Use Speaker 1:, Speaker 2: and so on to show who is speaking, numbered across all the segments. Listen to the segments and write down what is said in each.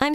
Speaker 1: I'm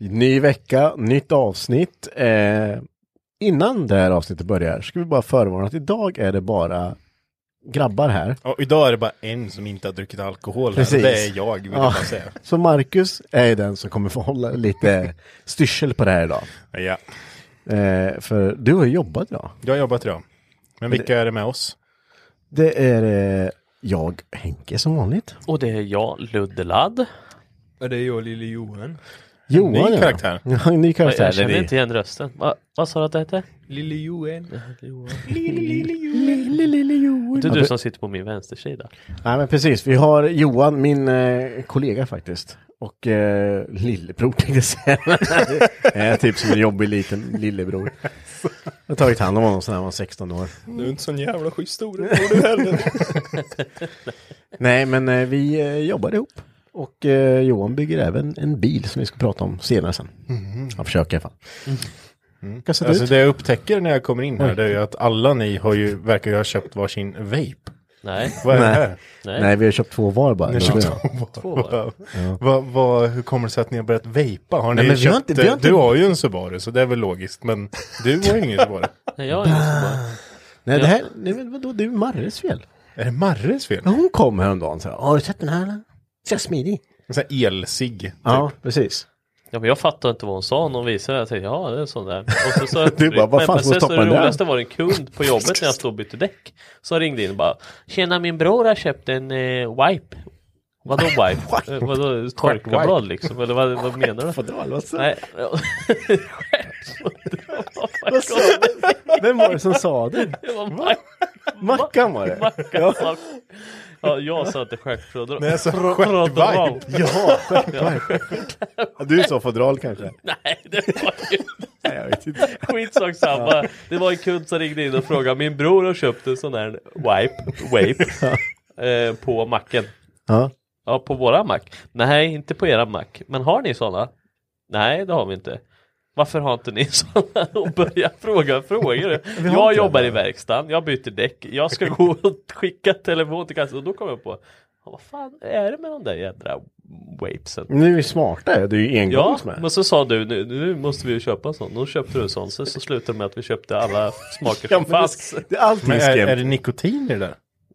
Speaker 2: Ny vecka, nytt avsnitt. Eh, innan det här avsnittet börjar ska vi bara förvarna att idag är det bara grabbar här.
Speaker 3: Ja, idag är det bara en som inte har druckit alkohol. Här.
Speaker 2: Precis.
Speaker 3: och Det är jag, vill jag
Speaker 2: Ja.
Speaker 3: bara säga.
Speaker 2: Så Marcus är ju den som kommer få hålla lite styrsel på det här idag.
Speaker 3: Ja.
Speaker 2: Eh, för du har ju jobbat idag.
Speaker 3: Jag har jobbat idag. Men vilka är det med oss?
Speaker 2: Det är eh, jag, Henke, som vanligt.
Speaker 4: Och det är jag, Luddeladd.
Speaker 3: Det är jag, lille Johan.
Speaker 2: Johan,
Speaker 3: Ny
Speaker 2: ja.
Speaker 3: karaktär.
Speaker 2: Ja, en ny
Speaker 4: Jag,
Speaker 2: karaktär.
Speaker 4: jag
Speaker 2: Eller
Speaker 4: känner
Speaker 2: vi.
Speaker 4: inte igen rösten. Va, vad sa du att det hette?
Speaker 3: Lille Johan.
Speaker 4: Det är du som sitter på min vänstersida.
Speaker 2: Nej, men precis. Vi har Johan, min eh, kollega faktiskt. Och eh, lillebror tänkte jag säga. Det är typ som en jobbig liten lillebror. Jag har tagit hand om honom sedan han var 16 år.
Speaker 3: Du är inte sån jävla schysst stor du heller.
Speaker 2: Nej, men eh, vi eh, jobbar ihop. Och eh, Johan bygger även en bil som vi ska prata om senare sen. Han försöker i alla fall. Kastat
Speaker 3: Mm-hmm. Alltså
Speaker 2: ut.
Speaker 3: det jag upptäcker när jag kommer in här det är ju att alla ni har ju, verkar ju ha köpt varsin vape.
Speaker 4: Nej,
Speaker 3: Vad är det
Speaker 2: Nej.
Speaker 3: här?
Speaker 4: nej.
Speaker 2: Nej, vi har köpt två var bara.
Speaker 3: Ni har köpt
Speaker 2: Ja.
Speaker 3: två var. Vad- vad- Hur kommer det sig att ni har börjat vejpa? Har ni
Speaker 2: Nej, men vi har
Speaker 3: köpt,
Speaker 2: inte- vi har
Speaker 3: eh,
Speaker 2: inte-
Speaker 3: Du har ju en Subaru så det är väl logiskt. Men du har ju ingen Subaru.
Speaker 4: nej jag är inte så
Speaker 2: Ah.
Speaker 4: bra.
Speaker 2: Nej, det här, nej, men vadå, det är ju Marres fel.
Speaker 3: Är det Marres fel?
Speaker 2: Ja, Hon kom häromdagen och sa, har du sett den här? eller? Så jag smidig.
Speaker 3: En sån här elsig. Typ.
Speaker 2: Ja, precis.
Speaker 4: Ja, men jag fattade inte vad hon sa när hon visade det. Jag tänkte, ja det är en sån där. Och så sa jag,
Speaker 2: Du bara, vad
Speaker 4: men-
Speaker 2: fan
Speaker 4: men
Speaker 2: ska hon
Speaker 4: sen så
Speaker 2: stoppa
Speaker 4: det
Speaker 2: den där?
Speaker 4: roligaste var en kund på jobbet när jag stod och bytte däck. Så ringde in och bara, tjena min bror har köpt en eh, wipe. Vadå wipe? eh, vadå torkarblad liksom? Eller vad, vad menar du?
Speaker 2: Fodral, vad sa-
Speaker 4: Nej.
Speaker 2: vad sa du? Vem var det som sa det?
Speaker 4: Det var wipe.
Speaker 2: Mackan var det.
Speaker 4: Mackan ja. ja, jag sa inte stjärtfrodral.
Speaker 3: Nej, alltså
Speaker 4: Frodral.
Speaker 3: stjärtvibe.
Speaker 2: Ja, Du sa fodral kanske?
Speaker 4: Nej, det var ju
Speaker 2: Nej, jag vet inte.
Speaker 4: skitsak samma. Det var en kund som ringde in och frågade, min bror har köpt en sån här wipe, wape, eh, på macken.
Speaker 2: Ja.
Speaker 4: Ja, på våra mack. Nej, inte på era mack. Men har ni såna? Nej, det har vi inte. Varför har inte ni sådana? Och börja fråga frågor. Jag jobbar i verkstaden, jag byter däck, jag ska gå och skicka telefon till kassan och då kommer jag på "Ja, vad fan är det med de där jädra wapesen?
Speaker 2: Nu är vi smarta, det är ju
Speaker 4: Ja,
Speaker 2: engångs med.
Speaker 4: men så sa du nu, nu måste vi ju köpa en sån. Då köpte du en sån, sen så slutade det med att vi köpte alla smaker
Speaker 2: Ja,
Speaker 4: som
Speaker 2: men
Speaker 4: fanns.
Speaker 2: det, det är allting
Speaker 3: Men är, är det
Speaker 2: skrämt.
Speaker 3: nikotin i det där?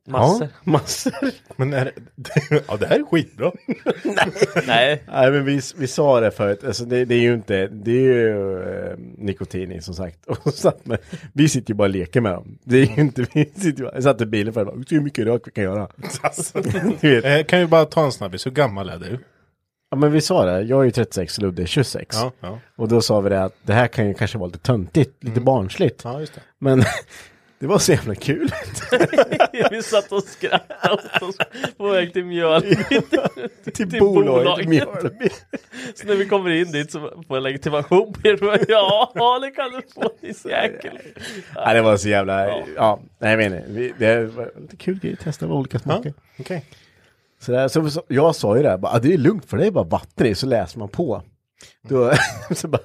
Speaker 4: Massor.
Speaker 2: Ja, massor.
Speaker 3: Men är det... Ja, det här är skitbra.
Speaker 4: Nej,
Speaker 2: Nej men vi, vi sa det förut, alltså det, det är ju inte, det är ju eh, nikotin i som sagt. Och så att, men, vi sitter ju bara och leker med dem. Det är ju inte, vi sitter ju bara, jag satt i bilen förut och bara, "Se hur mycket rök vi kan göra.
Speaker 3: Alltså.
Speaker 2: Du vet.
Speaker 3: Eh, kan vi bara ta en snabbis? Hur gammal är du?
Speaker 2: Ja men vi sa det, jag är ju 36 och Ludde är 26.
Speaker 3: Ja, ja.
Speaker 2: Och då sa vi det att det här kan ju kanske vara lite töntigt, lite barnsligt.
Speaker 3: ja just det.
Speaker 2: Men det var så jävla kul.
Speaker 4: vi satt och skrattade åt oss på väg till Mjölby.
Speaker 2: till,
Speaker 4: Till
Speaker 2: bolaget.
Speaker 4: bolaget.
Speaker 2: Mjölby.
Speaker 4: Så när vi kommer in dit så får jag legitimation på er. Bara, Ja, det kan du få din jäkel.
Speaker 2: Ja, det var så jävla, ja,
Speaker 4: Ja.
Speaker 2: nej jag vet inte. Vi, det var lite kul grej, testa olika smaker.
Speaker 3: Okej.
Speaker 2: Så, där, så, så jag sa ju det, här, bara, "Ah, det är lugnt för det är bara vatten i, så läser man på. Då, så bara,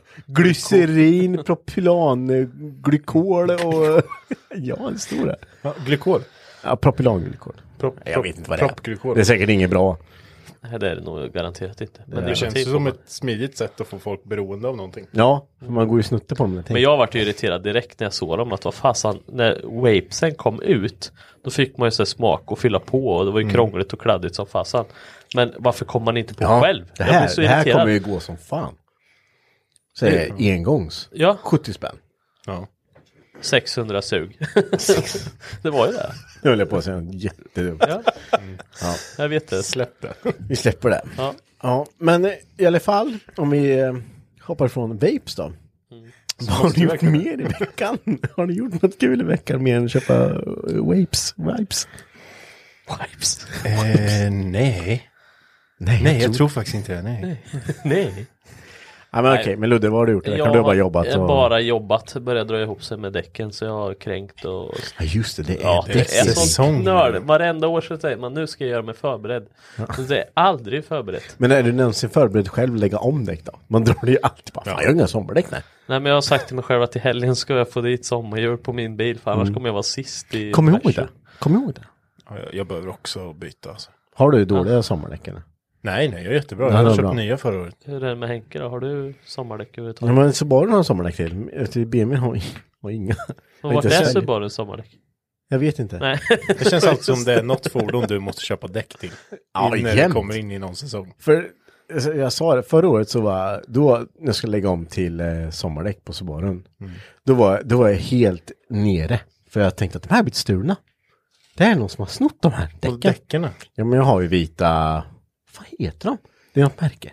Speaker 2: glycerin, propylan, eh, glykol och... ja, det står det.
Speaker 3: Ja, glykol.
Speaker 2: Ja, propylanglykol.
Speaker 3: Prop,
Speaker 2: Jag
Speaker 3: prop-
Speaker 2: vet inte vad det är.
Speaker 3: Proppglykol.
Speaker 2: Det är säkert inget bra.
Speaker 4: Nej, det är det nog garanterat inte. Men
Speaker 3: Det känns ju som
Speaker 4: ett...
Speaker 3: ett smidigt sätt att få folk beroende av någonting.
Speaker 2: Ja, för man går ju snutte på dem. Jag
Speaker 4: Men
Speaker 2: tänker.
Speaker 4: jag vart ju irriterad direkt när jag såg dem att vad fasen, när vapesen kom ut då fick man ju så här smak och fylla på och det var ju
Speaker 2: Mm.
Speaker 4: krångligt och kladdigt som fasen. Men varför kom man inte på
Speaker 2: ja,
Speaker 4: själv?
Speaker 2: Det
Speaker 4: jag blir
Speaker 2: här,
Speaker 4: så
Speaker 2: det här
Speaker 4: irriterad. Mm.
Speaker 2: kommer ju gå som fan. Så är det engångs.
Speaker 4: Ja,
Speaker 2: 70 spänn.
Speaker 3: Ja.
Speaker 4: 600 sug. det var ju det.
Speaker 2: Nu höll jag på att säga något jättedumt.
Speaker 4: Ja. Jag vet det.
Speaker 3: Släpp det.
Speaker 2: Vi släpper det.
Speaker 4: Ja.
Speaker 2: Ja, men eh, i alla fall om vi eh, hoppar från vapes då.
Speaker 4: Mm.
Speaker 2: Vad har ni gjort mer i veckan? Har ni gjort något kul i veckan mer än att köpa eh, vapes? Vapes?
Speaker 4: Wipes.
Speaker 3: nej.
Speaker 2: Nej,
Speaker 3: faktiskt inte det. Nej.
Speaker 4: Nej.
Speaker 2: Ja, men okej, men Ludde, vad har du gjort i veckan? Du har bara jobbat?
Speaker 4: Jag har
Speaker 2: och-
Speaker 4: bara jobbat. Började dra ihop sig med däcken så jag har kränkt och
Speaker 2: Ja, just det, det är
Speaker 4: Ja, det är
Speaker 3: säsong.
Speaker 4: sån knöl. Varenda år så säger man nu ska jag göra mig förberedd. Så det är aldrig förberett.
Speaker 2: Men är du någonsin förberedd själv att lägga om däck då? Man drar ju alltid bara, fan jag har inga sommardäck nej.
Speaker 4: Nej men jag har sagt till mig själv att till helgen ska jag få dit sommarhjul på min bil för annars kommer jag vara sist i
Speaker 2: Kom ihåg
Speaker 4: persen.
Speaker 2: det. Kom ihåg det.
Speaker 3: Ja, jag- Jag behöver också byta. Alltså.
Speaker 2: Har du dåliga sommardäck eller?
Speaker 3: Nej, nej, jag är jättebra.
Speaker 2: Ja,
Speaker 3: jag
Speaker 2: det
Speaker 3: har
Speaker 2: var
Speaker 3: köpt
Speaker 2: bra.
Speaker 3: nya förra året.
Speaker 4: Hur är det med Henke då? Har du sommardäck
Speaker 2: Ja,
Speaker 4: överhuvudtaget?
Speaker 2: men Subaru har en sommardäck till. Jag tycker BMW har inga- har inga.
Speaker 4: Och vart
Speaker 2: inte
Speaker 4: är
Speaker 2: säljer.
Speaker 4: Subaru sommardäck?
Speaker 2: Jag vet inte.
Speaker 4: Nej.
Speaker 3: Det känns alltid som det är något fordon du måste köpa däck till.
Speaker 2: Ja,
Speaker 3: när
Speaker 2: jämt.
Speaker 3: du kommer in i någon säsong.
Speaker 2: För alltså, jag sa det, förra året så var då, när jag skulle lägga om till eh, sommardäck på Subarun,
Speaker 4: Mm.
Speaker 2: då, var, då var jag helt nere. För jag tänkte att de här blir stulna. Det är någon som har snott de här
Speaker 3: Och
Speaker 2: däcken.
Speaker 3: däcken.
Speaker 2: Ja men jag har ju vita, vad heter de? Det är något märke.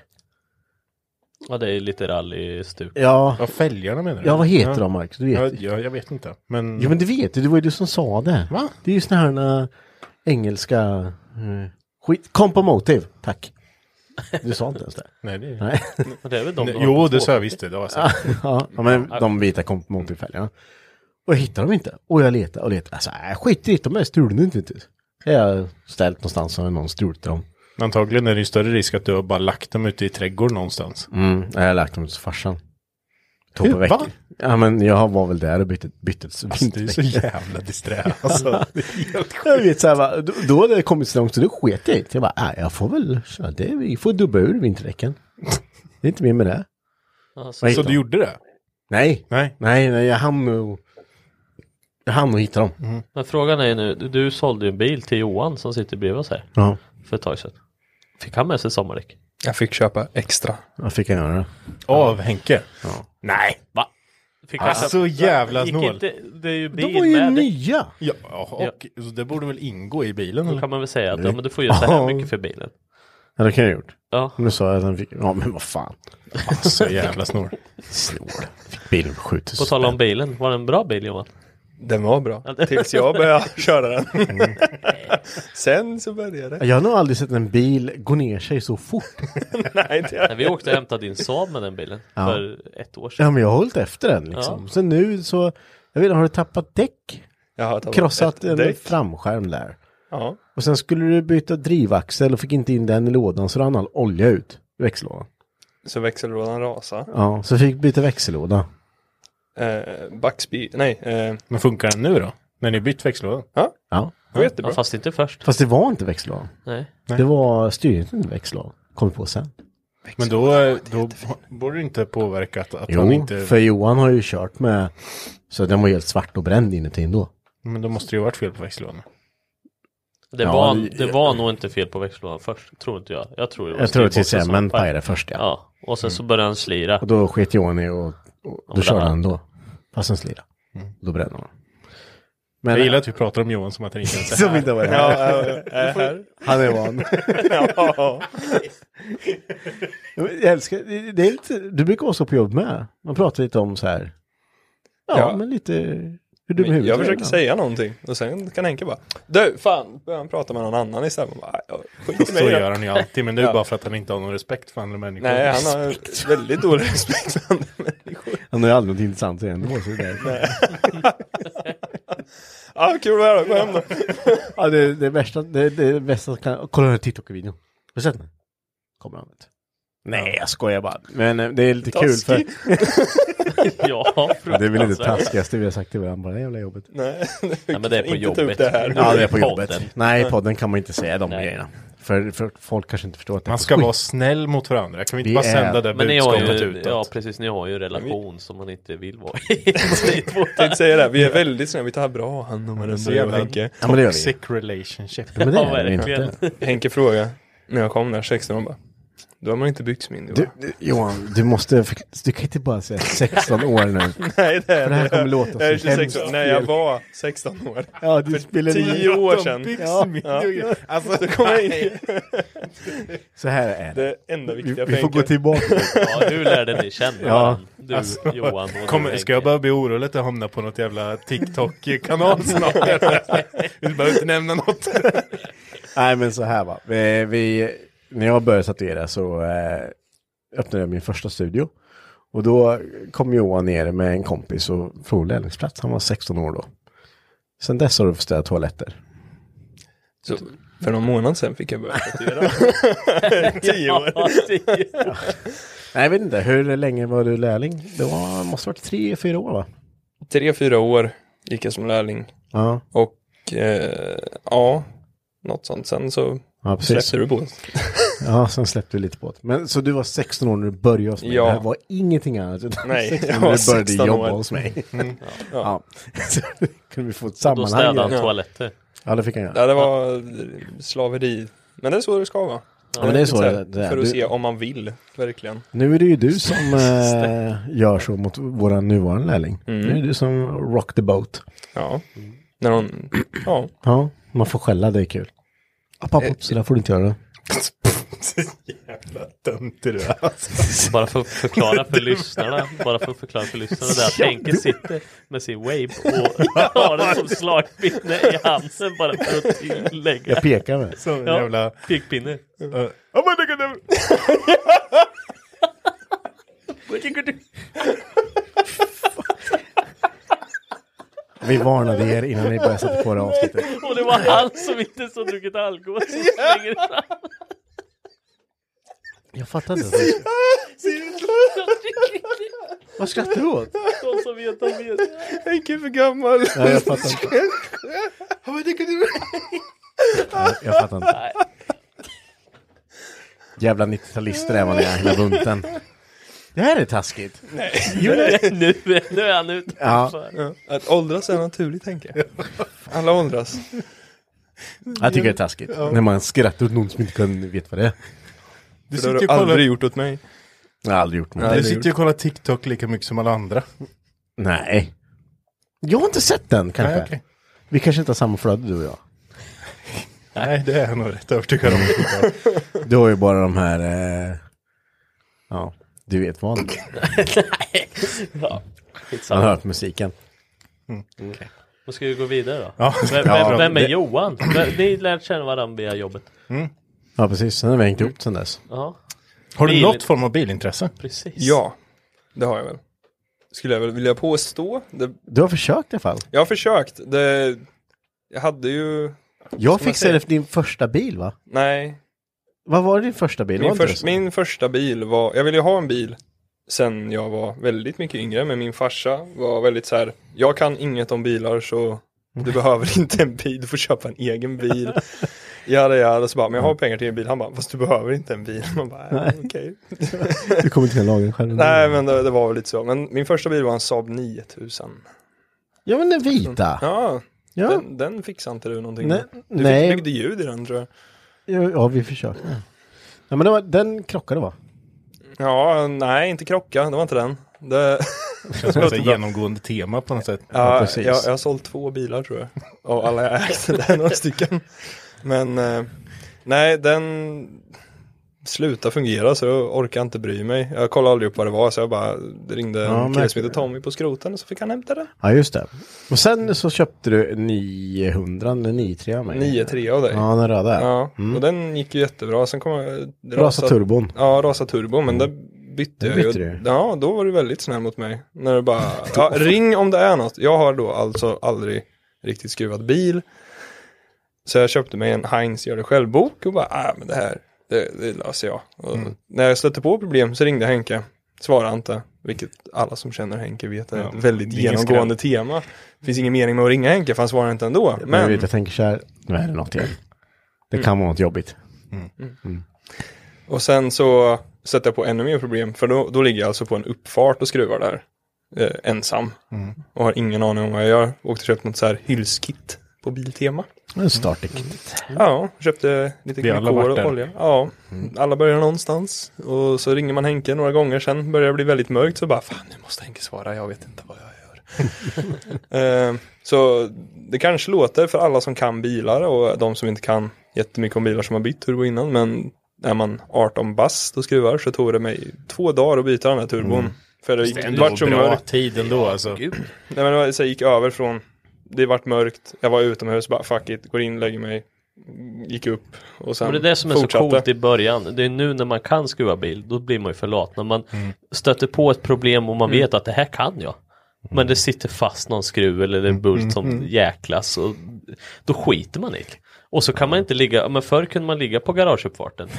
Speaker 4: Ja det är ju lite rally-stuk.
Speaker 2: Ja,
Speaker 3: Ja, fälgarna menar du?
Speaker 2: ja vad heter de Marcus? Du vet
Speaker 3: Ja,
Speaker 2: ju.
Speaker 3: jag, jag vet inte. Men...
Speaker 2: Jo men du vet ju, det var ju du som sa det.
Speaker 3: Va?
Speaker 2: Det är ju sådana här eh, engelska... Eh, skit. Compomotive, tack. Du sa inte ens det.
Speaker 3: Nej, det är...
Speaker 2: Nej.
Speaker 4: Men det är väl de
Speaker 3: Nej,
Speaker 4: du har
Speaker 3: Jo,
Speaker 4: på
Speaker 3: det
Speaker 4: två.
Speaker 3: sa jag visst. Det, det var så.
Speaker 2: ja, ja, men de vita compomotive-fälgarna. Och jag hittar dem inte. Och jag letar och letar. Alltså, jag skiter i det, de är stulna inte. inte. Jag har ställt någonstans och någon stulit dem.
Speaker 3: Antagligen är det ju större risk att du har bara lagt dem ute i trädgården någonstans.
Speaker 2: Mm, jag har lagt dem till farsan. Tog på
Speaker 3: Hur? Va?
Speaker 2: veckan. Ja men jag var väl där och bytte, bytte
Speaker 3: Alltså, det är så jävla disträ. Alltså, det är helt sjukt.
Speaker 2: Jag vet så här, va, då, då hade det kommit så långt så då sket jag i det. Jag bara, "Ah, jag får väl, köra det, vi får dubba ur vinterdäcken. Det är inte mer med det.
Speaker 4: Ja, så-
Speaker 2: Vad
Speaker 3: Så
Speaker 2: hittar
Speaker 3: du
Speaker 2: de?
Speaker 3: gjorde det?
Speaker 2: Nej,
Speaker 3: Nej.
Speaker 2: nej, nej, jag hann nog, jag hann nog hitta dem.
Speaker 3: Mm.
Speaker 4: Men frågan är ju nu, du- du sålde ju en bil till Johan som sitter bredvid oss här
Speaker 2: Ja,
Speaker 4: för ett tag sedan. Fick han med sig sommardäck?
Speaker 5: Jag fick köpa extra.
Speaker 2: vad fick jag göra?
Speaker 3: Av Henke?
Speaker 2: Nej,
Speaker 4: Va? Fick
Speaker 3: Alltså, så jävla
Speaker 4: Gick
Speaker 3: snål.
Speaker 4: inte- Det är ju bil
Speaker 2: de var ju
Speaker 4: med däck.
Speaker 2: nya.
Speaker 3: Ja, och så det borde väl ingå i bilen?
Speaker 4: Då
Speaker 3: Eller?
Speaker 4: kan man väl säga att ja, men du får göra så här mycket för bilen.
Speaker 2: Ja, det kan jag ha gjort.
Speaker 4: Ja.
Speaker 2: Men då sa jag att han fick, ja men vad fan.
Speaker 3: Så jävla snor.
Speaker 2: Snål. Fick bilen på 7000
Speaker 4: På tal om bilen, var det en bra bil Johan?
Speaker 5: Den var bra. Tills jag började köra den.
Speaker 3: Mm.
Speaker 5: Sen så började det.
Speaker 2: Jag har nog aldrig sett en bil gå ner sig så fort.
Speaker 5: Nej, det...
Speaker 4: Nej, vi åkte och hämtade din Saab med den bilen för ett år sedan.
Speaker 2: Ja men jag har hållit efter den liksom.
Speaker 4: Ja.
Speaker 2: Så nu så, jag vet inte, har du tappat däck?
Speaker 5: Jag har tagit
Speaker 2: Krossat
Speaker 5: ett
Speaker 2: en
Speaker 5: däck.
Speaker 2: framskärm där.
Speaker 5: Ja.
Speaker 2: Och sen skulle du byta drivaxel och fick inte in den i lådan så rann all olja ut i växellådan.
Speaker 5: Så växellådan rasade.
Speaker 2: Ja, så fick byta växellåda.
Speaker 5: Eh, backspeed... Nej. Eh,
Speaker 3: Men funkar den nu då? När ni bytt växellåda?
Speaker 5: ja,
Speaker 2: Ja,
Speaker 5: det var jättebra.
Speaker 4: Ja, fast inte först.
Speaker 2: fast det var inte växellådan.
Speaker 4: Nej.
Speaker 2: Det var styrningen i växellådan. Kom vi på sen.
Speaker 3: Men då, eh, då borde det inte påverka att, att han
Speaker 2: Jo,
Speaker 3: inte...
Speaker 2: för Johan har ju kört med, så den var helt svart och bränd inuti ändå.
Speaker 3: Men då måste det ju ha varit fel på växellådan.
Speaker 4: Det,
Speaker 2: Ja,
Speaker 4: var,
Speaker 2: det-
Speaker 4: det var nog inte fel på växellådan först, tror inte jag. Jag tror det var
Speaker 2: Jag tror att
Speaker 4: styrboxen som
Speaker 2: TCM
Speaker 4: paj.
Speaker 2: pajade först ja. Mm.
Speaker 4: Ja, och sen så började han slira.
Speaker 2: Och då sket Johan i och, och då körde
Speaker 4: där.
Speaker 2: han då. Fast den slirade. Då brände han. Men,
Speaker 3: Jag gillar att vi pratar om Johan som att han inte ens är
Speaker 2: Som
Speaker 3: här.
Speaker 2: inte var det.
Speaker 5: Ja, eh, eh, här.
Speaker 2: Han är van.
Speaker 5: Ja.
Speaker 2: Jag älskar, det- det är lite, du brukar vara så på jobb med. Man pratar lite om så här. Ja,
Speaker 5: Ja.
Speaker 2: men lite hur dum i huvudet
Speaker 5: Jag
Speaker 2: du är
Speaker 5: försöker
Speaker 2: ibland.
Speaker 5: säga någonting och sen kan Henke bara Du, fan, börjar han prata med någon annan istället. Man Bara, "Ja, skit i mig
Speaker 3: Så
Speaker 5: i det."
Speaker 3: gör han ju alltid, men det är
Speaker 5: Ja.
Speaker 3: bara för att han inte har någon respekt för andra människor.
Speaker 5: Nej, han har väldigt dålig respekt för andra människor.
Speaker 2: Han har ju aldrig något intressant att säga ändå. Så det är därför.
Speaker 5: Ja,
Speaker 4: Ja, kul att vara här då. Gå hem då.
Speaker 2: Ja, det, det värsta, det, det bästa som kan... Kolla den här TikTok-videon. Har du sett den? Kommer han ut. Nej, jag skojar bara. Men eh, det är lite kul för...
Speaker 4: Taskig.
Speaker 6: Ja,
Speaker 2: Det är väl inte
Speaker 6: fruktansvärt.
Speaker 2: det taskigaste vi har sagt till varandra, bara det jävla jobbet.
Speaker 4: Alltså. Nej,
Speaker 6: Nej, men det är på
Speaker 4: Inte ta upp
Speaker 6: jobbet.
Speaker 4: det här.
Speaker 2: Ja, det är på
Speaker 6: Podden.
Speaker 2: jobbet. Nej, i podden kan man inte säga de
Speaker 6: Nej.
Speaker 2: grejerna. För, för folk kanske inte förstår att det är
Speaker 3: Man ska
Speaker 2: skit.
Speaker 3: vara snäll mot varandra. Kan vi inte
Speaker 2: Vi
Speaker 3: bara
Speaker 2: är-
Speaker 3: sända det
Speaker 6: Men ni har
Speaker 3: budskapet
Speaker 6: ju,
Speaker 3: utåt?
Speaker 6: ja precis, ni har ju en relation som man inte vill vara i. Ni två.
Speaker 4: Tänkte säga det, vi är väldigt snälla, vi tar bra hand om
Speaker 3: Så
Speaker 4: varandra jag och
Speaker 3: jävla
Speaker 4: Henke.
Speaker 2: Ja, men det gör vi.
Speaker 3: Sick relationship.
Speaker 2: Men det
Speaker 6: Ja,
Speaker 2: är det
Speaker 6: verkligen.
Speaker 2: inte.
Speaker 4: Henke frågade, när jag kom där 16, han bara, då har man inte byggt mindre
Speaker 2: Du,
Speaker 4: va?
Speaker 2: du, Johan, du måste... förk- Du kan inte bara säga 16 år nu.
Speaker 4: Nej, det är
Speaker 2: För det här
Speaker 4: jag.
Speaker 2: kommer låta
Speaker 4: Jag är
Speaker 2: så
Speaker 4: 26
Speaker 2: hemskt
Speaker 4: Nej, jag
Speaker 2: fel.
Speaker 4: var 16 år.
Speaker 2: Ja, du spelar
Speaker 4: 10 år sedan.
Speaker 2: Ja.
Speaker 4: Ja. Alltså, då kommer jag in.
Speaker 2: Så här är det.
Speaker 4: Det enda
Speaker 2: Vi,
Speaker 4: viktiga
Speaker 2: vi får
Speaker 4: Henke.
Speaker 2: gå tillbaka.
Speaker 6: Ja, hur lärde ni känna
Speaker 2: Ja, Alltså,
Speaker 6: varandra? Du, Johan och du,
Speaker 3: Alltså, Kommer,
Speaker 6: Henke.
Speaker 3: ska jag börja bli orolig att jag hamnar på något jävla TikTok-kanal snart? Vi behöver inte nämna något.
Speaker 2: Nej, men så här va. Vi, vi, när jag började tatuera så eh, öppnade jag min första studio. Och då kom Johan ner med en kompis och frågade lärlingsplats. Han var 16 år då. Sen dess har du fått städa toaletter.
Speaker 4: Så, för någon månad sedan fick jag börja tatuera. Tio år.
Speaker 6: Ja, tio.
Speaker 2: Nej, jag vet inte. Hur länge var du lärling? Det var, måste ha varit tre, fyra år va?
Speaker 4: Tre, fyra år gick jag som lärling.
Speaker 2: Ja,
Speaker 4: Och eh, ja, något sånt. Sen så
Speaker 2: ja precis.
Speaker 4: släppte du på
Speaker 2: Ja, sen släppte du lite på det. Men så du var 16 år när du började hos mig?
Speaker 4: Ja.
Speaker 2: Det här var ingenting annat? utan
Speaker 4: Nej,
Speaker 2: 16
Speaker 4: jag
Speaker 2: när
Speaker 4: var
Speaker 2: du började
Speaker 4: 16
Speaker 2: jobba
Speaker 4: år. Mm.
Speaker 2: hos mig?
Speaker 4: Ja.
Speaker 2: Ja. Så kunde vi få ett
Speaker 6: Då
Speaker 2: sammanhang?
Speaker 6: städade han
Speaker 2: Ja.
Speaker 6: toaletter.
Speaker 2: ja, det fick han göra.
Speaker 4: Ja, det var slaveri. Men det är så det ska vara.
Speaker 2: Ja, men det är så det, det är.
Speaker 4: För att
Speaker 2: Du,
Speaker 4: se om man vill, verkligen.
Speaker 2: Nu är det ju du som eh, gör så mot våra nuvarande lärling.
Speaker 4: Mm.
Speaker 2: Nu är det du som rock the boat.
Speaker 4: Ja. När någon, ja.
Speaker 2: Ja, man får skälla, det är kul. App, app, app, så där får du inte göra.
Speaker 3: jävla dumt är du alltså.
Speaker 6: Bara för att förklara för lyssnarna. Bara för att förklara för lyssnarna. Där att Henke sitter med sin wave och har den som slagpinne i handen. Bara för att tillägga.
Speaker 2: Jag pekar med.
Speaker 3: Som en
Speaker 6: Ja.
Speaker 3: jävla...
Speaker 6: Pekpinne.
Speaker 3: eh, oh my God,
Speaker 2: Vi varnade er innan ni började sätta på det här avsnittet.
Speaker 6: Och det var han som inte så druckit alkohol som slänger fram.
Speaker 2: Jag fattar inte. vad du- Vad skrattar du åt?
Speaker 6: De som vet, de vet.
Speaker 4: Henke är för gammal.
Speaker 2: Nej, jag fattar inte. Nej, Jag fattar inte.
Speaker 6: Nej.
Speaker 2: Jävla 90-talister är man i hela bunten. Det här är taskigt.
Speaker 6: Nu, nu är han ute.
Speaker 2: Ja,
Speaker 4: Att åldras är naturligt, Henke. Alla åldras.
Speaker 2: jag tycker det är taskigt. När man skrattar åt någon som inte kan vet vad det är.
Speaker 3: Du
Speaker 4: För det
Speaker 3: sitter
Speaker 4: har du
Speaker 3: ju och kollar,
Speaker 4: aldrig gjort åt mig.
Speaker 2: Jag har aldrig gjort något.
Speaker 3: du
Speaker 4: aldrig
Speaker 3: sitter ju och kollar TikTok lika mycket som alla andra.
Speaker 2: Nej. Jag har inte sett den kanske.
Speaker 3: Nej, okej.
Speaker 2: Vi kanske inte har samma flöde du och jag.
Speaker 3: Nej, det är jag nog rätt övertygad om.
Speaker 2: Du har ju bara de här... Eh... Ja, du vet vad.
Speaker 6: Ja,
Speaker 2: Man har
Speaker 6: skitsamma.
Speaker 2: hört musiken.
Speaker 6: Då ska vi gå vidare då.
Speaker 3: Ja.
Speaker 6: Vem,
Speaker 3: Ja,
Speaker 6: vem, vem är
Speaker 3: det-
Speaker 6: Johan? Vem- Ni lärt känna varandra via jobbet.
Speaker 2: Ja, precis. Sen har vi hängt ihop sen dess.
Speaker 6: Ja,
Speaker 3: Har du
Speaker 6: Bil-
Speaker 3: något form av bilintresse?
Speaker 6: precis.
Speaker 4: Ja, det har jag väl. Skulle jag väl vilja påstå. Det,
Speaker 2: Du har försökt i alla fall.
Speaker 4: jag har försökt. Det, jag hade ju,
Speaker 2: Jag
Speaker 4: Ska man
Speaker 2: fixade
Speaker 4: säga?
Speaker 2: din första bil va?
Speaker 4: nej,
Speaker 2: Vad var din första bil? Var
Speaker 4: Min,
Speaker 2: inte
Speaker 4: förs-
Speaker 2: det så?
Speaker 4: min första bil var, jag ville ju ha en bil sen jag var väldigt mycket yngre, men min farsa var väldigt så här, jag kan inget om bilar så du behöver inte en bil, du får köpa en egen bil. Ja, ja, så bara, men jag har pengar till en bil. Han bara, fast du behöver inte en bil. Man bara, "Nej, okej.
Speaker 2: Du kommer inte kunna laga den själv.
Speaker 4: Nej, men det, det var väl lite så. Men min första bil var en Saab 9000.
Speaker 2: Ja, men den vita.
Speaker 4: Ja,
Speaker 2: Ja,
Speaker 4: den, den fixade inte du någonting
Speaker 2: Nej,
Speaker 4: med. Du
Speaker 2: nej.
Speaker 4: fick, byggde ljud i den tror jag.
Speaker 2: ja, ja vi försökte. Ja, men det var, den krockade va?
Speaker 4: Ja, nej, inte krocka, det var inte den. Det...
Speaker 3: Känns som ett genomgående tema på något sätt.
Speaker 4: Ja,
Speaker 2: precis.
Speaker 4: jag, jag har sålt två bilar tror jag. Av alla jag ägt, det är några stycken. Men eh, nej, den slutade fungera så jag orkar inte bry mig. Jag kollade aldrig upp vad det var så jag bara ringde
Speaker 2: Ja,
Speaker 4: en kille
Speaker 2: men-
Speaker 4: som heter Tommy på skroten och så fick han hämta den.
Speaker 2: Ja, just det. Och sen så köpte du 900 eller 93 av mig.
Speaker 4: 9-3 av dig. Ja.
Speaker 2: Ja, den röda. Ja.
Speaker 4: Och den gick ju jättebra. Sen kom jag...
Speaker 2: Rasa turbon.
Speaker 4: Ja, rasa turbo, men där bytte
Speaker 2: Den
Speaker 4: jag ju.
Speaker 2: bytte du.
Speaker 4: Ja, då var du väldigt snäll mot mig. När du bara, ja, ring om det är något. Jag har då alltså aldrig riktigt skruvad bil. Så jag köpte mig en Heinz gör det själv-bok och bara, ah, men det här, det, det löser jag. Och När jag stötte på problem så ringde jag Henke, svarade inte, vilket alla som känner Henke vet är
Speaker 3: Ja,
Speaker 4: ett väldigt
Speaker 3: det är ingen
Speaker 4: genomgående tema. Det finns ingen mening med att ringa Henke för han svarar inte ändå.
Speaker 2: Men jag,
Speaker 4: Men
Speaker 2: vet, jag tänker så här, nu är det något igen. Det kan vara något jobbigt.
Speaker 4: Och sen så sätter jag på ännu mer problem, för då, då ligger jag alltså på en uppfart och skruvar där. Eh, ensam. Och har ingen aning om vad jag gör. Åkte och köpte något så här hyllskit på Biltema.
Speaker 2: En
Speaker 4: Mm.
Speaker 2: startkit.
Speaker 4: Ja, köpte lite
Speaker 3: Mm. Vi har alla
Speaker 4: glykol
Speaker 3: varit
Speaker 4: och
Speaker 3: där. Mm.
Speaker 4: olja. Ja, alla börjar någonstans. Och så ringer man Henke några gånger sen, börjar det bli väldigt mörkt, så bara fan, nu måste Henke svara, jag vet inte vad jag gör. eh, så det kanske låter för alla som kan bilar och de som inte kan jättemycket om bilar som har bytt turbo innan, men är man 18 bast och skruvar så tog det mig två dagar att byta den här turbon. För det,
Speaker 3: Mm. Det är
Speaker 4: gick,
Speaker 3: ändå
Speaker 4: vart så
Speaker 3: bra
Speaker 4: mörkt.
Speaker 3: tid ändå alltså.
Speaker 4: Nej men det var- så jag gick över från, det vart mörkt, jag var utomhus, bara fuck it, går in, lägger mig, gick upp och sen
Speaker 6: Men det är det som är
Speaker 4: fortsatte.
Speaker 6: så coolt i början. Det är nu när man kan skruva bil, då blir man ju för lat. När man
Speaker 2: Mm.
Speaker 6: stöter på ett problem och man vet att det här kan jag.
Speaker 2: Mm.
Speaker 6: Men det sitter fast någon skruv eller en bult som jäklas och då skiter man i det. Och så kan man inte ligga, men förr kunde man ligga på garageuppfarten.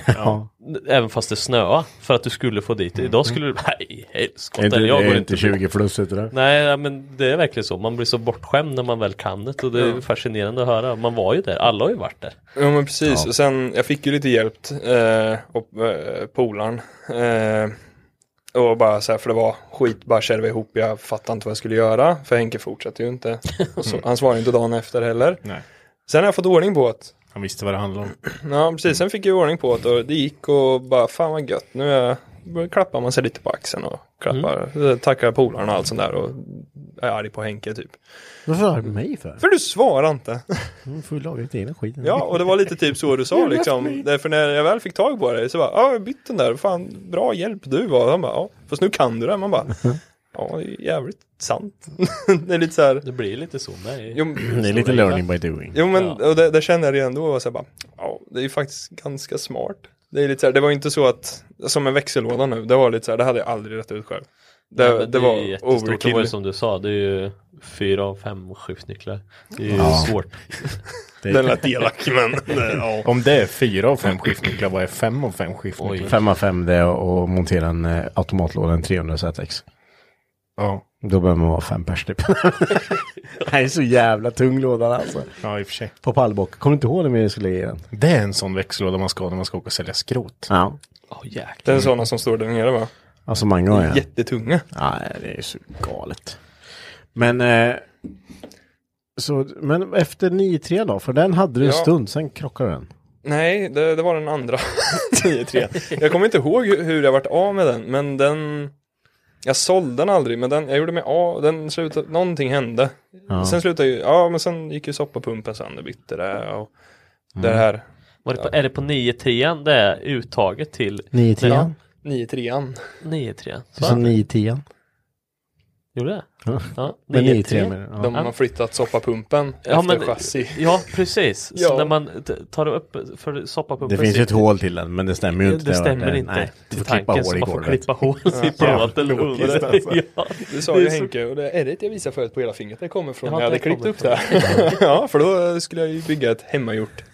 Speaker 6: Även fast det snöa för att du skulle få dit det. Idag skulle du, nej
Speaker 2: Mm. Är inte,
Speaker 6: helskotta, jag
Speaker 2: är
Speaker 6: går
Speaker 2: inte
Speaker 6: inte
Speaker 2: 20 plus ute där.
Speaker 6: Nej, ja, men det är verkligen så. Man blir så bortskämd när man väl kan det och det är fascinerande att höra. Man var ju där, alla har ju varit där.
Speaker 4: Ja men precis, och sen jag fick ju lite hjälp eh, och, eh, polaren. Eh, och bara så här, för det var skit, bara kärva ihop, jag fattade inte vad jag skulle göra. För Henke fortsatte ju inte.
Speaker 2: Mm.
Speaker 4: Och så, han svarade inte dagen efter heller.
Speaker 3: Nej.
Speaker 4: Sen har jag fått ordning på det.
Speaker 3: Han visste vad det handlade om.
Speaker 4: Ja precis, sen fick jag ordning på det och det gick och bara fan vad gött. Nu är jag, klappar man sig lite på axeln och klappar,
Speaker 3: Mm.
Speaker 4: tackar polaren och allt sånt där och är arg på Henke typ.
Speaker 2: Varför har du mig för?
Speaker 4: För du svarar inte.
Speaker 2: Du får ju laga ditt egna skit.
Speaker 4: Ja, och det var lite typ så du sa liksom. Därför när jag väl fick tag på det så bara, ja, jag bytte den där, fan bra hjälp du var. Han bara, ja, fast nu kan du det. Man bara, ja, det är jävligt sant. det är lite så här,
Speaker 6: Det blir lite så med.
Speaker 4: jo,
Speaker 2: Det är lite learning by doing.
Speaker 4: jo men och det, det kände jag redan då, och så här bara, ja, det är ju faktiskt ganska smart. Det är lite så här, det var inte så att, som en växellåda nu, det var lite så här, det hade jag aldrig rätt ut själv. Det,
Speaker 6: Nej, men
Speaker 4: det,
Speaker 6: är
Speaker 4: var
Speaker 6: ju jättestort. Det var
Speaker 4: overkill.
Speaker 6: ju som du sa, det är ju fyra av fem skiftnycklar. Det är ju svårt.
Speaker 4: Den lät elak, men eh, ja.
Speaker 3: Om det är fyra av fem skiftnycklar, vad är fem av fem skiftnycklar?
Speaker 2: 5 av 5 det är att montera en eh, automatlåda, en 300 ZX.
Speaker 3: Ja.
Speaker 2: Då behöver man vara fem pers typ. Det här är så jävla tung lådan alltså.
Speaker 3: ja, i och för sig.
Speaker 2: På pallbock. Kommer du inte ihåg när vi skulle ge den?
Speaker 3: Det är en sån växellåda man ska ha när man ska åka och sälja skrot.
Speaker 2: Ja.
Speaker 6: Åh jäklar.
Speaker 4: Det är sådana som står där nere va?
Speaker 2: Alltså många gånger. ja.
Speaker 4: Jättetunga.
Speaker 2: Nej, det är så galet. Men, eh, så, men efter 9-3 då? För den hade du en
Speaker 4: Ja.
Speaker 2: stund, sen krockade den.
Speaker 4: Nej, det, det var den andra 10-3. Jag kommer inte ihåg hu- hur jag vart av med den, men den... Jag sålde den aldrig, men den, jag gjorde mig av, den slutade, någonting hände. Sen slutade ju, ja men sen gick ju soppapumpen sönder, bytte det och
Speaker 3: Mm.
Speaker 4: det här.
Speaker 6: Var det på, är det på 9-3 det är uttaget till
Speaker 2: 9-3?
Speaker 4: 9-3an.
Speaker 6: 9-3?
Speaker 2: Och sen 9-10.
Speaker 6: Gjorde det? Ja,
Speaker 2: Men 9-3
Speaker 6: 9-3.
Speaker 2: med den.
Speaker 4: De har flyttat soppapumpen
Speaker 6: Ja,
Speaker 4: efter
Speaker 6: men-
Speaker 4: chassi.
Speaker 6: Ja, precis. Så
Speaker 4: Ja.
Speaker 6: när man t- tar upp för soppapumpen
Speaker 2: Det finns ju
Speaker 6: sitter-
Speaker 2: ett hål till den, men det stämmer ju inte.
Speaker 6: Det stämmer
Speaker 2: var-
Speaker 6: inte.
Speaker 2: Nej, du får
Speaker 6: Till
Speaker 2: klippa
Speaker 6: tanken,
Speaker 2: hål
Speaker 6: så
Speaker 2: i
Speaker 6: man får
Speaker 2: golvet.
Speaker 6: klippa hål i plåten under.
Speaker 3: alltså.
Speaker 6: Ja.
Speaker 4: Det sa
Speaker 6: Det är
Speaker 4: ju
Speaker 6: så-
Speaker 4: Henke, och det ärret jag visade förut på hela fingret, det kommer från
Speaker 6: Ja,
Speaker 4: när jag hade
Speaker 6: det
Speaker 4: klippt
Speaker 6: kommer
Speaker 4: upp det här. ja, för då skulle jag ju bygga ett hemmagjort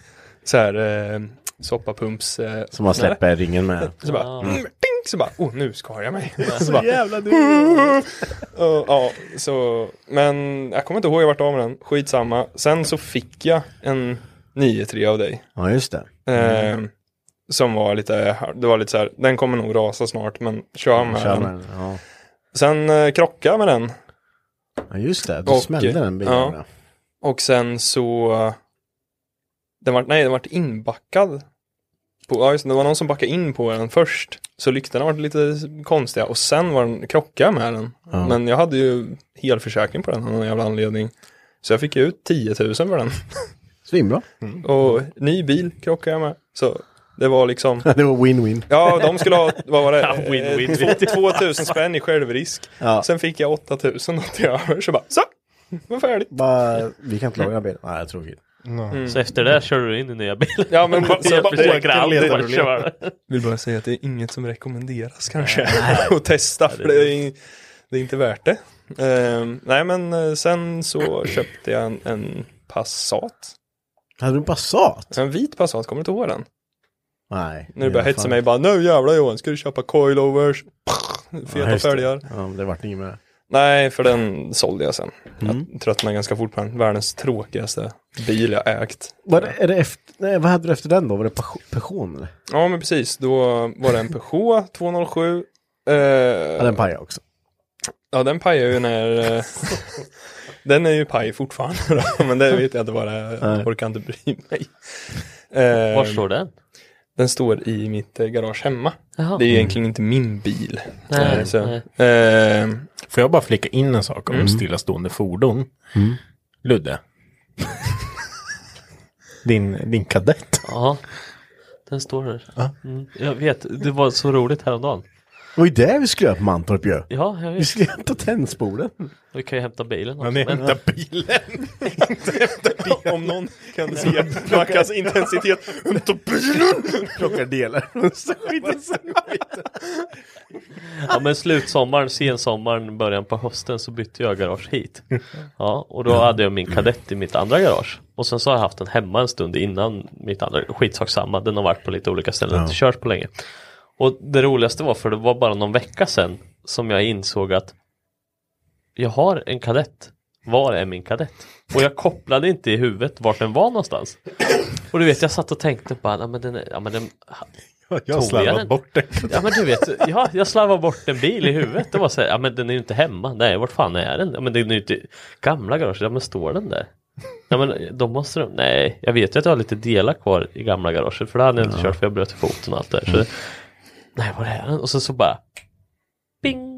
Speaker 4: så här eh, soppapumps... Eh,
Speaker 2: Så man släpper ringen med.
Speaker 4: Så bara, mm, ping, så bara, oh nu skar jag mig. så bara,
Speaker 2: Jävla du!
Speaker 4: "Åh, ja, så, men jag kommer inte ihåg jag vart av med den, skitsamma. Sen så fick jag en 9-3 av dig.
Speaker 2: Ja, just det.
Speaker 4: Eh, Som var lite, det var lite så här, den kommer nog rasa snart men kör med
Speaker 2: Kör med
Speaker 4: den.
Speaker 2: den. Ja.
Speaker 4: Sen eh, krockade jag med den
Speaker 2: ja, just det. Du
Speaker 4: Och,
Speaker 2: smällde den bilen.
Speaker 4: ja.
Speaker 2: Ja.
Speaker 4: och sen så, den var, nej den vart inbackad. På, ja just det, det var någon som backade in på den först. Så lyktorna var lite konstiga och sen var den, krockade jag med den.
Speaker 2: Ja.
Speaker 4: Men jag hade ju helförsäkring på den av någon jävla anledning. Så jag fick ju ut 10 000 för den.
Speaker 2: Svinbra.
Speaker 4: Och ny bil krockade jag med. Så det var liksom,
Speaker 2: Det var win-win.
Speaker 4: ja de skulle ha, vad var det?
Speaker 6: Ja, win-win.
Speaker 4: Eh, två- 2 000 spänn i självrisk.
Speaker 2: Ja.
Speaker 4: Sen fick jag 8 000 något till över. Så bara, så! Var färdigt.
Speaker 2: Bara, vi kan inte laga den här bilen. Nej, tråkigt.
Speaker 6: Så efter det kör du in i nya bilen.
Speaker 4: Ja men bara,
Speaker 6: Mm. Så
Speaker 4: så bara,
Speaker 6: försöker
Speaker 4: åker
Speaker 6: aldrig
Speaker 4: letar
Speaker 6: bara
Speaker 4: och letar.
Speaker 3: Eh,
Speaker 6: köra.
Speaker 4: Vill bara säga att det är inget som rekommenderas kanske. att testa för det är, det är inte värt det.
Speaker 3: Ehm, nej men eh, sen så köpte jag en, en Passat.
Speaker 2: Hade du en Passat?
Speaker 3: En vit Passat, kommer du inte ihåg den?
Speaker 2: Nej.
Speaker 3: När du började hetsa
Speaker 2: fan.
Speaker 3: mig bara nu jävlar Johan ska du köpa coilovers,
Speaker 2: Ja,
Speaker 3: feta
Speaker 2: just det.
Speaker 3: fälgar.
Speaker 2: Ja, det vart inget med det.
Speaker 3: Nej, för den sålde jag sen.
Speaker 2: Mm.
Speaker 3: Jag tröttnade ganska fort på den. Världens tråkigaste bil jag ägt.
Speaker 2: Var det, är det efter, nej, vad hade du efter den då? Var det passion? passion eller?
Speaker 3: Ja, men precis. Då var det en Peugeot 207. Eh,
Speaker 2: Ja, den pajade också.
Speaker 3: Ja, den pajar ju när... eh, den är ju paj fortfarande då, men det vet jag inte vad det är.
Speaker 2: Nej.
Speaker 3: Jag orkar inte bry mig. Eh,
Speaker 4: Var står den?
Speaker 3: Den står i mitt eh, garage hemma.
Speaker 4: Jaha.
Speaker 3: Det är ju egentligen inte min bil.
Speaker 4: Nej,
Speaker 3: så,
Speaker 4: nej.
Speaker 3: Eh,
Speaker 7: Får jag bara flika in en sak om
Speaker 3: Mm.
Speaker 7: stillastående fordon?
Speaker 4: Mm.
Speaker 7: Ludde. din, din kadett.
Speaker 4: Ja, den står här. Mm, jag vet, det var så roligt häromdagen.
Speaker 2: Det var ju där vi skulle göra på Mantorp ju.
Speaker 4: Ja, jag
Speaker 2: Vi
Speaker 4: vet.
Speaker 2: skulle hämta tennspolen.
Speaker 4: Vi kan ju hämta bilen också.
Speaker 7: Han är
Speaker 4: Men-
Speaker 7: hämtar bilen.
Speaker 3: om någon kan se Mackas intensitet. Hämta bilen!
Speaker 2: Plockar delar. Så skiten sig.
Speaker 4: Ja men slutsommaren, sensommaren, början på hösten så bytte jag garage hit. Ja, och då hade jag min kadett i mitt andra garage. Och sen så har jag haft den hemma en stund innan mitt andra, skitsak samma, den har varit på lite olika ställen, inte kört på länge. Och det roligaste var för det var bara någon vecka sedan som jag insåg att jag har en kadett. Var är min kadett? Och jag kopplade inte i huvudet vart den var någonstans. Och du vet jag satt och tänkte bara, ja men den, är, ja, men den
Speaker 7: Jag har
Speaker 4: Tog jag den?
Speaker 7: slarvat bort den.
Speaker 4: Ja men du vet, ja, jag slarvade bort en bil i huvudet. Det var så här, ja men den är ju inte hemma. Nej, vart fan är den? Ja men den är ju inte gamla garaget. Ja men står den där? Ja men de måste de, nej jag vet ju att jag har lite delar kvar i gamla garaget. För det hade jag inte kört för jag bröt foten och allt det där. Så, nej var är den? Och sen så bara, bing!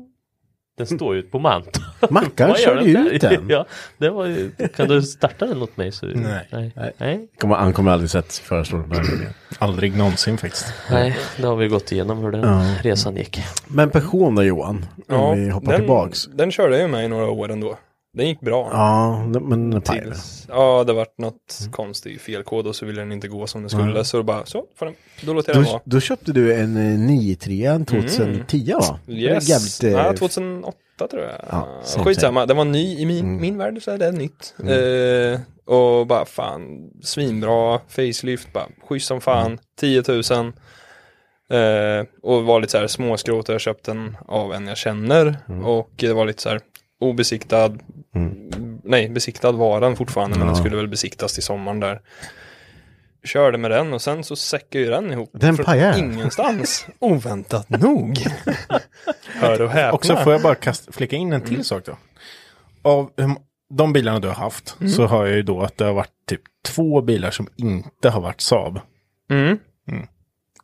Speaker 4: Den står ju ute på Mantorp.
Speaker 2: Mackan
Speaker 4: Vad gör
Speaker 2: körde ju
Speaker 4: där?
Speaker 2: ut den.
Speaker 4: Ja, det var ju, kan du starta den åt mig? Så,
Speaker 7: Nej.
Speaker 4: nej. Nej.
Speaker 2: Kommer, han kommer aldrig sett förestående igen.
Speaker 7: Aldrig någonsin faktiskt.
Speaker 4: Nej, det har vi gått igenom hur den
Speaker 2: Ja.
Speaker 4: resan gick.
Speaker 2: Men passion då Johan? Om vi hoppar
Speaker 3: den,
Speaker 2: tillbaks.
Speaker 3: Den körde jag ju med i några år ändå. Den gick bra.
Speaker 2: Ja, Mm. den- men den pajade.
Speaker 3: Tills, ja, det vart något konstigt felkod och så ville den inte gå som den skulle. Så då bara, så, får den, då låter jag den
Speaker 2: Då,
Speaker 3: vara.
Speaker 2: då köpte du en eh, 9-3 2010 va? Den är
Speaker 3: Mm. Yes.
Speaker 2: eh,
Speaker 3: Ja, 2008 tror jag.
Speaker 2: Ja, same, Mm,
Speaker 3: Skitsamma, den var ny i min, min värld så är det nytt. Eh, och bara fan, svinbra, facelift, bara schysst som fan, 10 000. Eh, och var lite så här småskrot och jag köpte den av en jag känner.
Speaker 2: Mm.
Speaker 3: Och det var lite så här obesiktad, nej besiktad var den fortfarande men den skulle väl besiktas till sommaren där. Körde med den och sen så säckade ju den ihop.
Speaker 2: Den
Speaker 3: från
Speaker 2: pajar.
Speaker 3: Ingenstans. Oväntat nog. Hör och häpna.
Speaker 7: Och så får jag bara kast, flika in en till
Speaker 3: Mm.
Speaker 7: sak då. Av um, de bilarna du har haft
Speaker 3: Mm.
Speaker 7: så har jag ju då att det har varit typ två bilar som inte har varit Saab. Mm.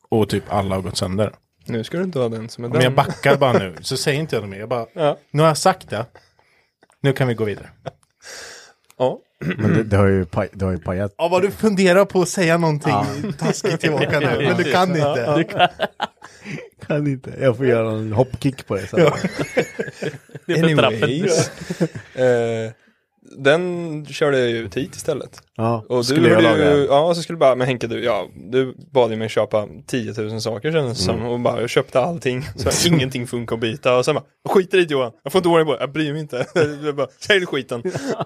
Speaker 7: Och typ alla har gått sönder.
Speaker 3: Nu ska du inte ha den som är
Speaker 7: Men jag
Speaker 3: den.
Speaker 7: backar bara nu, så säger inte jag något mer. Jag bara,
Speaker 3: Ja.
Speaker 7: nu har jag sagt det. Nu kan vi gå vidare.
Speaker 3: Ja.
Speaker 2: Men det, det har ju, paj, det har ju pajat.
Speaker 7: Ja, vad du funderar på att säga någonting taskigt tillbaka nu, men du kan inte.
Speaker 2: Kan inte. Jag får göra en hoppkick på det sen.
Speaker 3: Anyways. eh, den körde jag ju ut hit istället.
Speaker 2: Ja,
Speaker 3: Och du
Speaker 2: skulle jag laga
Speaker 3: gjorde ju,
Speaker 2: den?
Speaker 3: ja så skulle bara, men Henke du, ja, du bad ju mig köpa 10 000 saker
Speaker 2: Mm.
Speaker 3: sen som, och bara, jag köpte allting, så ingenting funkar att byta och sen bara, jag skiter i det Johan, jag får inte ordning på det, jag bryr mig inte. jag bara, sälj skiten.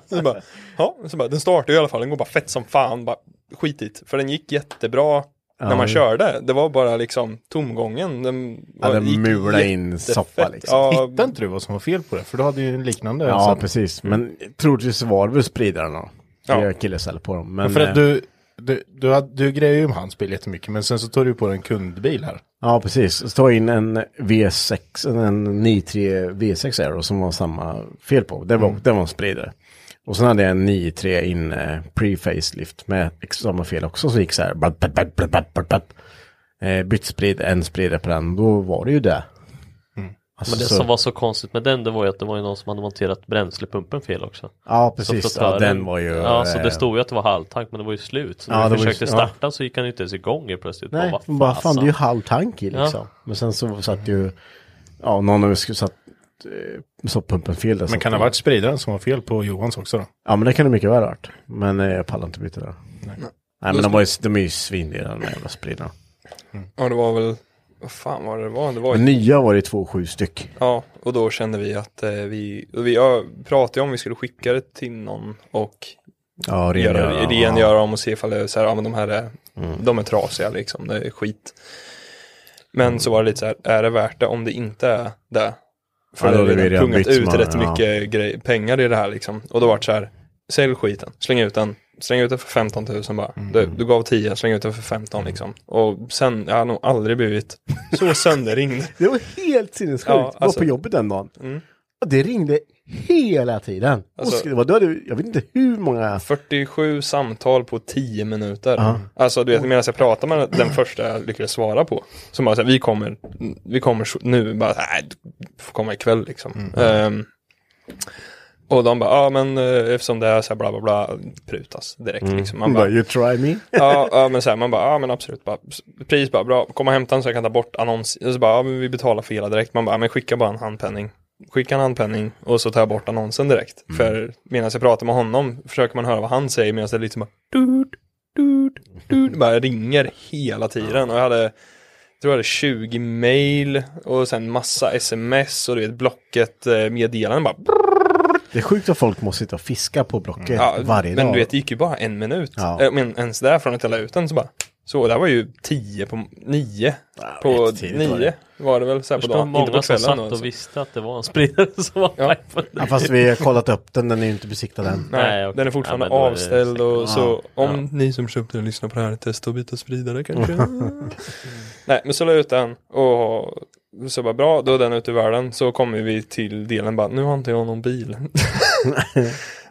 Speaker 3: så bara, ja, så bara, den startar ju i alla fall, den går bara fett som fan, bara skit i det. För den gick jättebra när man körde, det var bara liksom tomgången. Den,
Speaker 2: Ja, den
Speaker 3: gick
Speaker 2: mulade in
Speaker 3: jättefett.
Speaker 2: soppa, liksom.
Speaker 3: Ja,
Speaker 7: Hittade inte du vad som var fel på det? För du hade ju en liknande.
Speaker 2: Ja,
Speaker 7: sen.
Speaker 2: precis. Men troligtvis var det väl spridarna då.
Speaker 3: Ja.
Speaker 2: Ja. Jag killar på dem. Men,
Speaker 7: För att
Speaker 2: eh,
Speaker 7: du, du, du, hade, du grejer ju om hans bil jättemycket, men sen så tar du på dig en kundbil här.
Speaker 2: Ja, precis. Ta in en V6, en- en 93 V6 Aero som var samma fel på. Det var, det var en spridare. Och sen hade jag en 93 in eh, pre-facelift med ex- samma fel också som gick så här. Blab, blab, blab, blab, blab, blab, blab. Eh, bytt sprid, en spridare på den. Då var det ju det. Alltså,
Speaker 4: Men det
Speaker 2: så-
Speaker 4: som var så konstigt med den det var ju att det var ju någon som hade monterat bränslepumpen fel också.
Speaker 2: Ja,
Speaker 4: Så
Speaker 2: precis. Ja,
Speaker 4: flottören-
Speaker 2: den var ju...
Speaker 4: Ja, så
Speaker 2: eh,
Speaker 4: det stod ju att det var halvtank men det var ju slut. Så
Speaker 2: Ja,
Speaker 4: när
Speaker 2: det
Speaker 4: vi
Speaker 2: var ju-
Speaker 4: försökte
Speaker 2: ja.
Speaker 4: starta så gick han ju inte ens igång helt plötsligt.
Speaker 2: Nej,
Speaker 4: Bara, vad
Speaker 2: bara fan det är ju
Speaker 4: fasen.
Speaker 2: halv tank i liksom. Men sen så satt ju... Ja, någon av oss skulle satt eh, soppumpen fel. där, så
Speaker 7: Men
Speaker 2: att
Speaker 7: kan det
Speaker 2: det-
Speaker 7: ha varit spridaren som var fel på Johans också då?
Speaker 2: Ja men det kan det mycket väl ha varit. Men eh, jag pallar inte byta
Speaker 7: Mm.
Speaker 2: det. Nej men de, var ju, de är ju svindyra de här jävla spridarna.
Speaker 3: ja, det var väl
Speaker 4: vad fan var det det var? Det var
Speaker 2: Men nya var det två, sju styck.
Speaker 4: Ja, och då kände vi att eh, vi, och vi ö, pratade om vi skulle skicka det till någon och
Speaker 2: Ja, Mm.
Speaker 4: göra,
Speaker 2: rengöra.
Speaker 4: rengöra dem och se ifall det är så här, ja men de här är, de är trasiga liksom, det är skit. Men så var det lite så här, är det värt det om det inte är det? För
Speaker 2: Ja,
Speaker 4: det
Speaker 2: då
Speaker 4: har
Speaker 2: hade vi
Speaker 4: redan
Speaker 2: redan
Speaker 4: pungat
Speaker 2: bytt
Speaker 4: ut
Speaker 2: smak,
Speaker 4: rätt
Speaker 2: ja.
Speaker 4: mycket grej, pengar i det här liksom. Och då var det så här, sälj skiten, släng ut den, släng ut den för 15 000 bara.
Speaker 2: Mm.
Speaker 4: Du, du gav 10, släng ut den för 15 liksom. Och sen, jag har nog aldrig blivit så sönderringd.
Speaker 2: Det var helt sinnessjukt.
Speaker 4: Ja,
Speaker 2: Jag var
Speaker 4: alltså-
Speaker 2: på jobbet den dagen. Och det ringde hela tiden.
Speaker 4: Alltså-
Speaker 2: och det var, då hade, jag vet inte hur många...
Speaker 4: 47 samtal på 10 minuter. Alltså du vet, medan jag pratar med den första jag lyckades svara på. Som bara så här, vi kommer, vi kommer s- nu, bara nej, du får komma ikväll liksom. Ehm, och de bara, ja ah, men eh, eftersom det är så här bla bla bla, prutas direkt liksom. Man
Speaker 2: Hon bara,
Speaker 4: bara,
Speaker 2: you try me.
Speaker 4: ja, ja men så här, man bara, ja ah, men absolut, bara, s- pris bara, bra, kom och hämta den så jag kan ta bort annons. Och så bara, ah, men vi betalar för hela direkt. Man bara, ah, men skicka bara en handpenning. Skicka en handpenning och så tar jag bort annonsen direkt. För medan jag pratar med honom försöker man höra vad han säger medan det är lite som bara, dut, dut, dut, bara ringer hela tiden. Och jag hade, jag tror jag hade 20 mail och sen massa sms och du vet blocket eh, meddelanden bara
Speaker 2: Det är sjukt att folk måste sitta och fiska på Blocket varje
Speaker 4: men
Speaker 2: dag.
Speaker 4: du vet, det gick ju bara en minut.
Speaker 2: Ja.
Speaker 4: Eh, Men ens där från att jag la ut den så bara. Så det här var ju tio på nio. på
Speaker 2: jättetidigt
Speaker 4: nio
Speaker 2: var
Speaker 4: var
Speaker 2: det.
Speaker 4: det, väl så här på
Speaker 6: Förstår
Speaker 4: dagen. Inte på
Speaker 6: många som
Speaker 4: kvällen.
Speaker 6: satt
Speaker 4: Då,
Speaker 6: och
Speaker 4: alltså.
Speaker 6: visste att det var en spridare som var
Speaker 4: Ja.
Speaker 6: iPhone.
Speaker 2: ja, fast vi har kollat upp den, den är ju inte besiktad än.
Speaker 4: Nej,
Speaker 6: Nej, okej.
Speaker 4: den är
Speaker 6: Ja,
Speaker 4: fortfarande
Speaker 6: men då är det
Speaker 4: avställd
Speaker 6: säkert.
Speaker 4: och så
Speaker 2: Ja.
Speaker 4: om ni som köpte den lyssnar på det här, testa att byta spridare kanske. Nej, men så la jag ut den och så bara bra, då är den ute i världen. Så kommer vi till delen bara, nu har inte jag någon bil.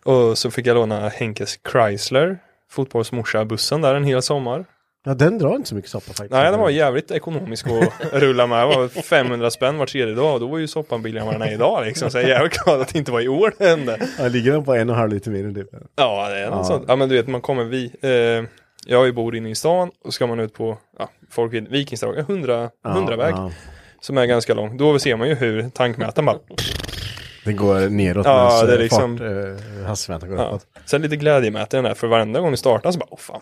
Speaker 4: och så fick jag låna Henkes Chrysler, fotbollsmorsa-bussen där en hel sommar.
Speaker 2: Ja, den drar inte så mycket soppa faktiskt.
Speaker 4: Nej, den var jävligt ekonomisk att rulla med. Det var 500 spänn var tredje dag och då var ju soppan billigare än vad den är idag liksom. Så jag är jävligt glad att det inte var i år det hände.
Speaker 2: Ja, ligger den på en och en halv liter mer än typ?
Speaker 4: Ja, det är något
Speaker 2: Ja.
Speaker 4: sånt. Ja, men du vet, man kommer vi. Eh, jag bor inne i stan och ska man ut på, ja, folk vid Vikingstråget, 100, 100 väg
Speaker 2: Ja,
Speaker 4: som är ganska lång. Då ser man ju hur tankmätaren bara,
Speaker 2: den går neråt
Speaker 4: Ja,
Speaker 2: medan,
Speaker 4: det är
Speaker 2: eh,
Speaker 4: liksom-
Speaker 2: fart, eh, hastighetsmätaren går
Speaker 4: ja.
Speaker 2: uppåt.
Speaker 4: Sen lite glädjemätaren där, för varenda gång du startar så bara, åh fan,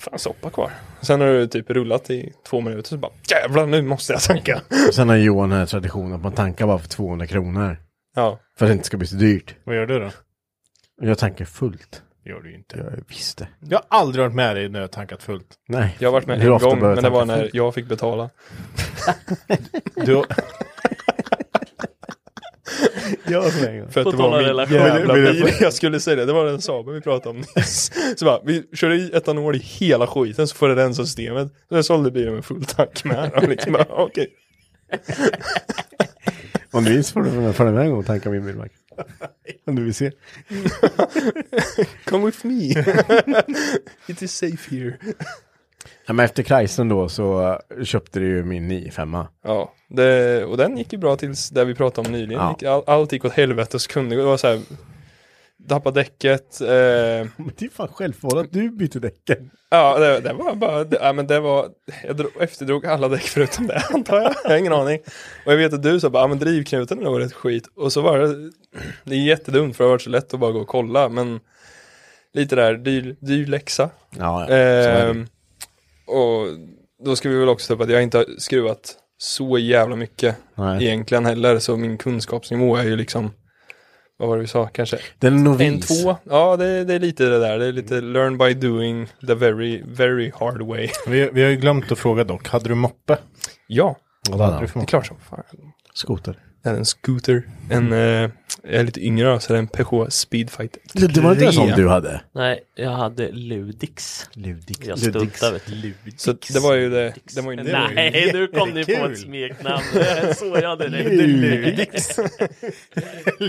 Speaker 4: fan soppa kvar. Sen har du typ rullat i två minuter så bara, jävlar nu måste jag tanka.
Speaker 2: Och sen har Johan den här traditionen att man tankar bara för 200 kronor.
Speaker 4: Ja,
Speaker 2: För att det inte ska bli så dyrt.
Speaker 3: Vad gör du då?
Speaker 2: Och Jag tankar fullt.
Speaker 3: Det gör du ju inte.
Speaker 2: Jag visste.
Speaker 3: Jag har aldrig varit med dig när jag har tankat fullt.
Speaker 2: Nej.
Speaker 4: jag har varit med
Speaker 2: Hur
Speaker 4: en
Speaker 2: ofta
Speaker 4: gång,
Speaker 2: behöver
Speaker 4: men det var
Speaker 2: tanka
Speaker 4: när
Speaker 2: fullt?
Speaker 4: jag fick betala.
Speaker 3: Du har...
Speaker 2: Jag så länge.
Speaker 4: För att
Speaker 6: På
Speaker 4: det
Speaker 6: tal om
Speaker 4: var min
Speaker 6: relation.
Speaker 4: jävla
Speaker 2: Vill du-
Speaker 4: bil jag skulle säga det. Det var den Saaben vi pratade om nyss. Så bara, vi körde i etanol i hela skiten så får det rensa systemet. Så jag sålde bilen med full tank med. Och liksom bara, okej.
Speaker 2: Om du minns får du följa med en gång och tanka min bilmark. Om du vill se.
Speaker 4: Come with me. It is safe here.
Speaker 2: Ja, men efter Chrysler då så eh, köpte du ju min 95
Speaker 4: Ja, det, och den gick ju bra tills det vi pratade om nyligen.
Speaker 2: Ja.
Speaker 4: Gick- All, allt gick åt helvete så kunde det var så här. Tappa däcket. Eh,
Speaker 2: Men det är fan självförvållat att du bytte däcken.
Speaker 4: ja, det, det var bara, det, ja, men det var, jag drog, efterdrog alla däck förutom det antar jag. Jag har ingen aning. Och jag vet att du sa bara, ja men drivknuten är nog rätt skit. Och så var det, det är jättedumt för det har varit så lätt att bara gå och kolla, men lite där, dyr, dyr läxa.
Speaker 2: Ja,
Speaker 4: Ehm, och då ska vi väl också ta upp att jag inte har skruvat så jävla mycket
Speaker 2: Nej.
Speaker 4: egentligen heller, så min kunskapsnivå är ju liksom, vad var det vi sa, kanske
Speaker 2: Den är
Speaker 4: en
Speaker 2: novis.
Speaker 4: två. Ja, det, det är lite det där, det är lite learn by doing the very, very hard way.
Speaker 3: vi, vi har ju glömt att fråga dock. Hade du moppe?
Speaker 4: Ja,
Speaker 2: Ja, det hade han.
Speaker 4: det är klart som fan.
Speaker 2: Skoter.
Speaker 4: Jag hade en scooter, en, eh, jag är lite yngre så det är en Peugeot Speedfight.
Speaker 2: Det, det var inte en sån du hade?
Speaker 6: Nej, jag hade Ludix.
Speaker 2: Ludik.
Speaker 6: Jag stultar vet du.
Speaker 4: Så det var ju det, det var ju det. var ju-
Speaker 6: Nej, nu kom ni på
Speaker 3: jättekul.
Speaker 6: ett smeknamn. Så jag det.
Speaker 2: Ludix.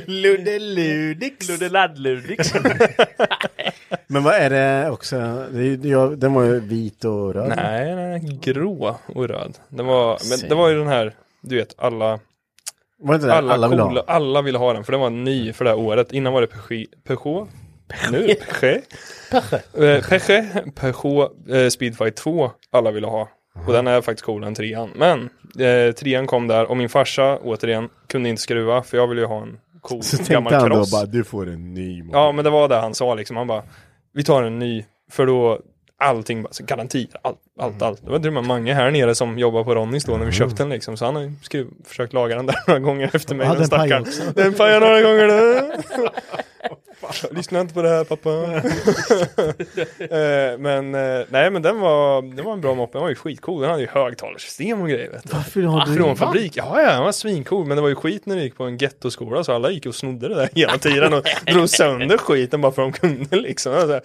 Speaker 3: Ludde Ludix.
Speaker 6: Ludeladd-Ludix.
Speaker 2: Men vad är det också? Det, är ju- jag, den var ju vit och röd.
Speaker 4: Nej, nej, nej, grå och röd. Det var, men det var ju den här, du vet, alla,
Speaker 2: Var det inte det alla,
Speaker 4: alla,
Speaker 2: alla vill
Speaker 4: coola,
Speaker 2: ha?
Speaker 4: alla ville ha den, för den var ny för det här året. Innan var det Peugeot, Peugeot nu är det Peugeot, Eh, Peugeot, Peugeot eh, Speedfight 2 alla ville ha. Och den är faktiskt coolare än trean. Men eh, trean kom där och min farsa, återigen, kunde inte skruva för jag ville ju ha en cool
Speaker 2: Så tänkte
Speaker 4: gammal
Speaker 2: han då
Speaker 4: cross.
Speaker 2: bara, du får en ny moppe.
Speaker 4: Ja, men det var det han sa liksom. Han bara, vi tar en ny, för då, allting, bara, så garanti, allt, allt,
Speaker 2: Mm.
Speaker 4: allt. Det var till och med Mange här nere som jobbar på Ronnys då när vi köpte den liksom, så han har ju skruv, försökt laga den där några gånger efter mig,
Speaker 2: Ja,
Speaker 4: den
Speaker 2: den pajade
Speaker 4: stackaren. Den pajade några gånger nu. Lyssna inte på det här pappa. Eh, men eh, nej men den var, den var en bra moppe, den var ju skitcool, den hade ju högtalarsystem och grejer vet du.
Speaker 2: Varför har du...
Speaker 4: Ah, Från fabrik, ja ja, den var svincool men det var ju skit när det gick på en gettoskola så alla gick och snodde det där hela tiden och drog sönder skiten bara för de kunde liksom. Jag var så här,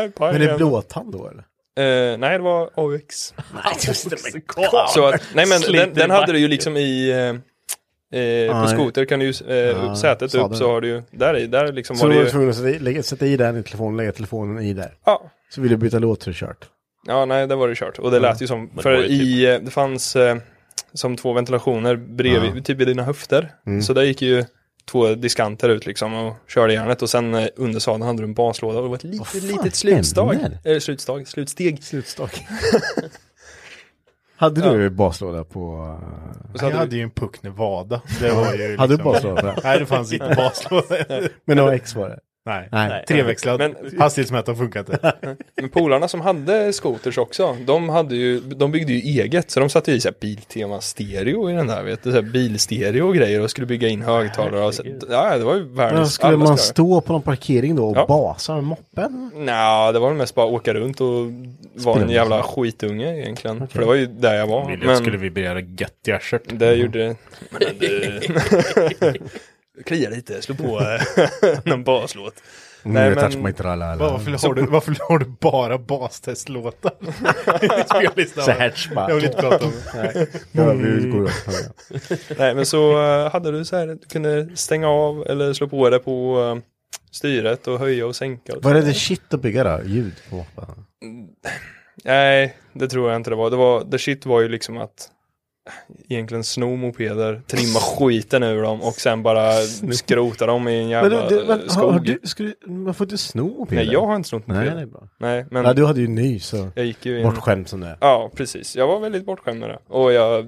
Speaker 4: "Aj, paj
Speaker 2: Men det är
Speaker 4: den."
Speaker 2: blåtand då eller?
Speaker 4: Eh, nej, det var AUX.
Speaker 6: Nej, just det, men kolla.
Speaker 4: Så att, nej men
Speaker 6: Sliter
Speaker 4: den, den
Speaker 6: i
Speaker 4: hade du ju
Speaker 6: backen.
Speaker 4: liksom i, eh, eh,
Speaker 2: Ja,
Speaker 4: på skoter kan du ju, eh,
Speaker 2: Ja,
Speaker 4: sätet upp
Speaker 2: sadeln.
Speaker 4: så har du ju, där, i- där liksom
Speaker 2: Så
Speaker 4: var
Speaker 2: du
Speaker 4: det
Speaker 2: var
Speaker 4: ju,
Speaker 2: tvungen att sätta i, lägga, sätta i den i telefonen, lägga telefonen i där.
Speaker 4: ja,
Speaker 2: Så vill du byta låt så är det kört.
Speaker 4: ja nej där var det kört. Och det lät ju som,
Speaker 6: det
Speaker 4: för
Speaker 6: var ju typ-
Speaker 4: i, eh, det fanns eh, som två ventilationer bredvid, typ i dina höfter. Så där gick ju två diskanter ut liksom och körde järnet och sen eh, under sadeln hade du en baslåda och det var ett litet,
Speaker 2: fan
Speaker 4: litet slutstag.
Speaker 2: händer?
Speaker 4: Eller slutstag, slutsteg.
Speaker 2: Slutstag. hade du baslåda på...
Speaker 4: Och så
Speaker 3: Jag
Speaker 4: hade
Speaker 3: hade ju en puck Nevada. Det var ju
Speaker 2: Hade du
Speaker 3: liksom-
Speaker 2: baslåda på den?
Speaker 3: Nej, det fanns inte baslåda.
Speaker 2: Men det var X var det?
Speaker 3: Nej.
Speaker 2: Nej.
Speaker 3: Treväxlad.
Speaker 4: Men-
Speaker 3: Hastighetsmätaren funkar inte.
Speaker 4: Men polarna som hade skoters också, de, hade ju, de byggde ju eget, så de satte ju i så här Biltema stereo i den där, vet du, så här bilstereo och grejer och skulle bygga in högtalare och så, ja, det var ju
Speaker 2: Men
Speaker 4: världens
Speaker 2: skulle man
Speaker 4: stå...
Speaker 2: stå på någon parkering då och
Speaker 4: Ja.
Speaker 2: basa med moppen?
Speaker 4: Nej, det var väl mest bara åka runt och vara en
Speaker 2: Spela.
Speaker 4: jävla skitunge egentligen, för det var ju där jag var.
Speaker 3: Ville
Speaker 4: Men
Speaker 3: skulle vibrera gött i arslet.
Speaker 4: det gjorde det. Men det- Klia lite, slå på eh, någon baslåt. Nej,
Speaker 2: Nu
Speaker 4: men-
Speaker 2: touch my
Speaker 3: Va-
Speaker 2: tralala.
Speaker 3: Varför har, du, varför har du bara bastestlåtar? i spellistan?
Speaker 2: Så här bara.
Speaker 3: Jag vill inte prata om det.
Speaker 2: Ja, vi går upp här.
Speaker 4: Nej men så eh, hade du så här, du kunde stänga av eller slå på det på eh, styret och höja och sänka. Och så.
Speaker 2: Var det det shit att bygga då? Ljud på moppen?
Speaker 4: Nej, det tror jag inte det var. Det var, the shit var ju liksom att egentligen sno mopeder, trimma skiten ur dem och sen bara skrota dem i en
Speaker 2: Men,
Speaker 4: jävla
Speaker 2: du, du, men,
Speaker 4: eh,
Speaker 2: har,
Speaker 4: skog.
Speaker 2: har du, ska du, man får inte sno mopeder?
Speaker 4: Nej, jag har inte snott
Speaker 2: Nej,
Speaker 4: mopeder.
Speaker 2: det är
Speaker 4: Nej,
Speaker 2: bra.
Speaker 4: men
Speaker 2: Ja, du hade ju ny så.
Speaker 4: jag gick ju in.
Speaker 2: Bortskämd som du är.
Speaker 4: Ja, precis. Jag var väldigt bortskämd med det. Och jag,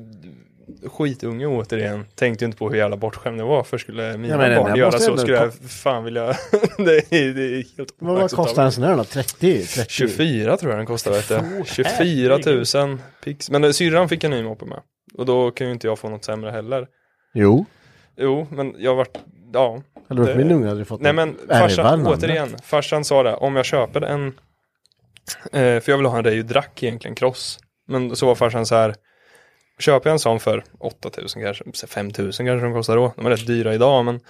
Speaker 4: skitunge återigen, tänkte ju inte på hur jävla bortskämd jag var. För skulle mina
Speaker 2: Ja, men den
Speaker 4: barn
Speaker 2: här
Speaker 4: göra
Speaker 2: måste
Speaker 4: så
Speaker 2: ändå
Speaker 4: skulle jag
Speaker 2: ko-
Speaker 4: fan vilja... det, är, det är helt
Speaker 2: Men vad kostar en sån här då? 30? 30?
Speaker 4: 24 tror jag den kostar vet du. 24 000 pix. Men eh, syrran fick en ny moppe med. Och då kan ju inte jag få något sämre heller.
Speaker 2: Jo.
Speaker 4: Jo, men jag vart, ja.
Speaker 2: Hade du varit
Speaker 4: Det-
Speaker 2: min unge hade du fått
Speaker 4: Nej
Speaker 2: en-
Speaker 4: men
Speaker 2: ärva
Speaker 4: farsan,
Speaker 2: en andra.
Speaker 4: återigen, farsan sa det, om jag köper en, eh, för jag vill ha en Rayo Drac egentligen, cross. Men så var farsan så här, köper jag en sån för 8000 kanske, så 5000 kanske de kostar då. De är rätt dyra idag men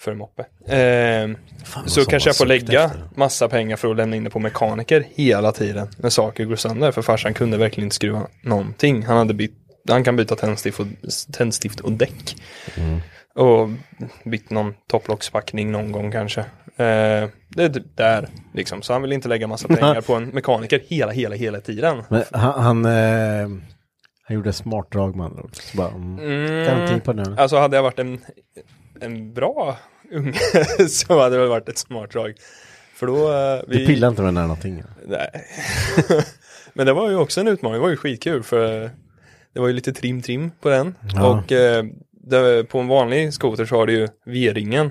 Speaker 4: för en moppe. Eh,
Speaker 2: Fan, vad
Speaker 4: så
Speaker 2: som
Speaker 4: kanske
Speaker 2: var
Speaker 4: jag får
Speaker 2: sökt
Speaker 4: lägga
Speaker 2: efter det.
Speaker 4: massa pengar för att lämna in det på mekaniker hela tiden när saker går sönder. För farsan kunde verkligen inte skruva någonting. Han, hade bytt, han kan byta tändstift och, tändstift och däck. Mm. Och bytt någon topplockspackning någon gång kanske. Eh, det är typ där liksom. Så han vill inte lägga massa pengar på en mekaniker hela, hela, hela tiden.
Speaker 2: Men han, han, eh, han gjorde smart drag med andra ord. Så bara, mm, garanti på den.
Speaker 4: Alltså hade jag varit en, en bra unge så hade det väl varit ett smart drag. För då... eh,
Speaker 2: Du pillar inte med den här någonting.
Speaker 4: Nej. Men det var ju också en utmaning, det var ju skitkul för eh, det var ju lite trim-trim på den. Och eh, det, på en vanlig skoter så har du ju V-ringen.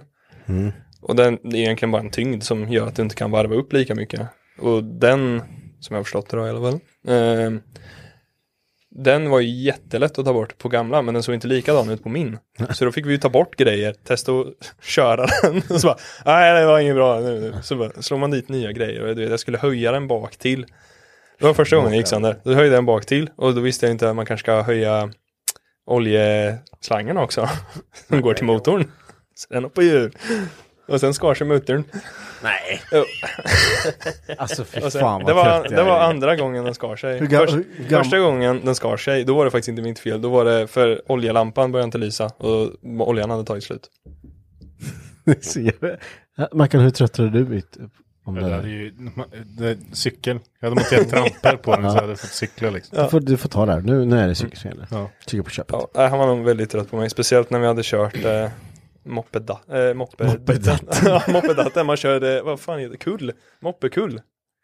Speaker 4: Och den det är egentligen bara en tyngd som gör att du inte kan varva upp lika mycket. Och den, som jag har förstått det då i alla fall, eh, den var ju jättelätt att ta bort på gamla men den såg inte likadan ut på min. Så då fick vi ju ta bort grejer, testa att köra den. Och så bara, nej det var inget bra nu. nu." Så bara, slår man dit nya grejer och du vet, jag skulle höja den bak till. Det var första gången jag gick sönder. Då höjde jag den bak till och då visste jag inte att man kanske ska höja oljeslangen också. Som går till motorn. Så den hoppar ju ur. Och sen skar sig motorn.
Speaker 2: Nej.
Speaker 4: Jo.
Speaker 2: Alltså fy
Speaker 4: Och sen,
Speaker 2: fan vad
Speaker 4: det, var,
Speaker 2: trött
Speaker 4: det
Speaker 2: jag
Speaker 4: var
Speaker 2: är.
Speaker 4: andra gången den skar sig.
Speaker 2: Hur gam-
Speaker 4: Först,
Speaker 2: hur gam-
Speaker 4: första gången den skar sig, då var det faktiskt inte mitt fel. Då var det för oljelampan började inte lysa och oljan hade tagit slut.
Speaker 2: Det ser jag. Mackan, hur trött är du blivit? Om
Speaker 3: Det
Speaker 2: det
Speaker 3: där är
Speaker 2: här?
Speaker 3: ju, det, cykeln. Jag hade monterat trampor på den så jag hade fått cykla liksom.
Speaker 2: Du, får, du får ta det här. Nu, nu är det psykiskt fel.
Speaker 3: Ja.
Speaker 2: Trycka på köpet.
Speaker 4: Mm. Ja, nej, han var nog väldigt trött på mig, speciellt när vi hade kört eh, moppeda, eh, moppe,
Speaker 2: Moppedatten.
Speaker 4: ja, moppedatten. Man körde, vad fan heter det, kull, moppekull.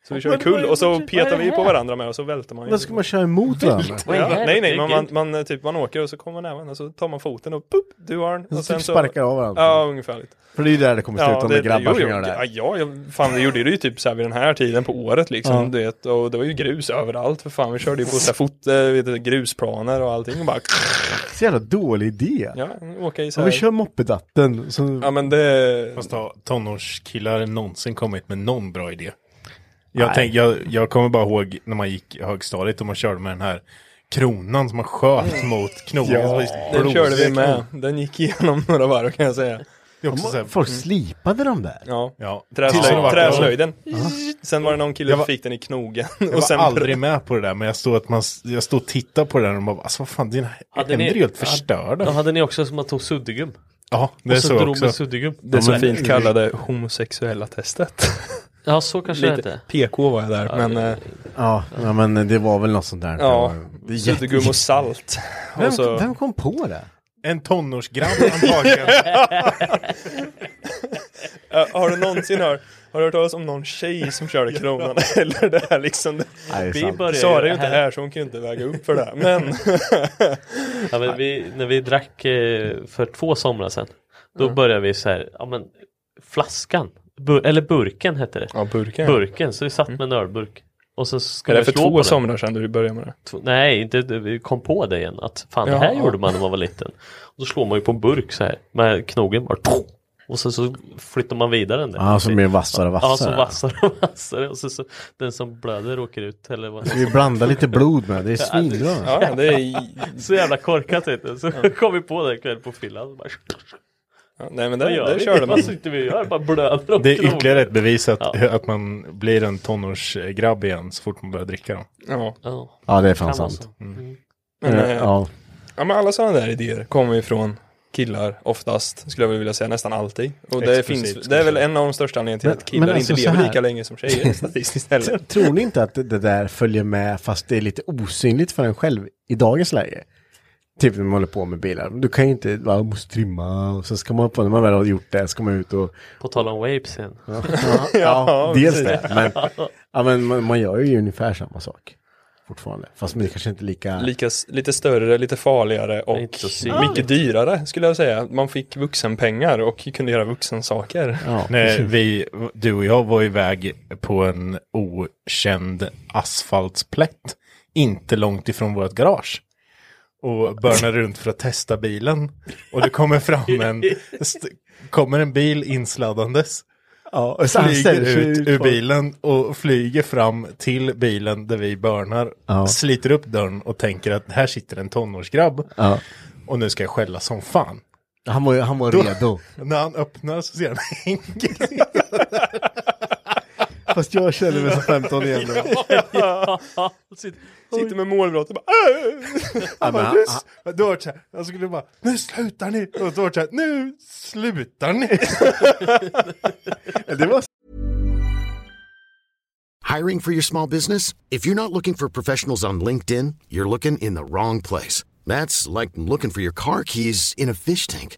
Speaker 4: Så vi kör kul och så petar vi på varandra med och så välter man ju.
Speaker 2: Då ska man köra emot varandra.
Speaker 6: Vad är det
Speaker 4: Ja,
Speaker 6: här?
Speaker 4: nej nej,
Speaker 6: Jag
Speaker 4: men
Speaker 6: tänker
Speaker 4: man, man, eh, typ, man åker och så kommer man även och så tar man foten och pop, du har den.
Speaker 2: Och
Speaker 4: Och
Speaker 2: så
Speaker 4: sen
Speaker 2: typ
Speaker 4: så...
Speaker 2: sparkar av varandra.
Speaker 4: Ja, ungefärligt.
Speaker 2: För det är ju där det kommer sluta om det är grabbar
Speaker 4: jo,
Speaker 2: som
Speaker 4: jo,
Speaker 2: gör det
Speaker 4: ja,
Speaker 2: här.
Speaker 4: ja, jag- fan vi gjorde det ju typ så här vid den här tiden på året liksom.
Speaker 2: Ja.
Speaker 4: Du vet, och det var ju grus överallt för fan. Vi körde ju på så här fot, eh, vet, du, grusplaner och allting och bara...
Speaker 2: Så jävla dålig idé.
Speaker 4: Ja, åka i så
Speaker 2: Om vi
Speaker 4: här.
Speaker 2: kör moppedatten så...
Speaker 4: Ja men det...
Speaker 3: Fast har tonårskillar någonsin kommit med någon bra idé? Jag, tänk, jag, jag kommer bara ihåg när man gick i högstadiet och man körde med den här kronan som man sköt mot knogen.
Speaker 2: Ja,
Speaker 4: Mm. Den körde vi med. Den gick igenom några varv kan jag säga.
Speaker 3: Det är också så här,
Speaker 2: Folk slipade de där.
Speaker 4: mm. Ja.
Speaker 3: ja, tills det
Speaker 4: Träslöj,
Speaker 3: var-
Speaker 4: träslöjden. Sen var det någon kille
Speaker 3: Jag
Speaker 4: som
Speaker 3: var-
Speaker 4: fick den i knogen.
Speaker 3: Jag var
Speaker 4: sen
Speaker 3: aldrig med på det där, men jag stod, att man, jag stod och tittade på det där och bara, alltså vad fan, dina
Speaker 6: Hade
Speaker 3: händer
Speaker 6: ni-
Speaker 3: är ju helt
Speaker 6: hade-
Speaker 3: förstörda.
Speaker 6: Ja, hade ni också som man tog suddgum?
Speaker 3: Ja, det
Speaker 6: och så
Speaker 3: såg jag
Speaker 6: drog
Speaker 3: också.
Speaker 6: med suddgum?
Speaker 4: Det så fint
Speaker 3: ur-
Speaker 4: kallade homosexuella testet.
Speaker 6: Ja, så kanske det
Speaker 4: Lite
Speaker 6: hette.
Speaker 4: PK var jag där, men eh,
Speaker 2: Ja, ja, men det var väl något sånt där.
Speaker 4: ja.
Speaker 2: Det är jätte-
Speaker 4: Suddgum och salt.
Speaker 2: Vem,
Speaker 4: Och så,
Speaker 2: vem kom på det?
Speaker 3: En tonårsgrabb antagligen.
Speaker 4: Ja, har du någonsin hört, har du hört talas om någon tjej som körde kronan? Eller det här liksom.
Speaker 2: Nej, det är
Speaker 6: Vi
Speaker 2: sant.
Speaker 6: började
Speaker 4: Sara är ju
Speaker 6: ju
Speaker 4: inte
Speaker 6: här,
Speaker 4: här så hon kan ju inte väga upp för det. här. Men
Speaker 6: ja, men vi, när vi drack eh, för två somrar sedan, då började vi så här, ja men flaskan, bur, eller burken hette det.
Speaker 4: ja, burken.
Speaker 6: Burken, så vi satt med en ölburk. Och så
Speaker 4: Är
Speaker 6: skulle
Speaker 4: det
Speaker 6: vi
Speaker 4: för
Speaker 6: slå på
Speaker 4: två
Speaker 6: den.
Speaker 4: somrar sedan du började med det?
Speaker 6: Två- Nej, inte, vi kom på det igen att fan det här
Speaker 4: Jaha.
Speaker 6: gjorde man när man var liten. Och då slår man ju på en burk så här med knogen bara och sen så flyttar man vidare den där.
Speaker 2: Ja, som blir vassare och
Speaker 6: Ja, så
Speaker 2: vassare.
Speaker 6: vassare och vassare och så, så den som blöder åker ut eller vad
Speaker 2: Vi blandar lite blod med, det är svinbra.
Speaker 4: Ja, det är...
Speaker 6: Så jävla korkat vet du. Så kom vi på det en kväll på fyllan. och bara,
Speaker 4: ja, Nej men
Speaker 6: Vad
Speaker 4: det,
Speaker 6: gör
Speaker 4: det
Speaker 6: vi?
Speaker 4: körde man.
Speaker 6: Vad sitter vi och gör? Bara blöder och
Speaker 3: Det är
Speaker 6: knogar.
Speaker 3: ytterligare ett bevis att,
Speaker 6: Ja.
Speaker 3: att man blir en tonårsgrabb igen så fort man börjar dricka dem.
Speaker 4: Ja.
Speaker 6: Ja,
Speaker 2: Ja, det är fan
Speaker 6: kan vara
Speaker 2: sant.
Speaker 6: så. Mm.
Speaker 4: Men,
Speaker 2: Eh,
Speaker 4: eh,
Speaker 2: Ja.
Speaker 4: Ja men alla sådana där idéer kommer ju från killar oftast, skulle jag vilja säga nästan alltid. Och det,
Speaker 3: Exklusivt,
Speaker 4: finns,
Speaker 3: skulle
Speaker 4: det är
Speaker 3: jag
Speaker 4: väl
Speaker 3: säga.
Speaker 4: en av de största anledningarna till
Speaker 2: Men-
Speaker 4: att killar
Speaker 2: men alltså
Speaker 4: inte
Speaker 2: så
Speaker 4: lever
Speaker 2: här.
Speaker 4: lika länge som tjejer statistiskt heller.
Speaker 2: Tror ni inte att det det där följer med fast det är lite osynligt för en själv i dagens läge? Typ när man håller på med bilar. Du kan ju inte, va, jag måste trimma och sen ska man på, när man väl har gjort det, ska man ut och...
Speaker 6: På tal om vapes igen.
Speaker 2: Ja, ja, dels det. Men, ja, men man, man gör ju ungefär samma sak fortfarande. Fast men det kanske inte är lika...
Speaker 4: Lika, s- lite större, lite farligare och
Speaker 6: Inte så synligt.
Speaker 4: mycket dyrare skulle jag säga. Man fick vuxenpengar och kunde göra vuxensaker.
Speaker 2: ja,
Speaker 3: När
Speaker 2: precis.
Speaker 3: vi, du och jag var iväg på en okänd asfaltsplätt, inte långt ifrån vårt garage. Och börnade runt för att testa bilen. Och det kommer fram en, st- kommer en bil insladdandes.
Speaker 2: ja, och sen
Speaker 3: Flyger
Speaker 2: ställer sig
Speaker 3: ut ur
Speaker 2: på-
Speaker 3: bilen och flyger fram till bilen där vi börnar.
Speaker 2: Ja.
Speaker 3: Sliter upp dörren och tänker att här sitter en tonårsgrabb.
Speaker 2: Ja.
Speaker 3: Och nu ska jag skälla som fan.
Speaker 2: Han var, ju- han var redo.
Speaker 3: När han öppnar så ser han Henke.
Speaker 2: Fast jag känner mig som 15 igen nu.
Speaker 4: Sitter med målbrott och bara "Äh!"
Speaker 2: Ja, men han-
Speaker 3: Nu, då var det så här, jag skulle bara, nu slutar ni! Och då var det så här, nu slutar ni!
Speaker 2: han- det var
Speaker 8: Hiring for your small business? If you're not looking for professionals on LinkedIn, you're looking in the wrong place. That's like looking for your car keys in a fish tank.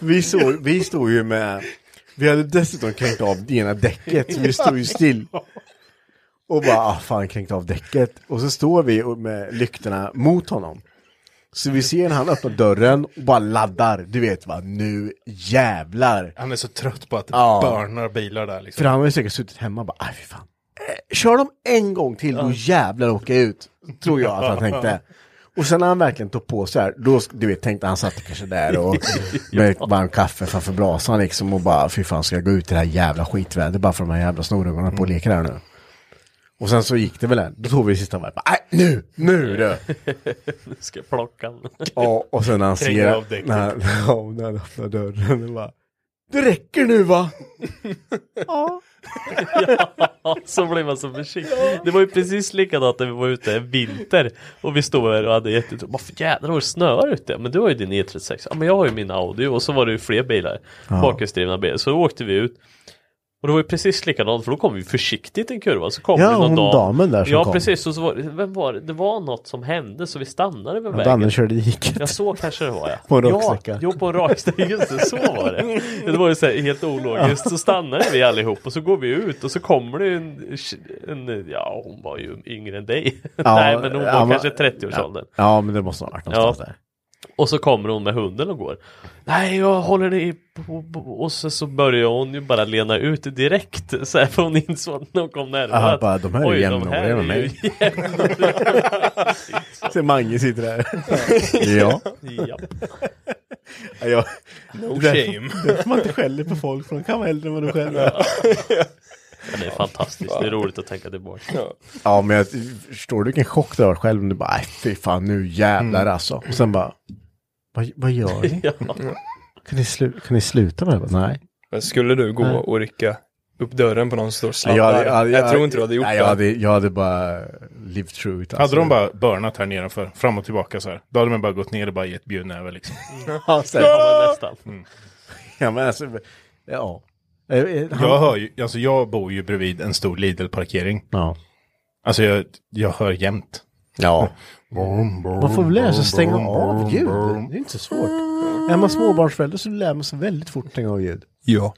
Speaker 2: vi, såg, vi stod ju med, vi hade dessutom kränkt av det ena däcket, så vi stod ju still. Och bara, ah, fan kränkt av däcket. Och så står vi och- med lyktorna mot honom. Så vi ser när han öppnar dörren och bara laddar, du vet va, nu jävlar.
Speaker 3: Han är så trött på att det
Speaker 2: Ja.
Speaker 3: börnar bilar där liksom.
Speaker 2: För han har ju säkert suttit hemma och bara, aj fy fan. Eh, kör dem en gång till, då jävlar åker jag ut. Tror jag att han tänkte. Och sen när han verkligen tog på så här, då sk- du vet, tänkte han satt kanske där och med ett varmt kaffe framför brasan liksom och bara fy fan ska jag gå ut i det här jävla skitvädret bara för de här jävla snorungarna på och leker här nu. Och sen så gick det väl en, då tog vi det sista varvet, bara, nej nu, nu du!
Speaker 6: Nu ska jag plocka den.
Speaker 2: Ja, och sen när han
Speaker 3: Tränger
Speaker 2: ser...
Speaker 3: av däcket.
Speaker 2: När, han- ja, och när han öppnar dörren och bara... Det räcker nu va? ja.
Speaker 6: Så blir man så försiktig. Det var ju precis likadant när vi var ute en vinter och vi stod här och hade jättetråkigt. Varför jädrar vad det snöar ute? Men du har ju din E36. Ja men jag har ju min Audi och så var det ju fler bilar. Bakhjulsdrivna bilar. Så då åkte vi ut. Och det var ju precis likadant för då kom vi försiktigt i en kurva. Så kom
Speaker 2: Ja,
Speaker 6: det någon
Speaker 2: hon
Speaker 6: dam.
Speaker 2: damen där som
Speaker 6: Ja
Speaker 2: kom.
Speaker 6: precis. Och så var, det- vem var det? Det var något som hände så vi stannade vid vägen.
Speaker 2: Danne körde i diket.
Speaker 6: Ja så kanske det var ja.
Speaker 2: På en
Speaker 6: ja,
Speaker 2: raksträcka.
Speaker 6: jo, på en raksträcka. Just det, så var det. Det var ju så här, helt ologiskt. Så stannade vi allihop och så går vi ut och så kommer det en, en ja hon var ju yngre än dig.
Speaker 2: Ja,
Speaker 6: Nej men hon var
Speaker 2: ja, men-
Speaker 6: kanske 30-årsåldern.
Speaker 2: Ja men det måste ha varit någonstans
Speaker 6: Ja.
Speaker 2: där.
Speaker 6: Och så kommer hon med hunden och går. Nej jag håller dig på, på. Och så, så börjar hon ju bara lena ut direkt. Så här, för hon insåg att någon kom närmare.
Speaker 2: Aha,
Speaker 6: att,
Speaker 2: bara, de här är
Speaker 6: "Oj,
Speaker 2: jämnåriga
Speaker 6: här är
Speaker 2: med
Speaker 6: ju
Speaker 2: mig."
Speaker 6: jämnåriga.
Speaker 2: Se Mange sitter där. ja.
Speaker 6: Japp.
Speaker 2: ja. Jag,
Speaker 3: No
Speaker 2: därför,
Speaker 3: shame.
Speaker 2: därför man inte skäller på folk för de kan vara äldre än vad de själv är.
Speaker 6: Men Det är fantastiskt. Det är roligt att tänka tillbaka.
Speaker 2: Ja men jag förstår du vilken chock det har varit själv om du bara "Aj, fy fan nu jävlar alltså. Och sen bara vad, vad gör ni?
Speaker 6: Ja.
Speaker 2: Kan ni, slu, kan ni sluta med det? Jag bara, Nej.
Speaker 4: Men skulle du gå och rycka upp dörren på någon som står och sladdar?
Speaker 2: Nej,
Speaker 4: Jag,
Speaker 2: hade- hade-
Speaker 4: tror inte du hade gjort
Speaker 2: nej,
Speaker 4: det.
Speaker 2: Jag hade, jag hade bara lived through it. alltså.
Speaker 3: Hade de bara börnat här nedanför, fram och tillbaka så här. Då hade man bara gått ner och bara gett bjudnäve liksom.
Speaker 2: Ja, så här-
Speaker 6: Ja, men nästan.
Speaker 4: Mm.
Speaker 2: ja, men alltså, ja. Eh, eh, han-
Speaker 3: Jag hör ju, alltså jag bor ju bredvid en stor Lidl-parkering.
Speaker 2: Ja.
Speaker 3: Alltså jag, jag hör jämt.
Speaker 2: ja.
Speaker 3: Brum, brum,
Speaker 2: Man får väl lära sig att stänga
Speaker 3: brum,
Speaker 2: av
Speaker 3: brum,
Speaker 2: ljud.
Speaker 3: brum.
Speaker 2: Det är inte så svårt. Är man småbarnsförälder så lär man sig väldigt fort att stänga av ljud.
Speaker 4: Ja.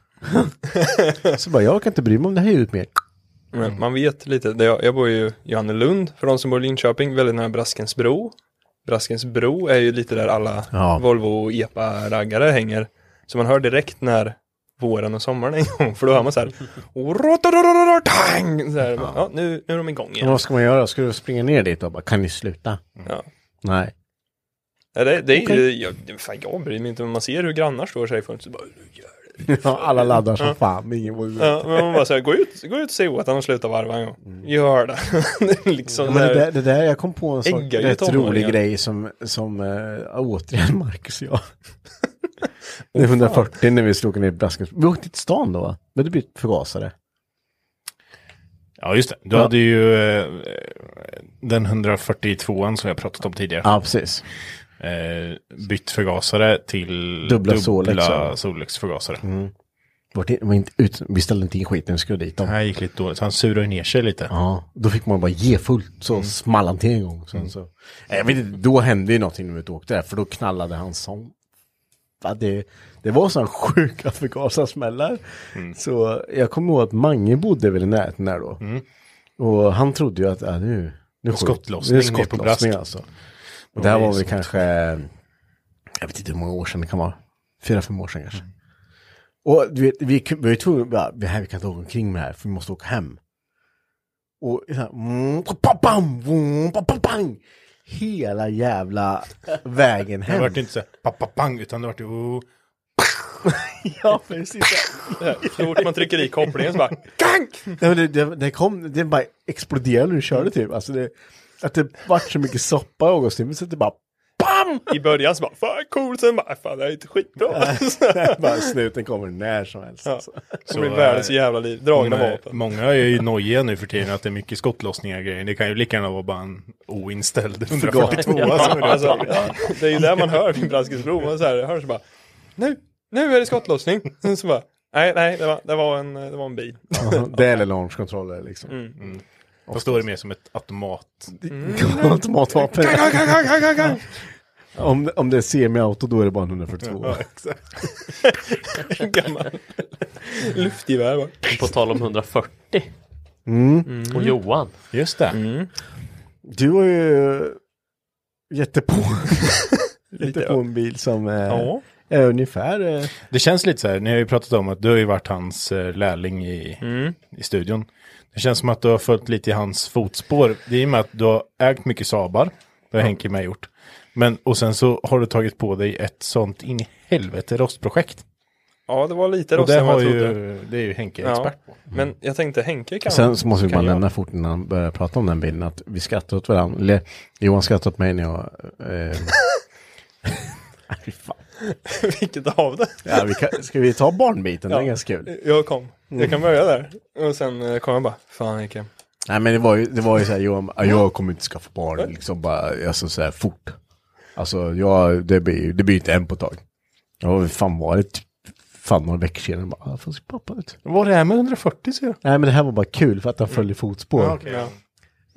Speaker 2: Så bara, jag kan inte bry mig om det här ljudet mer. Mm.
Speaker 4: Men man vet lite, Det- jag, jag bor ju i Johannelund, för de som bor i Linköping, väldigt nära Braskensbro. Braskensbro är ju lite där alla
Speaker 2: Ja.
Speaker 4: Volvo och EPA-raggare hänger. Så man hör direkt när våren och sommaren är igång, för då hör man så här, "Rotororororortang!" så här ja. Ja, nu, nu är de igång
Speaker 2: Men
Speaker 4: igen.
Speaker 2: vad ska man göra? Ska du springa ner dit och bara, kan ni sluta?
Speaker 4: Ja.
Speaker 2: Nej.
Speaker 4: Ja, Det, det är,
Speaker 2: Okej.
Speaker 4: jag, fan, jag bryr mig inte, men man ser hur grannar står sig i fönstret. bara,
Speaker 2: Ja, Alla laddar som fan, men ingen vågar gå ut.
Speaker 4: Ja, men man bara såhär, gå ut, gå ut och säg åt honom att sluta varva en gång. Gör det. det är liksom
Speaker 2: Mm. Ja, men det,
Speaker 4: där-
Speaker 2: där, det där, jag kom på en sak,
Speaker 4: Äggar ju
Speaker 2: rätt rolig
Speaker 4: tonåringar.
Speaker 2: grej som, som äh, återigen Marcus och jag. Det är 140 när vi slog ner brasken. Vi åkte till stan då va? Men det blev förgasare.
Speaker 3: Ja, just det. Du
Speaker 2: Ja.
Speaker 3: hade ju eh, den 142an som jag pratat om tidigare.
Speaker 2: Ja, precis.
Speaker 3: Eh, bytt förgasare till
Speaker 2: Dubbla Solex, ja. Mm.
Speaker 3: Solex-förgasare.
Speaker 2: Vart in, var inte ut, vi ställde inte in skiten, vi skulle dit
Speaker 3: Det
Speaker 2: dem.
Speaker 3: här gick lite dåligt, så han surade ju ner sig lite.
Speaker 2: Ja, då fick man bara ge fullt så
Speaker 3: Mm.
Speaker 2: small han till en gång. Sen, så. Nej, Jag vet inte, då hände ju någonting när vi åkte där, för då knallade han som... Ja, det, det var sådana sjuka förgasarsmällar.
Speaker 3: Mm.
Speaker 2: Så jag kommer ihåg att Mange bodde väl i närheten där då.
Speaker 3: Mm.
Speaker 2: Och han trodde ju att, ja, nu... nu skjut-
Speaker 3: skottlossning
Speaker 2: nu
Speaker 3: ner på
Speaker 2: skottlossning
Speaker 3: brast.
Speaker 2: alltså. Och det här
Speaker 3: det är
Speaker 2: var väl
Speaker 3: sånt.
Speaker 2: kanske, jag vet inte hur många år sedan det kan vara. Fyra, fem år sedan kanske.
Speaker 3: Mm.
Speaker 2: Och du vet, vi, vi var ju tvungna, bara, det här, vi kan inte åka omkring med det här, för vi måste åka hem. Och så här, mm, pa, pa, bam, mm, pa, pa, bang. Hela jävla vägen
Speaker 3: Det
Speaker 2: hem.
Speaker 3: vart inte så här, pa, pa, pang, utan det vart ju... oh.
Speaker 2: ja, precis.
Speaker 4: Så fort man trycker i kopplingen så bara
Speaker 2: Nej, men det, det, det, kom, det bara exploderade när du körde typ. Alltså det, att det vart så mycket soppa i augusti, så att det bara BAM!
Speaker 4: I början så bara fan coolt, sen bara fan det här är inte skitbra.
Speaker 2: bara snuten kommer när som helst.
Speaker 4: Ja.
Speaker 2: Alltså.
Speaker 4: Så blir
Speaker 3: Så,
Speaker 4: världens
Speaker 3: eh,
Speaker 4: jävla liv, dragna
Speaker 3: Många-
Speaker 4: vapen.
Speaker 3: Många är ju nojiga nu för tiden att det är mycket skottlossningar och grejer. Det kan ju lika gärna vara bara en oinställd 142 som är
Speaker 4: Alltså,
Speaker 3: alltså.
Speaker 4: ja, det är ju där man hör vid Braskensbro, man så här, hör så bara nu, nu är det skottlossning. Sen så bara nej, nej, det var, det var, en, det var en bil.
Speaker 2: Det eller launchkontroller liksom.
Speaker 3: Mm. Då står det mer som ett automat.
Speaker 2: Automatvapen.
Speaker 4: Gang, gang, gang, gang, gang, gang.
Speaker 2: Om, om det är semi-auto då är det bara en 142.
Speaker 4: Gammal luftgevär bara.
Speaker 6: På tal om 140. Och
Speaker 4: Mm.
Speaker 6: Johan.
Speaker 3: Just det.
Speaker 2: Mm. Du har ju gett dig på, gett dig
Speaker 4: Lite,
Speaker 2: på en bil som eh,
Speaker 4: Ja.
Speaker 2: Eh, ungefär. Eh,
Speaker 3: Det känns lite så här, ni har ju pratat om att du har ju varit hans eh, lärling i,
Speaker 4: Mm.
Speaker 3: i studion. Det känns som att du har följt lite i hans fotspår. Det är i och med att du har ägt mycket Sabar. Det har Henke med gjort. Men, och sen så har du tagit på dig ett sånt in i helvete rostprojekt.
Speaker 4: Ja, det var lite
Speaker 3: Och det,
Speaker 4: rostigare än
Speaker 3: har
Speaker 4: vad jag trodde.
Speaker 3: ju, det är ju Henke
Speaker 4: Ja.
Speaker 3: expert på.
Speaker 4: Men jag tänkte Henke kan...
Speaker 2: Sen så måste vi
Speaker 4: kan
Speaker 2: bara
Speaker 4: jag.
Speaker 2: nämna fort innan vi börjar prata om den bilden att vi skrattar åt varandra. Eller Johan skrattar åt mig när jag... Eh, Fy fan.
Speaker 4: Vilket av det?
Speaker 2: ja, vi kan, ska vi ta barnbiten? Den är
Speaker 4: Ja.
Speaker 2: ganska kul.
Speaker 4: Jag kom. Jag kan börja där. Och sen eh, kom jag bara, fan Henke.
Speaker 2: Nej men det var ju, det var ju så här, Johan, "Ah, jag kommer inte skaffa barn liksom bara, alltså så här fort. Alltså jag, det blir ju, det blir ju inte en på ett tag. Ja, vad fan var det? Typ, Fan några veckor sedan, Jag bara, "Ah, fan ser pappa ut?
Speaker 3: Vad var det här med 140 ser jag?
Speaker 2: Nej men det här var bara kul för att han följde fotspår.
Speaker 4: Ja.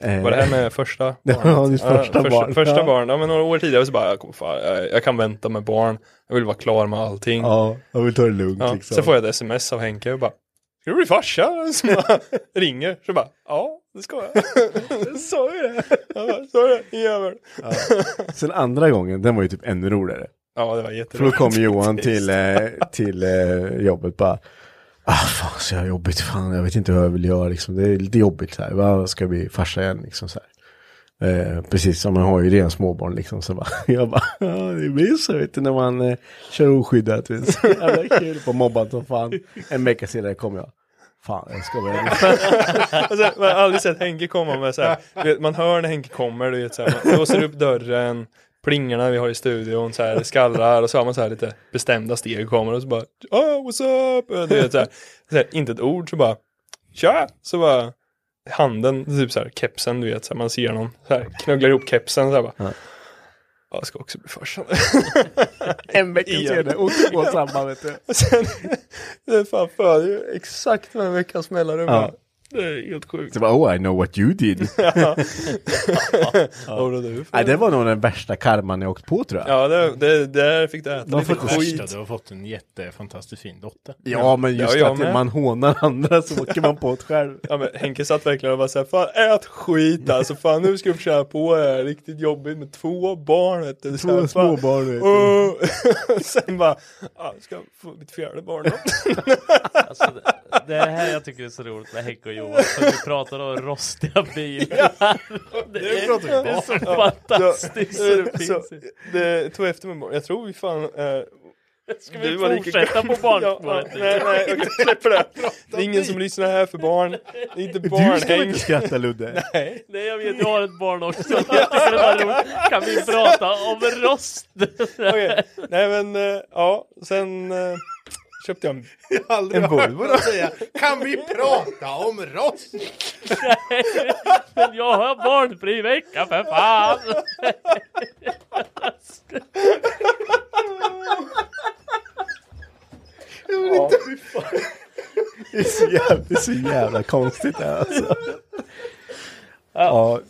Speaker 2: Eh,
Speaker 4: Var det här med första
Speaker 2: Det var ditt första
Speaker 4: första,
Speaker 2: barn.
Speaker 4: Första
Speaker 2: Ja.
Speaker 4: barn. Ja, men några år tidigare så bara, jag, kommer fan, jag, jag kan vänta med barn. Jag vill vara klar med allting. Ja,
Speaker 2: Ja, jag vill ta det lugnt liksom.
Speaker 4: Sen får jag ett sms av Henke och bara, ska du bli farsa? Så bara, ringer. Så bara, ja, det ska jag. jag sa ju det. Jag bara, sa du det? Jävel.
Speaker 2: Sen andra gången, den var ju typ ännu roligare.
Speaker 4: Ja, det var
Speaker 2: För då
Speaker 4: jätteroligt.
Speaker 2: kom Johan till, eh, till eh, jobbet bara. Ah, fan så jag jobbigt, fan jag vet inte hur jag vill göra liksom. Det är lite jobbigt så här. Va, ska jag bli farsa igen liksom så här. Eh, precis som man har ju redan småbarn liksom. Så bara, jag bara, ja det blir så vet du när man eh, kör oskyddat. vet du. Så jävla kul på mobban som fan. En vecka senare kom jag. Fan jag ska väl.
Speaker 4: Alltså, man har aldrig sett Henke komma med så här. Du vet, man hör när Henke kommer, du vet så här, man låser upp dörren, plingarna vi har i studion så här, det skallrar och så har man så här lite bestämda steg kommer och så bara oh, what's up? Du vet så här, så här, inte ett ord så bara tja! Så bara handen, typ så här kepsen du vet så här, man ser någon så här, knugglar ihop kepsen så här bara "Ja, Jag ska också bli farsa.
Speaker 2: En vecka
Speaker 4: Igen.
Speaker 2: senare åkte på samma vet du.
Speaker 4: Och sen, det fan föder ju exakt med en veckas mellanrum.
Speaker 2: Ja.
Speaker 4: Det är helt sjukt.
Speaker 2: Så bara, oh I know what you did.
Speaker 4: Vad gjorde du för
Speaker 2: Nej det var nog den värsta karman jag åkt på tror jag.
Speaker 4: Ja, det, det, där fick du äta lite
Speaker 2: får inte
Speaker 4: skit.
Speaker 3: Värsta, du har fått en jättefantastiskt fin dotter.
Speaker 2: Ja, men just
Speaker 4: Ja, jag
Speaker 2: att
Speaker 4: med.
Speaker 2: man hånar andra så åker man på ett själv.
Speaker 4: Ja, men Henke satt verkligen och bara såhär, fan ät skit alltså, fan nu ska du få köra på det här, riktigt jobbigt med två barn vet du.
Speaker 2: Två små barn, vet
Speaker 4: vet
Speaker 2: du.
Speaker 4: du. Sen bara, ja, ska jag få mitt fjärde barn då?
Speaker 6: Alltså, det, det är det här jag tycker är så roligt med Henke och Johan, för vi pratar om rostiga bilar. Det, är, det är så fantastiskt så det finns
Speaker 4: så, eh,
Speaker 6: inte.
Speaker 4: det tog efter mig barn, jag tror vi fan eh,
Speaker 6: Ska
Speaker 4: du
Speaker 6: vi
Speaker 4: var lika
Speaker 6: fortsätta på
Speaker 4: gammal. Ja,
Speaker 6: barnspåret?
Speaker 4: ja, nej, nej, okej, släpp det. Det är ingen som lyssnar här för barn. Det är inte
Speaker 2: Du ska väl
Speaker 4: barnhäng.
Speaker 2: inte skratta Ludde?
Speaker 6: Nej jag vet, jag har ett barn också. Jag tycker det var roligt. Kan vi prata om rost?
Speaker 4: Okej, Nej men, eh, ja, sen eh, köpte jag en
Speaker 2: En Volvo då?
Speaker 9: Kan vi prata om rost?
Speaker 6: Men jag har barnfri vecka för fan!
Speaker 2: Det är så jävla, det är så jävla konstigt det här, alltså. Ja,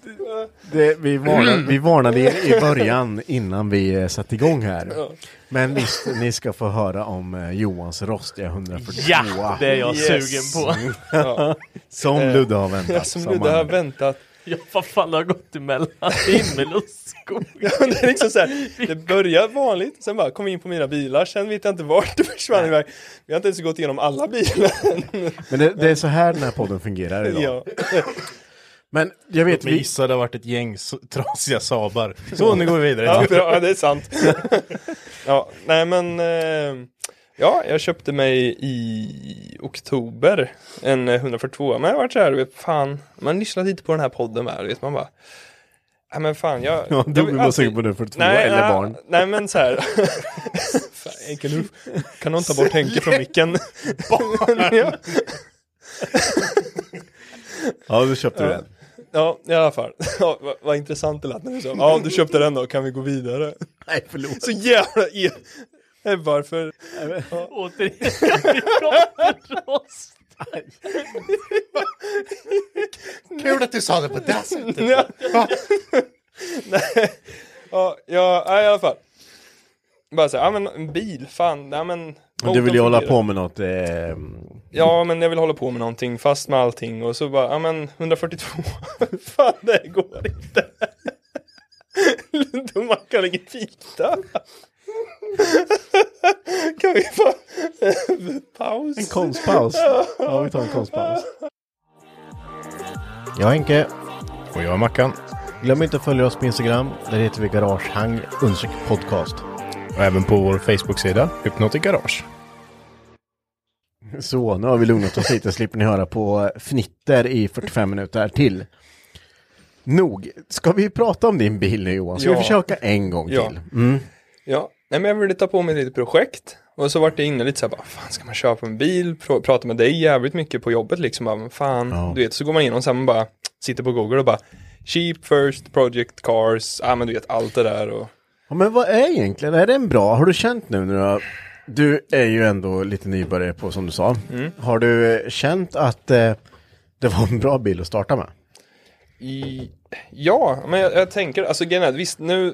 Speaker 2: det, vi, varnade, vi varnade er i början innan vi eh, satte igång här. Men visst, ni ska få höra om eh, Johans rostiga 142
Speaker 6: Ja, det är jag
Speaker 4: Yes.
Speaker 6: sugen på.
Speaker 2: som Ludde har väntat.
Speaker 4: Ja, som
Speaker 2: som
Speaker 4: Ludde har
Speaker 2: han-
Speaker 4: väntat.
Speaker 6: Ja, vad fan har gått emellan himmel och skog?
Speaker 4: Men det är liksom så här, det börjar vanligt, sen bara kom in på mina bilar, sen vet jag inte vart det försvann iväg. Vi har inte ens gått igenom alla bilar.
Speaker 2: Men det, det är så här den här podden fungerar idag.
Speaker 4: Ja.
Speaker 2: Men jag vet,
Speaker 3: Vi
Speaker 2: vi,
Speaker 3: gissar det har varit ett gäng s- trasiga Sabar. Så nu går vi vidare.
Speaker 4: Ja, bra, ja, det är sant. Ja, nej men, eh, ja, jag köpte mig i oktober en eh, 142, men jag har varit så här, du vet, fan, man lyssnar lite på den här podden här, du vet, man bara, nej men fan, jag...
Speaker 2: ja, du
Speaker 4: jag
Speaker 2: blir
Speaker 4: vill
Speaker 2: bara
Speaker 4: alltid-
Speaker 2: sugen på den 42
Speaker 4: Nej,
Speaker 2: eller
Speaker 4: nej,
Speaker 2: barn.
Speaker 4: Nej men så här. Fan, Henke, nu kan någon ta bort Henke från micken? ja.
Speaker 2: Ja, då köpte du den.
Speaker 4: ja, i alla fall. Ja, vad, vad intressant det lät när du sa, ja du köpte den då, kan vi gå vidare?
Speaker 2: Nej, förlåt.
Speaker 4: Så jävla e- Nej, varför?
Speaker 6: Återigen kan vi prata om rost?
Speaker 9: Kul att du sa det på det sättet.
Speaker 4: Ja. Nej. Ja, ja, nej, i alla fall. Bara så här, ja men en bil, fan, nej men.
Speaker 2: Men du vill ju
Speaker 4: motorn
Speaker 2: hålla på
Speaker 4: fungerar.
Speaker 2: med något. Eh,
Speaker 4: Ja, men jag vill hålla på med någonting, fast med allting och så bara, ja men 142, fan det går inte. Då man kan lägga fita. Kan vi få paus?
Speaker 2: En konstpaus. Ja, vi tar en konstpaus. Jag är Henke.
Speaker 3: Och jag är Mackan.
Speaker 2: Glöm inte att följa oss på Instagram. Där heter vi Garagehang Unsök Podcast.
Speaker 3: Och även på vår Facebook-sida, Hypnotic Garage.
Speaker 2: Så, nu har vi lugnat oss lite. Slipper ni höra på fnitter i 45 minuter till. Nog. Ska vi prata om din bil nu Johan? Ska vi
Speaker 4: Ja.
Speaker 2: försöka en gång
Speaker 4: Ja.
Speaker 2: till? Mm.
Speaker 4: Ja, nej men jag ville ta på mig lite projekt. Och så vart det inne lite så här, bara, fan ska man köpa en bil? Pr- Prata med dig jävligt mycket på jobbet liksom, bara, men fan,
Speaker 2: Ja.
Speaker 4: du vet, så går man igenom så här, man bara sitter på Google och bara, cheap first, project cars, ja men du vet allt det där och
Speaker 2: Ja, men vad är egentligen, är den bra? Har du känt nu när du har... Du är ju ändå lite nybörjare på, som du sa.
Speaker 4: Mm.
Speaker 2: Har du eh, känt att eh, det var en bra bil att starta med?
Speaker 4: I, ja, men jag, jag tänker, alltså grejen är att visst nu,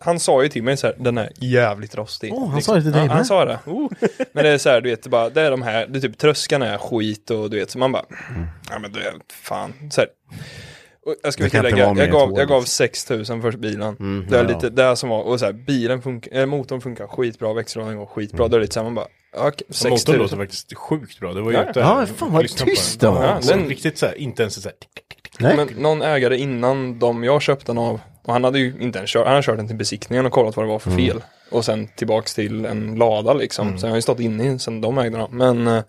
Speaker 4: han sa ju till mig så här, den är jävligt rostig. liksom.
Speaker 2: Åh, Oh, han sa det till dig
Speaker 4: ja,
Speaker 2: med?
Speaker 4: Han sa det. Oh. Men det är så här, du vet, det bara, det är de här, det är typ tröskarna är skit och du vet, så man bara, ja men det är fan, så här. Och jag ska
Speaker 2: Det
Speaker 4: väl
Speaker 2: kan inte
Speaker 4: tillägga,
Speaker 2: vara mer
Speaker 4: jag gav,
Speaker 2: tål.
Speaker 4: jag gav 6000 för bilen. det är
Speaker 2: Mm, ja, ja.
Speaker 4: lite, det här som var, och så här, bilen funkar, eh, motorn funkar skitbra, växellådan går skitbra,
Speaker 2: Mm.
Speaker 4: då är det lite så här, man bara, ja, okej,
Speaker 3: Motorn låter
Speaker 4: 6000.
Speaker 3: faktiskt sjukt bra. Det var ju
Speaker 4: Ja,
Speaker 3: inte...
Speaker 2: ja, men fan vad
Speaker 3: lyssna på den.
Speaker 2: tyst den var.
Speaker 3: Ja,
Speaker 4: Ja, den-
Speaker 3: Riktigt så här, inte ens så här...
Speaker 2: Nej.
Speaker 4: Men någon ägare innan de jag köpte den av, och han hade ju inte ens kört, han hade kört den till besiktningen och kollat vad det var
Speaker 2: Mm.
Speaker 4: för fel. Och sen tillbaks till en lada liksom. Så jag har ju stått inne i- sen de ägde den. Men eh,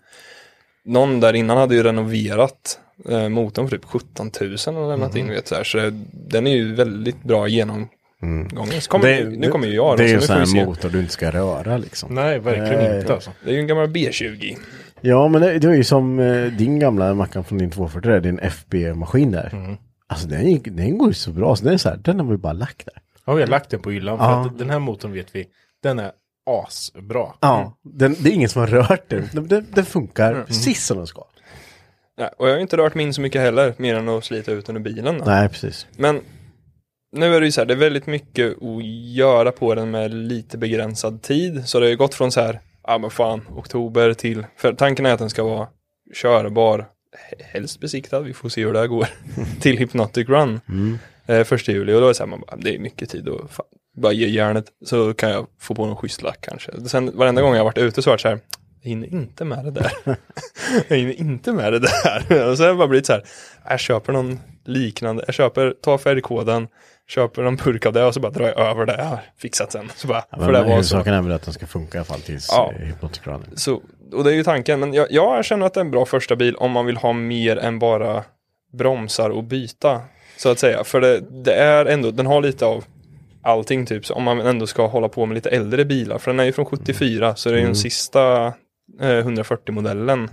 Speaker 4: någon där innan hade ju renoverat eh, motorn för typ 17 000 och lämnat
Speaker 2: Mm.
Speaker 4: in vet så här. Så det- den är ju väldigt bra genomgången. Så kommer, nu kommer ju jag
Speaker 2: Det Mm. är ju
Speaker 4: då,
Speaker 2: en
Speaker 4: så
Speaker 2: sån
Speaker 4: nu får vi
Speaker 2: här
Speaker 4: se.
Speaker 2: motor du inte ska röra liksom.
Speaker 3: Nej, verkligen
Speaker 2: Nej.
Speaker 3: inte alltså.
Speaker 4: Det är ju en gammal B20.
Speaker 2: Ja, men det, det var ju som eh, din gamla Mackan från din 240, där, din FB-maskin där.
Speaker 4: Mm.
Speaker 2: Alltså den, gick, den går ju så bra, så den är så här, den har vi bara lagt där.
Speaker 3: Ja, vi har lagt den på hyllan. För
Speaker 2: Ja.
Speaker 3: att den här motorn vet vi, den är asbra.
Speaker 2: Ja, Mm. den, det är ingen som har rört den.
Speaker 4: Mm.
Speaker 2: Den, den, den funkar precis som den ska.
Speaker 4: Ja, och jag har ju inte rört min så mycket heller, mer än att slita ut den ur bilen. då.
Speaker 2: Nej, precis.
Speaker 4: Men nu är det ju så här, det är väldigt mycket att göra på den med lite begränsad tid. Så det har ju gått från så här, ja men fan, oktober till, för tanken är att den ska vara körbar, he- helst besiktad, vi får se hur det här går, till Hypnotic Run
Speaker 2: Mm.
Speaker 4: eh, första juli. Och då är det så här, man bara, det är mycket tid och fan, bara ge järnet så kan jag få på någon schysst lack kanske. Sen varenda gång jag har varit ute så har det varit så här, jag hinner inte med det där. jag hinner inte med det där. Och så har det bara blivit så här, jag köper någon liknande, jag köper, tar färgkoden, köper någon burk av det och så bara drar jag över det jag har fixat sen. Så bara,
Speaker 2: Ja,
Speaker 4: för det
Speaker 2: men
Speaker 4: var så.
Speaker 2: huvudsaken är väl att den ska funka i alla fall tills eh, ja.
Speaker 4: Ja.
Speaker 2: hypnotikranen.
Speaker 4: så. Och det är ju tanken, men jag, jag känner att det är en bra första bil om man vill ha mer än bara bromsar och byta. Så att säga, för det, det är ändå, den har lite av allting typ, så om man ändå ska hålla på med lite äldre bilar, för den är ju från 74, så det är ju den sista eh, 140-modellen.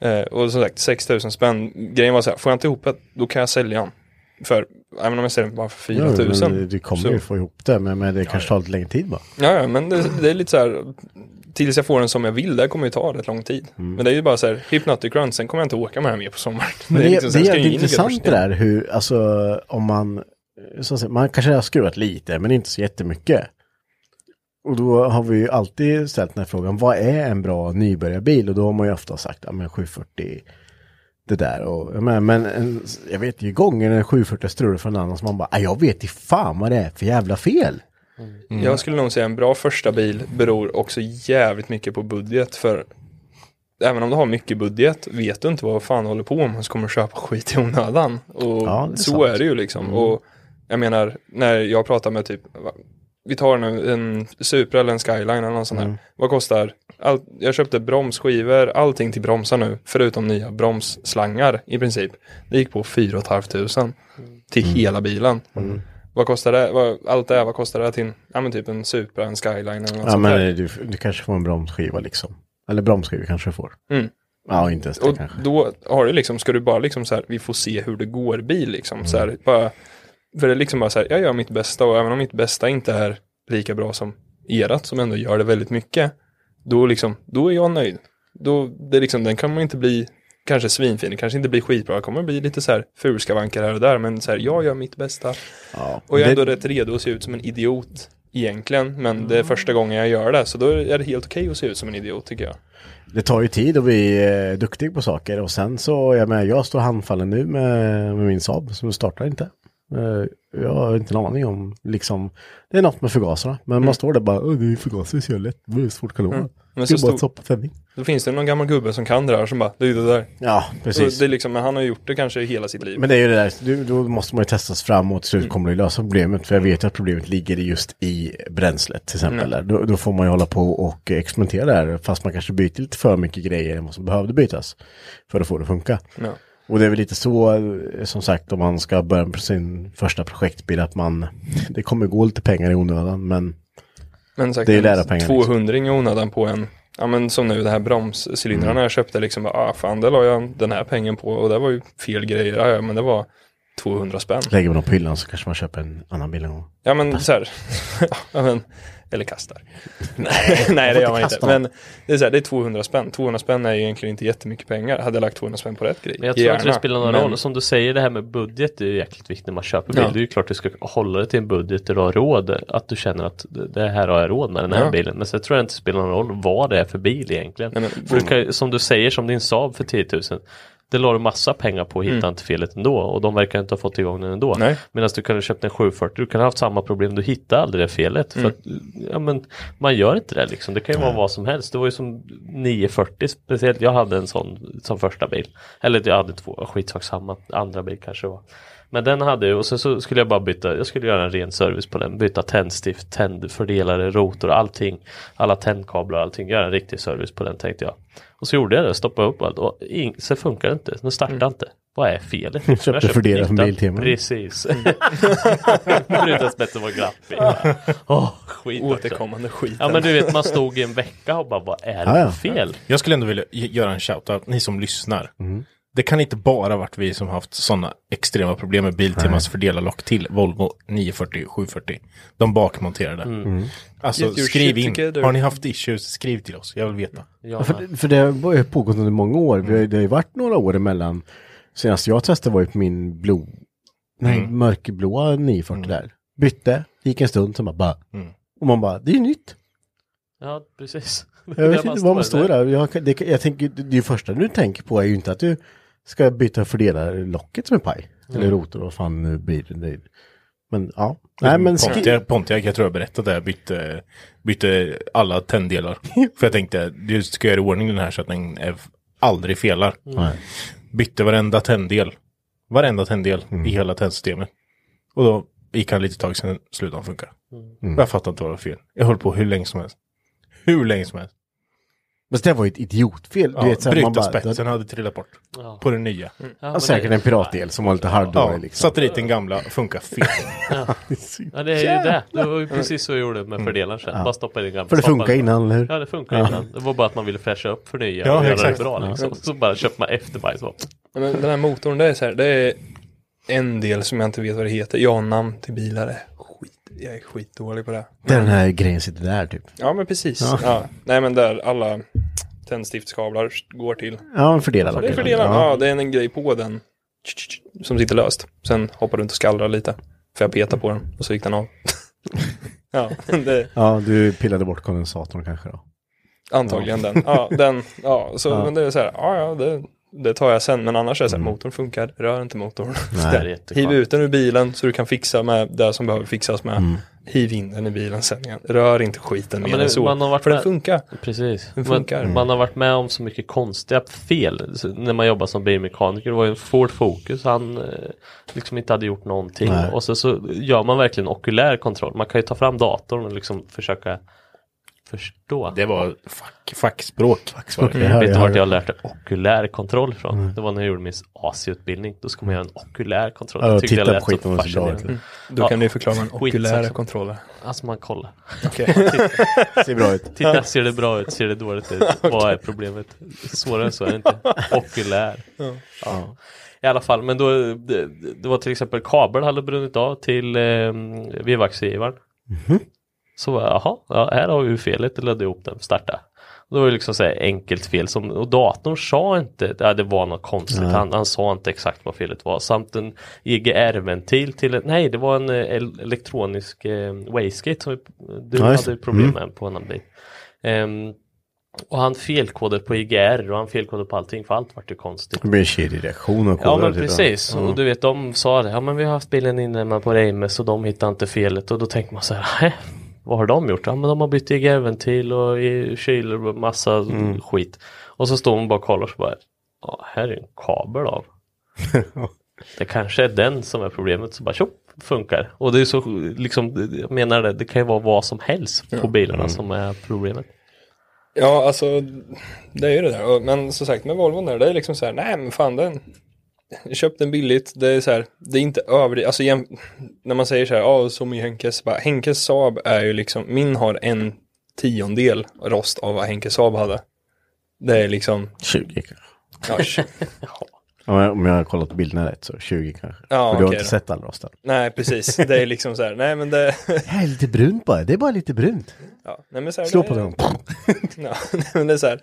Speaker 4: Eh, och som sagt, 6000 spänn, grejen var så här, får jag inte ihop det, då kan jag sälja den. För, även om jag säljer den bara för 4000.
Speaker 2: eh, Du, du kommer
Speaker 4: så-
Speaker 2: ju få ihop det, men, men det kanske tar lite längre tid bara.
Speaker 4: Ja, ja, men det, det är lite så här, tills jag får den som jag vill, det kommer ju ta rätt lång tid.
Speaker 2: Mm.
Speaker 4: Men det är ju bara så här, Hypnotic Run, sen kommer jag inte åka med den mer på sommaren.
Speaker 2: Men det,
Speaker 4: är
Speaker 2: det,
Speaker 4: liksom så
Speaker 2: är
Speaker 4: här, ska jag
Speaker 2: jävligt
Speaker 4: in i
Speaker 2: intressant det
Speaker 4: Göteborg?
Speaker 2: där hur, alltså om man, eh, så att säga, man kanske har skruvat lite men inte så jättemycket. Och då har vi ju alltid ställt den här frågan, vad är en bra nybörjarbil? Och då har man ju ofta sagt, ja men 740, det där. Och, jag menar, men en, jag vet ju gånger en 740 strular för en annan som man bara, "Ah, jag vet i fan vad det är för jävla fel. Mm.
Speaker 4: Jag skulle nog säga en bra första bil beror också jävligt mycket på budget. För även om du har mycket budget vet du inte vad fan du håller på med så kommer du köpa skit i onödan. Och
Speaker 2: Ja, det är
Speaker 4: så
Speaker 2: sant. Mm.
Speaker 4: är det ju liksom. Och jag menar, när jag pratar med typ, va- vi tar nu en Supra eller en Skyline eller någon sån
Speaker 2: Mm.
Speaker 4: här. Vad kostar? All, jag köpte bromsskivor, allting till bromsar nu, förutom nya bromsslangar i princip. Det gick på 4 500 till
Speaker 2: Mm.
Speaker 4: hela bilen. Vad kostar det? Vad, allt det här, vad kostar det till? Ja men typ en Supra, en Skyline eller något
Speaker 2: ja
Speaker 4: sånt
Speaker 2: men
Speaker 4: där.
Speaker 2: eh, du, du kanske får en bromsskiva liksom. Eller bromsskiva kanske du får.
Speaker 4: Mm.
Speaker 2: Ja, inte ens det
Speaker 4: Och
Speaker 2: kanske.
Speaker 4: då har du liksom, ska du bara liksom så här, vi får se hur det går bil liksom. Så
Speaker 2: Mm.
Speaker 4: här, bara, för det är liksom bara så här, jag gör mitt bästa och även om mitt bästa inte är lika bra som erat som ändå gör det väldigt mycket, då liksom, då är jag nöjd. Då, det är liksom, den kan man inte bli kanske svinfin, det kanske inte blir skitbra, det kommer bli lite så här furskavankar här och där, men så här, jag gör mitt bästa.
Speaker 2: Ja.
Speaker 4: Och jag är
Speaker 2: Det-
Speaker 4: ändå rätt redo att se ut som en idiot egentligen, men det är första gången jag gör det, så då är det helt okej att se ut som en idiot tycker jag.
Speaker 2: Det tar ju tid att bli eh, duktig på saker och sen så, jag menar, jag står handfallen nu med, med min Saab som startar inte. Eh, Jag har inte en aning om, liksom, det är något med förgasarna. Men man står där bara, "Åh, det är förgasare så jävla lätt, det är svårt kalorer. Mm.
Speaker 10: Mm. Men
Speaker 2: Men
Speaker 10: så
Speaker 2: så bara
Speaker 10: stor-
Speaker 2: ett tändning.
Speaker 10: Då finns det någon gammal gubbe som kan det där som bara, det är det där.
Speaker 2: Ja,
Speaker 10: Så
Speaker 2: precis.
Speaker 10: det är liksom, men han har gjort det kanske hela sitt liv.
Speaker 2: Men det är ju det där, du, då måste man ju testas fram och till
Speaker 10: Mm.
Speaker 2: slut kommer du lösa problemet. För jag vet ju att problemet ligger just i bränslet till exempel. Där. Då, då får man ju hålla på och experimentera där. Fast man kanske byter lite för mycket grejer än vad som behövde bytas. För att få det att funka.
Speaker 10: Ja.
Speaker 2: Och det är väl lite så, eh, som sagt, om man ska börja på sin första projektbil, att man, det kommer gå lite pengar i onödan, men
Speaker 10: Men säkert
Speaker 2: Det är
Speaker 10: en
Speaker 2: lärarpengar,
Speaker 10: 200 i onödan på en, ja men som nu det här bromscylindrarna jag köpte liksom, bara, ah fan det la jag den här pengen på och det var ju fel grejer, ah, ja, men det var 200 spänn.
Speaker 2: lägger man dem på hyllan så kanske man köper en annan bil någon gång.
Speaker 10: Ja men så här, ja, men, eller kastar. Nej, det gör man inte.
Speaker 2: kasta dem.
Speaker 10: Men det är så här, det är 200 spänn. 200 spänn är ju egentligen inte jättemycket pengar. Hade jag lagt 200 spänn på rätt grej,
Speaker 4: Men jag tror inte det
Speaker 10: gärna.
Speaker 4: spelar någon
Speaker 10: Men-
Speaker 4: roll. Som du säger, det här med budget är ju jäkligt viktigt när man köper bil.
Speaker 10: Ja.
Speaker 4: Det är ju klart du ska hålla dig till en budget där du har råd. Att du känner att det det här har jag råd med den här
Speaker 10: Ja.
Speaker 4: bilen. Men sen tror jag inte det spelar någon roll vad det är för bil egentligen.
Speaker 10: Nej, men-
Speaker 4: för du kan, ju- som du säger, som din Saab för 10 000. Det la du massa pengar på och hittade inte felet ändå. Och de verkar inte ha fått igång den ändå.
Speaker 10: Mm. Nej.
Speaker 4: Medan du kunde ha köpt en 740. Du kan ha haft samma problem. Du hittade aldrig det felet.
Speaker 10: Mm.
Speaker 4: För att, ja, men, man gör inte det liksom. Det kan ju vara vad som helst. Det var ju som 940 speciellt. Jag hade en sån som första bil. Eller jag hade två. Skitsak samma. Andra bil kanske det var. Men den hade jag och sen så skulle jag bara byta. Jag skulle göra en ren service på den. Byta tändstift, tändfördelare, rotor, allting. Alla tändkablar och allting. Göra en riktig service på den tänkte jag. Och så gjorde jag det. Stoppade upp allt. Och in, så funkar det inte. Den startade inte. Vad är felet? Jag
Speaker 2: Köpte fördelare från
Speaker 4: nytt.
Speaker 2: Biltema.
Speaker 4: Precis. Brutas bättre var glappig. Åh, skit också.
Speaker 10: Återkommande skit.
Speaker 4: Ja men du vet man stod i en vecka och bara vad är det
Speaker 2: Ja, ja.
Speaker 4: för fel?
Speaker 3: Jag skulle ändå vilja ge- göra en shoutout, ni som lyssnar. Det kan inte bara varit vi som haft sådana extrema problem med Biltemas fördelarlock till Volvo 940 740. De bakmonterade. Alltså
Speaker 10: Mm. Get your
Speaker 3: skriv
Speaker 10: shit
Speaker 3: in,
Speaker 10: together.
Speaker 3: har ni haft issues, skriv till oss, jag vill veta.
Speaker 2: Ja, för, för det har ju pågått under många år. Vi har, ju- det har ju varit några år emellan. Senast jag testade var ju på min blå, nej, mörkblåa 940 där. Bytte, gick en stund, sen bara, bara Och man bara, det är ju nytt.
Speaker 4: Ja precis.
Speaker 2: Jag vet inte vad man står där. Jag, kan- det, kan- jag tänker, det, det första du tänker på är ju inte att du ska byta fördelarlocket som är paj. Eller rotor, vad fan nu blir det. det. Men ja. Nej men skri-
Speaker 3: Pontiac, Pontiac, jag tror jag berättade det, jag bytte, bytte alla tänddelar. För jag tänkte, du ska göra i ordning den här så att den är, aldrig felar.
Speaker 2: Mm. Nej.
Speaker 3: Bytte varenda tänddel. Varenda tänddel
Speaker 2: Mm.
Speaker 3: i hela tändsystemet. Och då gick han lite tag sen slutade han funka.
Speaker 2: Mm.
Speaker 3: Jag fattade inte vad det var fel. Jag höll på hur länge som helst. Hur länge som helst.
Speaker 2: Men det var ju ett idiotfel. Du
Speaker 3: Ja,
Speaker 2: vet, så här, man
Speaker 3: Bryta
Speaker 2: bara, Mm.
Speaker 3: spetsen hade trillat bort.
Speaker 4: Ja.
Speaker 3: På den nya.
Speaker 4: Ja,
Speaker 2: Ja, säkert en piratdel som var lite halvdålig
Speaker 3: Ja,
Speaker 2: liksom.
Speaker 3: satte dit den gamla, funkar fel.
Speaker 4: Ja det är ju det. Det var ju precis så jag gjorde med fördelaren sen. Bara stoppa in en gammal
Speaker 2: Mm. För det
Speaker 4: stoppa
Speaker 2: funkar
Speaker 4: in-
Speaker 2: innan, eller hur?
Speaker 4: Ja det funkar innan. Det var bara att man ville fräscha upp för nya
Speaker 3: Ja,
Speaker 4: och göra
Speaker 3: exakt.
Speaker 4: det bra liksom. Så bara köpte man efterbajs. och bara-
Speaker 10: Ja, Men den här motorn, det är så här, det är en del som jag inte vet vad det heter. Jag har namn till bilar är skit, jag är skitdålig på det.
Speaker 2: Där den här grejen sitter där typ.
Speaker 10: Ja men precis. Ja. Nej men där alla tändstiftskablar går till.
Speaker 2: Ja, men fördela
Speaker 10: Det är
Speaker 2: locket.
Speaker 10: fördelaren,
Speaker 2: Ja.
Speaker 10: ja. det är en grej på den som sitter löst. Sen hoppar runt och skallrar lite. För jag petade på den och så gick den av. ja, det,
Speaker 2: ja, du pillade bort kondensatorn kanske då.
Speaker 10: antagligen den. Ja, den, ja, så
Speaker 2: Ja.
Speaker 10: men det är så här, ja ja det, det tar jag sen. Men annars är det så här, motorn funkar, rör inte motorn.
Speaker 4: Mm. Det är jätteskönt.
Speaker 10: Hiv ut den ur bilen så du kan fixa med det som behöver fixas med. Hiv in den i bilen sen igen. Rör inte skiten mer
Speaker 4: Mm. men
Speaker 10: än
Speaker 4: det-
Speaker 10: så.
Speaker 4: man har varit
Speaker 10: För den
Speaker 4: med-
Speaker 10: funkar.
Speaker 4: Precis.
Speaker 10: Den
Speaker 4: Man,
Speaker 10: funkar.
Speaker 4: man har varit med om så mycket konstiga fel så- när man jobbar som bilmekaniker. Det var ju en Ford Focus, han eh, liksom inte hade gjort någonting. Och så, så gör man verkligen okulär kontroll. Man kan ju ta fram datorn och liksom försöka förstå.
Speaker 3: Det var fack, fackspråk. fackspråk.
Speaker 2: Det här
Speaker 4: Vet
Speaker 2: jag
Speaker 4: du
Speaker 2: Mm.
Speaker 4: vart
Speaker 2: hört.
Speaker 4: jag har lärt mig okulär kontroll ifrån? Det var när jag gjorde min AC-utbildning. Då ska man göra en okulär kontroll.
Speaker 2: Ja,
Speaker 4: Jag tyckte
Speaker 2: titta
Speaker 4: det
Speaker 2: på
Speaker 4: lät så
Speaker 2: skiten, det var så bra.
Speaker 4: fascinerande.
Speaker 10: Då
Speaker 4: Ja.
Speaker 10: kan du förklara med den
Speaker 4: Skitsack
Speaker 10: okulära
Speaker 4: som-
Speaker 10: kontrollen.
Speaker 4: Alltså man kollar.
Speaker 2: Ser bra ut.
Speaker 4: Titta, ser det bra ut? Ser det dåligt ut? Vad är problemet? Svårare än så är det inte. Okulär. Ja. I alla fall, men då det, det var till exempel kabel hade brunnit av till eh, vevaxgivaren.
Speaker 2: Mhm.
Speaker 4: Så var jag, jaha, ja, här har vi ju felet, jag ledde ihop den, starta. Och det var ju liksom så här enkelt fel som, och datorn sa inte, ja, det var något konstigt, han, han sa inte exakt vad felet var. Samt en EGR-ventil till, en- nej det var en eh, el- elektronisk eh, wastegate som vi- du
Speaker 2: Ja, just
Speaker 4: hade
Speaker 2: det. Mm.
Speaker 4: problem med på en annan bil. Ehm,
Speaker 6: Och han felkodade på IGR och han felkodade på allting för allt vart ju konstigt.
Speaker 2: Det blir en kedjig reaktion av
Speaker 6: Ja
Speaker 2: kodare,
Speaker 6: men
Speaker 2: typ.
Speaker 6: precis,
Speaker 2: Mm.
Speaker 6: och du vet de sa det, ja men vi har haft bilen inne men på Reimes och de hittade inte felet och då tänkte man så här, "Hä? vad har de gjort? Ja men de har bytt EGR-ventil och i kyl och massa
Speaker 2: Mm.
Speaker 6: skit. Och så står man bara och kollar och så bara, ja här är en kabel av. det kanske är den som är problemet, så bara tjopp, funkar. Och det är så, liksom, jag menar det, det kan ju vara vad som helst på bilarna
Speaker 2: Mm.
Speaker 6: som är problemet.
Speaker 4: Ja, alltså det är ju det där. Och- Men som sagt med Volvon där, det är liksom så här, nej men fan den. Jag köpte den billigt, det är så här, det är inte överdrivet, alltså jäm- när man säger så här, ja som i Henkes, bara, Henkes Saab är ju liksom, min har en tiondel rost av vad Henkes Saab hade. Det är liksom,
Speaker 2: 20 kanske.
Speaker 4: ja, tj-
Speaker 2: Om jag, om jag har kollat bilderna rätt så 20 kanske.
Speaker 4: Ja,
Speaker 2: För du har inte
Speaker 4: okej då.
Speaker 2: sett all rosten.
Speaker 4: nej precis, det är liksom så här, nej men det,
Speaker 2: Det här är lite brunt bara. Det är bara lite brunt.
Speaker 4: ja, nej men så här,
Speaker 2: Slå
Speaker 4: det,
Speaker 2: på den.
Speaker 4: Ja, nej, men det är så här,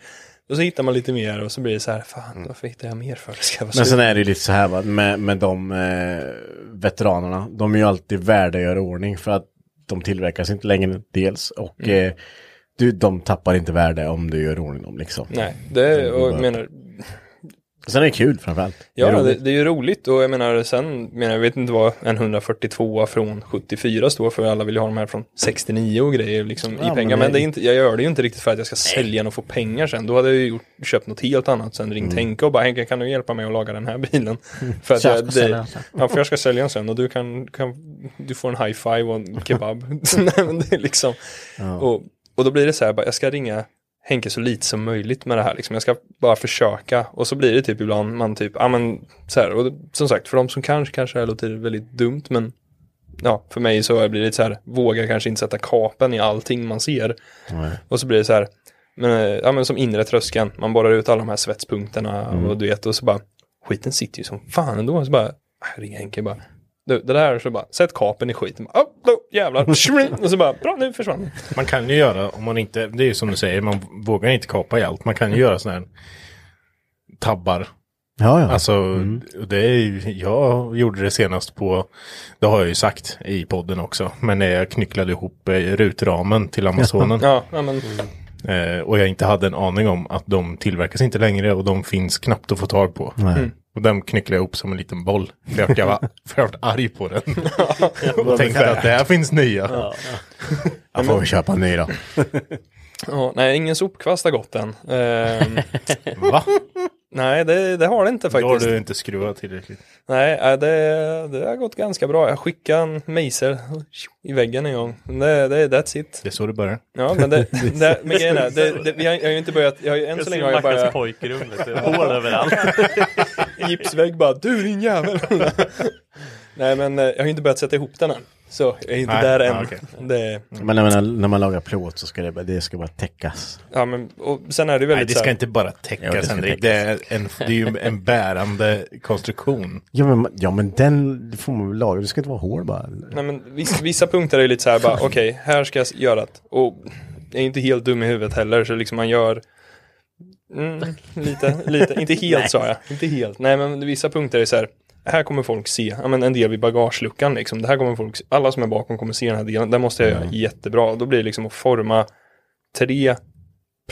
Speaker 4: och så hittar man lite mer och så blir det så här, fan varför hittar jag mer för? Alltså, Det ska vara
Speaker 2: Mm. Men
Speaker 4: slut.
Speaker 2: sen är det ju lite så här va, med, med de eh, veteranerna. De är ju alltid värda att göra i ordning för att de tillverkas inte längre dels. Och
Speaker 4: Mm.
Speaker 2: eh, du, de tappar inte värde om du gör i ordning dem liksom.
Speaker 4: Nej, det är, Eh, och jag menar,
Speaker 2: Sen är det kul framförallt.
Speaker 4: Ja,
Speaker 2: det är
Speaker 4: det,
Speaker 2: roligt.
Speaker 4: det är ju roligt och jag menar sen, menar, jag vet inte vad en 142 från 74 står för, alla vill ju ha de här från 69 och grejer liksom
Speaker 2: Ja,
Speaker 4: i pengar.
Speaker 2: men
Speaker 4: Men,
Speaker 2: det-
Speaker 4: det är inte, jag gör det ju inte riktigt för att jag ska sälja den och få pengar sen. Då hade jag ju gjort, köpt något helt annat sen, ringt
Speaker 3: Mm.
Speaker 4: Henke och bara Henke kan du hjälpa mig att laga den här bilen? För att
Speaker 2: Så jag
Speaker 4: jag,
Speaker 2: ska
Speaker 4: det,
Speaker 2: sälja den sen.
Speaker 4: Ja, för jag ska sälja den sen och du kan, kan du får en high five och en kebab. Nej, men det är liksom, och, och då blir det så här, bara, jag ska ringa Henke så lite som möjligt med det här. Liksom. Jag ska bara försöka. Och så blir det typ ibland man typ, ja men så här. Och det, som sagt, för de som kanske, kanske det här låter väldigt dumt, men ja, för mig så blir det så här, vågar kanske inte sätta kapen i allting man ser. Och så blir det så här, men, eh, ja men som inre tröskeln, man borrar ut alla de här svetspunkterna och du vet, och så bara, skiten sitter ju som fan ändå. Så bara, "Ah, ring Henke bara, du, det där, så bara, sätt kapen i skiten. Bara, "Oh, då, jävlar, Shrin! och så bara, bra nu försvann den.
Speaker 3: Man kan ju göra, om man inte, det är ju som du säger, man vågar inte kapa i allt. Man
Speaker 4: Mm.
Speaker 3: kan ju göra sådana här tabbar.
Speaker 2: Ja, ja.
Speaker 3: Alltså,
Speaker 4: Mm.
Speaker 3: det är ju, jag gjorde det senast på, det har jag ju sagt i podden också, men när jag knycklade ihop eh, rutramen till Amazonen.
Speaker 4: Ja, ja men,
Speaker 3: Eh, och jag inte hade en aning om att de tillverkas inte längre och de finns knappt att få tag på. Mm. Och den knycklade jag ihop som en liten boll. För att jag var för jag var arg på den.
Speaker 4: Alltså,
Speaker 3: och tänkte att det här finns nya.
Speaker 2: Jag får väl köpa en ny då.
Speaker 4: Mm. ja, nej, ingen sopkvast har gått än. Ehm,
Speaker 3: Va?
Speaker 4: nej, det, det har det inte
Speaker 3: Då har
Speaker 4: faktiskt.
Speaker 3: du inte skruvat tillräckligt.
Speaker 4: Nej, äh, det, det har gått ganska bra. Jag skickade en mejsel i väggen en gång. Det, det, that's it.
Speaker 3: Det är så det börjar.
Speaker 4: Ja, men det, det, men grejen är, det, det, vi har, jag har ju inte börjat, jag har ju, än så länge har jag bara
Speaker 6: pojkrum, hål överallt.
Speaker 4: gipsvägg bara, du din jävel. Nej, men eh, jag har ju inte börjat sätta ihop den än. Så jag är inte
Speaker 3: Nej,
Speaker 4: där
Speaker 3: ja,
Speaker 4: än.
Speaker 3: okej.
Speaker 4: det,
Speaker 2: Men jag menar, när man lagar plåt så ska det, bara- det ska bara täckas.
Speaker 4: ja, men, och sen är det ju väldigt
Speaker 3: Nej, det
Speaker 4: så
Speaker 3: ska
Speaker 4: här-
Speaker 3: inte bara
Speaker 2: Jo, det
Speaker 3: täckas
Speaker 2: ska
Speaker 3: Henrik. Det är, en, det är ju en bärande konstruktion.
Speaker 2: Ja men, ja, men den det får man väl laga. Det ska inte vara hål bara.
Speaker 4: Nej, men vissa, vissa punkter är lite så här bara, okej, här ska jag s- göra att, och jag är inte helt dum i huvudet heller, så liksom man gör mm, lite, lite, inte helt sa jag, inte helt, nej men vissa punkter är så här, här kommer folk se, ja men en del vid bagageluckan liksom, det här kommer folk se, alla som är bakom kommer se den här delen, där måste jag göra jättebra, och då blir det liksom att forma tre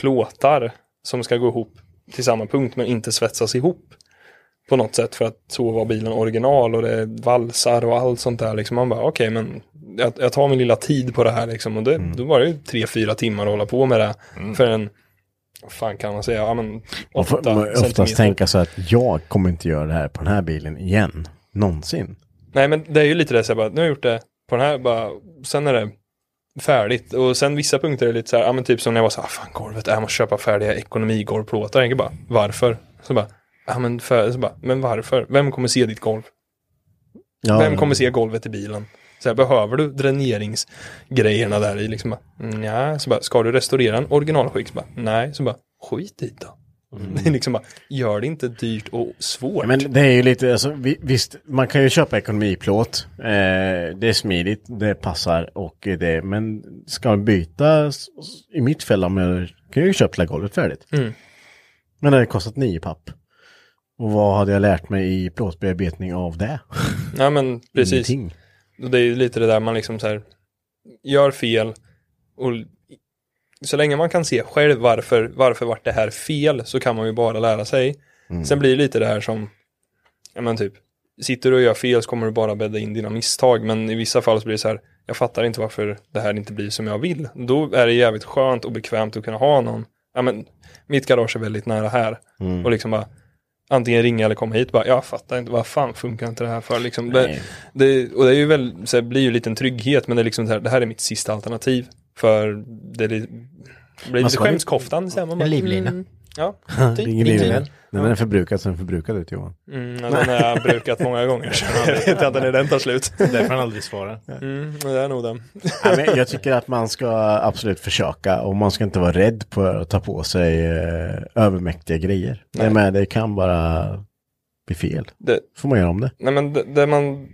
Speaker 4: plåtar som ska gå ihop till samma punkt men inte svetsas ihop på något sätt för att så var bilen original och det är valsar och allt sånt där. Liksom. Man bara okej men jag, jag tar min lilla tid på det här liksom. och det, då var det ju tre, fyra timmar att hålla på med det för en, vad fan kan man säga, ja men
Speaker 2: Man får
Speaker 4: åtta
Speaker 2: man får oftast
Speaker 4: centimeter.
Speaker 2: tänka så att jag kommer inte göra det här på den här bilen igen. Någonsin.
Speaker 4: Nej men det är ju lite det så jag bara, nu har jag gjort det på den här bara, sen är det färdigt och sen vissa punkter är lite så här, ja men typ som när jag var så här, fan golvet, jag måste köpa färdiga ekonomigolvplåtar. Jag tänker bara, varför? Så bara, ja men för, så bara, men varför? Vem kommer se ditt golv?
Speaker 2: Ja,
Speaker 4: Vem kommer se golvet i bilen? Så här, behöver du dräneringsgrejerna där i? Liksom nej. Så bara, ska du restaurera en originalskick? Så bara, nej. Så bara, skit i det. Det är liksom bara, gör det inte dyrt och svårt.
Speaker 2: Ja, Men det är ju lite, alltså, vi, visst, man kan ju köpa ekonomiplåt. Eh, det är smidigt, det passar och eh, det, men ska man byta, s- s- i mitt fall, om jag kan jag ju köpa hela golvet färdigt.
Speaker 4: Mm.
Speaker 2: Men det hade kostat nio papp. Och vad hade jag lärt mig i plåtbearbetning av det?
Speaker 4: ja, men precis.
Speaker 2: Ingenting.
Speaker 4: Och det är ju lite det där man liksom så här, gör fel och så länge man kan se själv varför, varför vart det här fel så kan man ju bara lära sig. Sen blir det lite det här som, ja men typ, sitter du och gör fel så kommer du bara bädda in dina misstag. Men i vissa fall så blir det så här, jag fattar inte varför det här inte blir som jag vill. Då är det jävligt skönt och bekvämt att kunna ha någon, ja men mitt garage är väldigt nära här.
Speaker 2: Mm.
Speaker 4: Och liksom bara, antingen ringa eller komma hit bara, jag fattar inte, vad fan funkar inte det här för? Liksom, det, det, och det är ju väl, så här, blir ju lite en trygghet, men det, är liksom det, här, det här är mitt sista alternativ. För det är li- blir lite
Speaker 2: ska ju-
Speaker 4: skämskoftan. Så här, man bara,
Speaker 11: En livlina.
Speaker 4: Mm, ja, typ.
Speaker 2: Ringer livlinan. Den
Speaker 4: Ja.
Speaker 2: är förbrukad så den förbrukad ut Johan.
Speaker 4: Mm, ja, den har jag brukat många gånger. Så jag vet inte när den tar slut.
Speaker 3: Därför han aldrig svarar.
Speaker 4: Mm, men det är nog den.
Speaker 2: Nej, men jag tycker att man ska absolut försöka och man ska inte vara rädd på att ta på sig eh, övermäktiga grejer. Nej. men det kan bara bli fel.
Speaker 4: Det,
Speaker 2: får man göra om det.
Speaker 4: nej, men det, det man,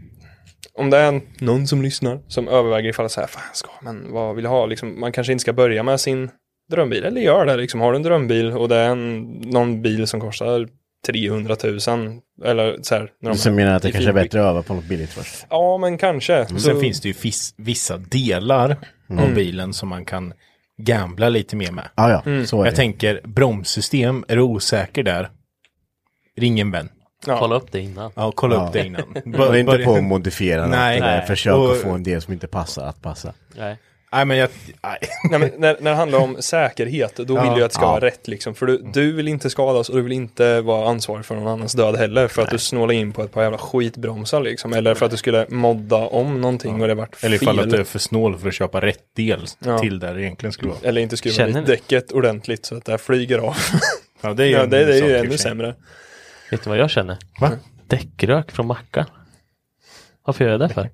Speaker 4: om det är en, någon som lyssnar som överväger ifall så här, fan ska men vad vill jag ha? Liksom, man kanske inte ska börja med sin drömbil, eller gör det. Liksom, har du en drömbil och det är en, någon bil som kostar 300 000, eller så här, när de-
Speaker 2: Sen menar jag att det
Speaker 4: i
Speaker 2: kanske är
Speaker 4: fin-
Speaker 2: bättre att öva på något billigt
Speaker 3: Mm.
Speaker 2: först.
Speaker 4: Ja, men kanske.
Speaker 3: Men Sen finns det ju fis- vissa delar
Speaker 4: Mm.
Speaker 3: av bilen som man kan gambla lite mer med.
Speaker 2: Ah, ja, så är
Speaker 3: Jag
Speaker 2: det.
Speaker 3: tänker bromssystem, är du osäker där? Ring en vän.
Speaker 6: Kolla upp det innan.
Speaker 3: Ja, kolla
Speaker 2: Ja.
Speaker 3: upp det innan.
Speaker 2: Bör,
Speaker 3: Bör-
Speaker 2: inte
Speaker 3: börja-
Speaker 2: på att modifiera
Speaker 3: Nej.
Speaker 2: något, eller
Speaker 3: Nej.
Speaker 2: försök
Speaker 3: Och-
Speaker 2: att få en del som inte passar att passa.
Speaker 6: Nej.
Speaker 3: Nej, men jag... Nej.
Speaker 4: Nej, men när, när det handlar om säkerhet, då vill du ju att det ska vara rätt liksom. För
Speaker 6: Mm.
Speaker 4: du, du vill inte skadas och du vill inte vara ansvarig för någon annans död heller. För att du snålar in på ett par jävla skitbromsar liksom. Eller för att du skulle modda om någonting och det vart
Speaker 3: Eller ifall att
Speaker 4: fel.
Speaker 3: du är för snål för att köpa rätt del
Speaker 4: Ja.
Speaker 3: till där det egentligen skulle vara.
Speaker 4: Eller inte skruva
Speaker 6: Känner
Speaker 4: dit
Speaker 6: ni?
Speaker 4: däcket ordentligt så att det här flyger av.
Speaker 3: Ja, det är
Speaker 4: Ja, det, det är
Speaker 3: sak
Speaker 4: ju
Speaker 3: i och
Speaker 4: ännu
Speaker 3: för sig.
Speaker 4: sämre.
Speaker 6: Vet du vad jag känner?
Speaker 3: Va?
Speaker 6: Däckrök från mackan. Varför gör jag det för?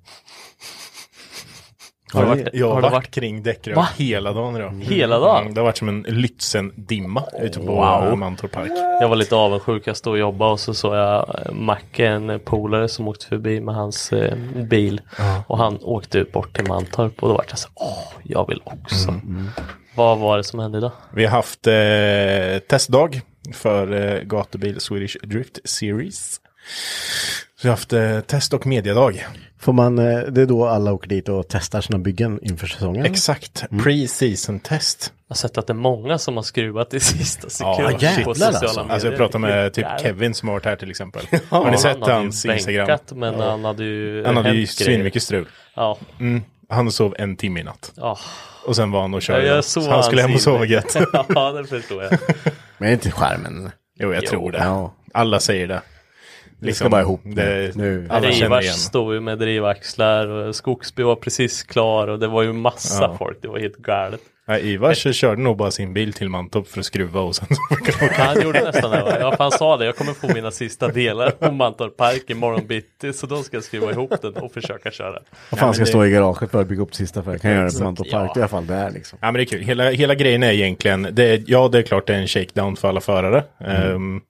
Speaker 3: Har
Speaker 6: Har
Speaker 3: du
Speaker 6: det
Speaker 3: varit,
Speaker 6: varit-
Speaker 3: jag har
Speaker 6: har det
Speaker 3: varit,
Speaker 6: varit-
Speaker 3: kring däckrök
Speaker 6: Va?
Speaker 3: hela dagen idag.
Speaker 6: Hela dagen?
Speaker 3: Mm, Det har varit som en Lützen-dimma ute typ på
Speaker 6: Wow.
Speaker 3: wow. Mantorp Park.
Speaker 6: Jag var lite avundsjuk, jag stod och jobbade och så såg jag eh, Macke, en polare som åkte förbi med hans eh, bil. Och han åkte ut bort till Mantorp och då var jag så åh, jag vill också.
Speaker 3: Mm,
Speaker 6: Vad var det som hände idag?
Speaker 3: Vi har haft eh, testdag för eh, gatubil Swedish Drift Series. Så vi har haft eh, test och mediedag.
Speaker 2: Får man, eh, det är då alla åker dit och testar sina byggen inför säsongen.
Speaker 3: Exakt, pre-season test.
Speaker 6: Jag har sett att det är många som har skruvat i sista sekunden
Speaker 2: jävlar
Speaker 6: på sociala
Speaker 2: alltså.
Speaker 6: medier.
Speaker 3: Alltså jag pratade med typ
Speaker 6: Jävlar.
Speaker 3: Kevin som har varit här till exempel. Har ni sett
Speaker 6: han hade ju
Speaker 3: hans Instagram?
Speaker 6: bänkat, men han hade ju
Speaker 3: Han hade ju
Speaker 6: hänt grejer.
Speaker 3: svinmycket Mm. strul.
Speaker 6: Ja,
Speaker 3: Han sov en timme i natt.
Speaker 6: ja.
Speaker 3: Och sen var han och
Speaker 6: Jag,
Speaker 3: körde. igen.
Speaker 6: såg
Speaker 3: så han skulle hem och
Speaker 6: hans
Speaker 3: sova
Speaker 6: inlägg.
Speaker 3: gött.
Speaker 6: ja, det förstår jag.
Speaker 2: Men inte skärmen.
Speaker 3: Jo, jag tror det.
Speaker 2: Ja.
Speaker 3: Alla säger det.
Speaker 2: Vi ska bara ihop nu.
Speaker 3: Liksom, det,
Speaker 2: Nu.
Speaker 3: Alla känner
Speaker 6: Drivars
Speaker 3: igen.
Speaker 6: stod ju med drivaxlar och Skogsby var precis klar och det var ju massa
Speaker 3: Ja.
Speaker 6: folk. Det var helt galet.
Speaker 3: Nej, Ivars körde nog bara sin bil till Mantorp för att skruva och sen så fick han åka.
Speaker 6: Han gjorde nästan det. va? Ja, för han sa det. Jag kommer få mina sista delar på Mantorp Park imorgon bitti. Så då ska jag skruva ihop den och försöka köra.
Speaker 2: Vad fan
Speaker 3: men
Speaker 2: ska
Speaker 3: det-
Speaker 2: jag stå i garaget för att bygga upp sista färg? Kan jag göra det på Mantorp
Speaker 6: Ja.
Speaker 2: Park? Det är i alla fall där liksom.
Speaker 3: Ja men det är kul. Hela, hela grejen är egentligen, det är, ja det är klart det är en shakedown för alla förare. Ehm,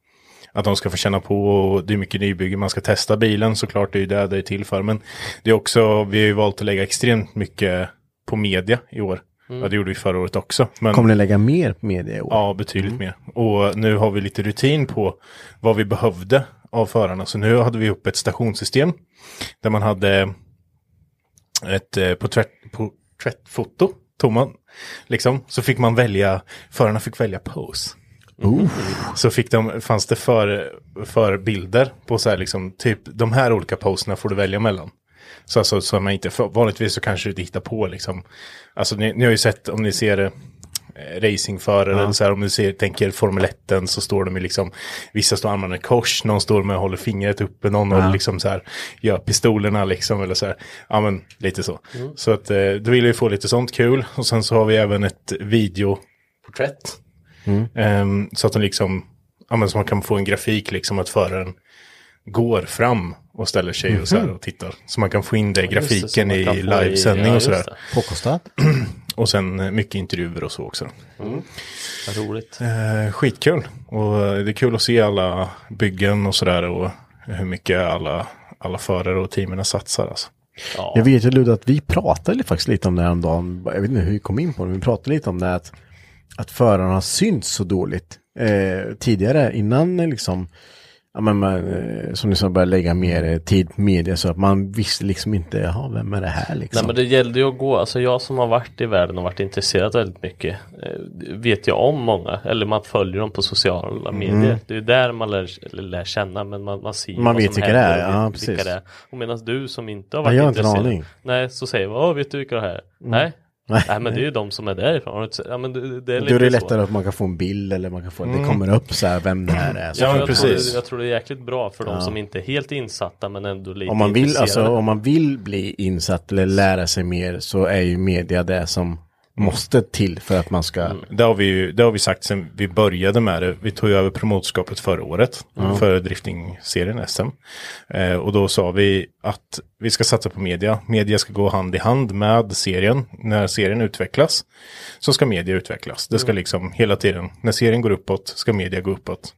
Speaker 3: att de ska få känna på och det är mycket nybygge, man ska testa bilen såklart, det är ju det det är till för. Men det är också, vi har ju valt att lägga extremt mycket på media i år. Ja det gjorde vi förra året också. Men,
Speaker 2: Kommer ni lägga mer media i år?
Speaker 3: Ja, betydligt mer. Och nu har vi lite rutin på vad vi behövde av förarna. Så nu hade vi upp ett stationssystem där man hade ett eh, porträtt, porträttfoto, tog man. Liksom. Så fick man välja, förarna fick välja pose. Så fick de, fanns det för, för bilder på så här liksom, typ de här olika poserna får du välja mellan. Så alltså, så man inte, för, vanligtvis så kanske du inte hittar på liksom, alltså ni, ni har ju sett om ni ser eh, racingförare, eller så här, om du ser, tänker Formel 1 så står de ju liksom, vissa står armarna i kors, någon står med och håller fingret uppe, någon håller liksom så här, gör pistolerna liksom, eller så här, ja men lite så.
Speaker 6: Mm.
Speaker 3: Så att eh, då vill vi få lite sånt kul, och sen så har vi även ett videoporträtt.
Speaker 6: Mm.
Speaker 3: Ehm, så att de liksom, ja, men så man kan få en grafik liksom att föraren går fram och ställer sig och, så här och tittar. Så man kan få in det i
Speaker 6: Mhm. Just det,
Speaker 3: grafiken
Speaker 6: så man kan
Speaker 3: i
Speaker 6: få
Speaker 3: livesändning
Speaker 6: ja,
Speaker 3: och sådär.
Speaker 6: just
Speaker 2: Påkostat?
Speaker 3: Och sen eh, mycket intervjuer och så också.
Speaker 6: det. Vad roligt.
Speaker 3: Eh, skitkul. Och eh, det är kul att se alla byggen och sådär och hur mycket alla, alla förare och teamen satsar alltså.
Speaker 2: Jag vet ju Ludde att vi pratade faktiskt lite om det här om dagen. Jag vet inte hur vi kom in på det, men vi pratade lite om det att, att förarna har synts så dåligt eh, tidigare innan eh, liksom ja, men man, eh, som du sa, började lägga mer eh, tid på media så att man visste liksom inte, jaha, vem är det här
Speaker 4: Nej
Speaker 2: liksom?
Speaker 4: men det gällde ju att gå, alltså jag som har varit i världen och varit intresserad väldigt mycket eh, vet jag om många, eller man följer dem på sociala
Speaker 2: Mm.
Speaker 4: medier. Det är där man lär, eller lär känna men man, man ser
Speaker 2: Man
Speaker 4: vad
Speaker 2: vet
Speaker 4: som
Speaker 2: vilka det
Speaker 4: händer
Speaker 2: är,
Speaker 4: och
Speaker 2: ja,
Speaker 4: vet vilka
Speaker 2: precis.
Speaker 4: det är. Och medan du som inte har
Speaker 2: Jag
Speaker 4: varit
Speaker 2: har inte en
Speaker 4: intresserad,
Speaker 2: aning. Mm.
Speaker 4: nej så säger man, "Åh, vet du vilka det här? Nej.
Speaker 2: Nej.
Speaker 4: Nej men det är ju de som är därifrån. Har du inte sett- Ja, men det, det är
Speaker 2: Då är Mm. det
Speaker 4: lite så.
Speaker 2: lättare att man kan få en bild eller man kan få, det kommer upp så här, vem det här är. Så
Speaker 4: Ja,
Speaker 2: att-
Speaker 4: jag,
Speaker 3: precis.
Speaker 4: Tror, jag tror det är jäkligt bra för de som inte är helt insatta men ändå lite
Speaker 2: Om man, vill, alltså,
Speaker 4: intresserade.
Speaker 2: om man vill bli insatt eller lära sig mer så är ju media det som måste till för att man ska...
Speaker 3: Det har, vi ju, det har vi sagt sedan vi började med det. Vi tog ju över promotskapet förra året för driftingserien SM. Eh, och då sa vi att vi ska satsa på media. Media ska gå hand i hand med serien. När serien utvecklas så ska media utvecklas. Det ska liksom hela tiden, när serien går uppåt ska media gå uppåt.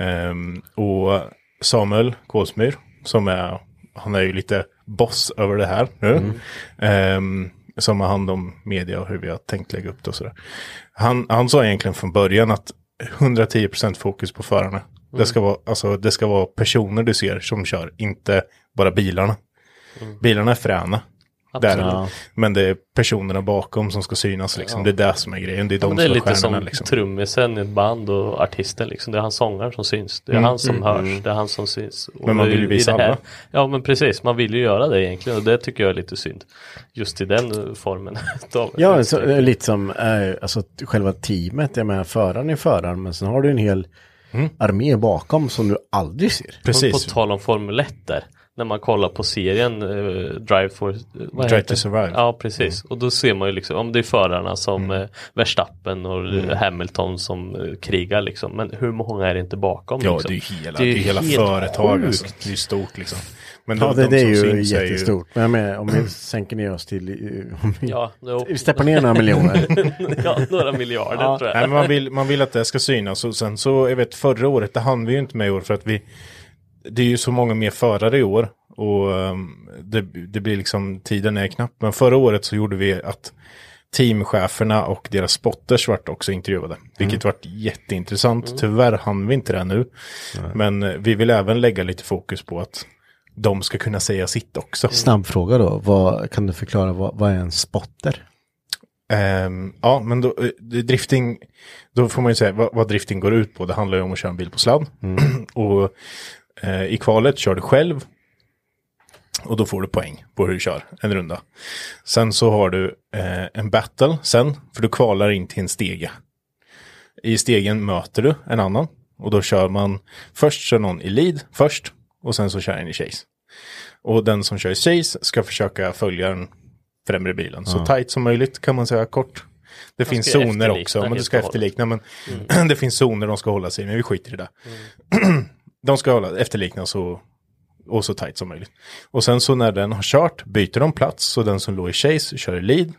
Speaker 3: Ehm, och Samuel Kåsmyr, som är, han är ju lite boss över det här nu.
Speaker 4: Mm.
Speaker 3: Ehm, som har hand om media och hur vi har tänkt lägga upp det och sådär. Han, han sa egentligen från början att 110% fokus på förarna. Det, ska
Speaker 4: Mm.
Speaker 3: vara, alltså, det ska vara personer du ser som kör, inte bara bilarna.
Speaker 4: Mm.
Speaker 3: Bilarna är fräna. Där, Men det är personerna bakom som ska synas liksom. Det är det som är grejen. Det är de
Speaker 4: Men det är
Speaker 3: som är
Speaker 4: lite
Speaker 3: stjärnorna
Speaker 4: som typ
Speaker 3: liksom.
Speaker 4: trummisen i ett band och artisten liksom. Det är han sångaren som syns. Det är han som hörs. Det är han som syns. Och
Speaker 3: Mm. Men man
Speaker 4: nu
Speaker 3: vill ju
Speaker 4: i
Speaker 3: visa
Speaker 4: det här-
Speaker 3: alla.
Speaker 4: Ja men precis. Man vill ju göra det egentligen. Och det tycker jag är lite synd. Just i den eh, formen. av-
Speaker 2: Ja, så, eh, lite som eh, alltså, t- själva teamet, jag menar föraren är föraren men sen har du en hel
Speaker 3: Mm.
Speaker 2: armé bakom som du aldrig ser.
Speaker 4: Men På
Speaker 3: Precis.
Speaker 4: tal om Formel 1 där. När man kollar på serien eh, Drive for... eh, vad
Speaker 3: Drive
Speaker 4: heter
Speaker 3: to
Speaker 4: det?
Speaker 3: Survive. Mm.
Speaker 4: Ja, precis. Och då ser man ju liksom, om det är förarna som eh, Verstappen och eh,
Speaker 3: Mm.
Speaker 4: Hamilton som eh, krigar liksom. Men hur många är det inte bakom?
Speaker 3: Ja,
Speaker 4: liksom?
Speaker 3: det är ju hela,
Speaker 4: Det
Speaker 3: det
Speaker 4: är
Speaker 3: är
Speaker 4: ju
Speaker 3: hela
Speaker 4: helt
Speaker 3: företag.
Speaker 4: sjukt.
Speaker 3: Alltså. Det är ju stort liksom. Men
Speaker 2: Ja,
Speaker 3: de-
Speaker 2: det,
Speaker 3: de
Speaker 2: det är
Speaker 3: som
Speaker 2: ju
Speaker 3: syns är ju-
Speaker 2: jättestort. Men jag menar, om vi sänker ner oss till... eh, Om vi,
Speaker 4: Ja, jo.
Speaker 2: vi steppar ner några miljoner.
Speaker 4: ja, några miljarder tror
Speaker 3: Nej,
Speaker 4: jag.
Speaker 3: men man, vill, man vill att det ska synas och sen så, jag vet förra året, det hann vi ju inte med i år för att vi, det är ju så många mer förare i år och ehm, det, det blir liksom, tiden är knapp. Men förra året så gjorde vi att teamcheferna och deras spotters vart också intervjuade, vilket
Speaker 2: Mm.
Speaker 3: vart jätteintressant.
Speaker 4: Mm.
Speaker 3: Tyvärr hann vi inte det nu, men eh, vi vill även lägga lite fokus på att de ska kunna säga sitt
Speaker 4: Mm.
Speaker 3: också.
Speaker 2: Snabbfråga då, vad, kan du förklara vad, vad är en spotter?
Speaker 3: Ehm, ja, men då, eh, det- drifting, då får man ju säga vad, vad drifting går ut på. Det handlar ju om att köra en bil på sladd. och eh, i kvalet kör du själv. Och då får du poäng på hur du kör en runda. Sen så har du eh, en battle sen, för du kvalar in till en stege. I stegen möter du en annan. Och då kör man, först kör någon i lead först. Och sen så kör en i chase. Och den som kör i chase ska försöka följa den främre bilen. Så tight som möjligt kan man säga kort. Det finns
Speaker 4: ska ju
Speaker 3: zoner
Speaker 4: efterlikna
Speaker 3: också, men du
Speaker 4: helt
Speaker 3: ska
Speaker 4: och hållet. Mm.
Speaker 3: efterlikna. Men det finns zoner de ska hålla sig i, men vi skiter i det. de ska hålla, efterlikna så, och så tight som möjligt. Och sen så när den har kört byter de plats, så den som låg i chase kör i lead.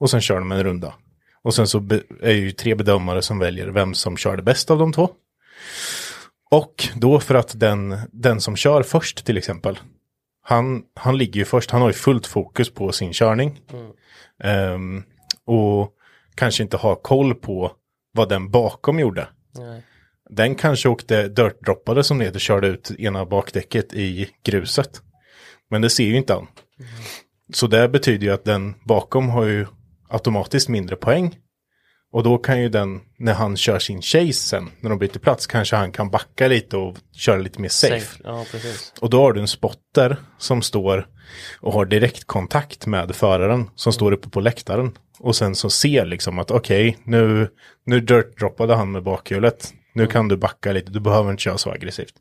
Speaker 3: Och sen kör de en runda. Och sen så be- är ju tre bedömare som väljer vem som körde bäst av de två. Och då för att den, den som kör först till exempel, han, han ligger ju först, han har ju fullt fokus på sin körning. Ehm, och kanske inte har koll på vad den bakom gjorde. Den kanske åkte dirtdroppade som det heter, körde ut ena bakdäcket i gruset. Men det ser ju inte han. Så det betyder ju att den bakom har ju automatiskt mindre poäng. Och då kan ju den, när han kör sin chase sen, när de byter plats, kanske han kan backa lite och köra lite mer safe.
Speaker 4: Ja, precis.
Speaker 3: Och då har du en spotter som står och har direktkontakt med föraren som står uppe på läktaren. Och sen så ser liksom att okej, nu, nu dirtdroppade han med bakhjulet. Nu kan du backa lite, du behöver inte köra så aggressivt.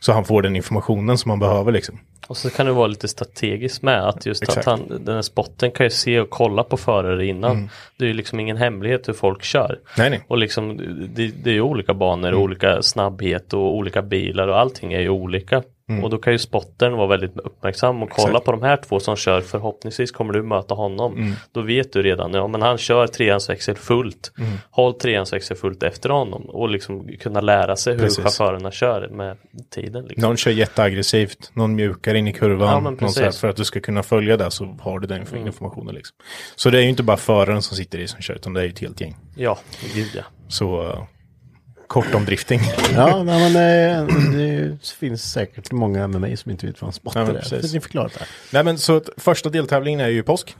Speaker 3: Så han får den informationen som han behöver liksom.
Speaker 4: Och så kan det vara lite strategiskt med att just att
Speaker 3: Exakt.
Speaker 4: han, den här spotten kan ju se och kolla på förare innan. Det är ju liksom ingen hemlighet hur folk kör.
Speaker 3: Mm. Nej, nej.
Speaker 4: Och liksom, det, det är ju olika banor, olika snabbhet och olika bilar och allting är ju olika. Och då kan ju spottern vara väldigt uppmärksam och kolla
Speaker 3: Exakt.
Speaker 4: på de här två som kör. Förhoppningsvis kommer du möta honom. Då vet du redan, ja men han kör treans växel fullt. Håll treans växel fullt efter honom. Och liksom kunna lära sig hur
Speaker 3: Precis.
Speaker 4: chaufförerna kör med tiden. Liksom.
Speaker 3: Någon kör jätteaggressivt, någon mjukar in i kurvan.
Speaker 4: Ja, men
Speaker 3: någon så här,
Speaker 4: precis.
Speaker 3: för
Speaker 4: Mm.
Speaker 3: att du ska kunna följa det så har du den informationen liksom. Så det är ju inte bara föraren som sitter i som kör, utan det är ju ett helt gäng.
Speaker 4: Ja, gud ja.
Speaker 3: Så eh, Kort om drifting.
Speaker 2: Ja, nej, men eh, det finns säkert många med mig som inte vet vad en spotter
Speaker 3: Ja, men
Speaker 2: är.
Speaker 3: precis.
Speaker 2: Precis. Ni förklarat det. här.
Speaker 3: Nej men så att första deltävlingen är ju i påsk.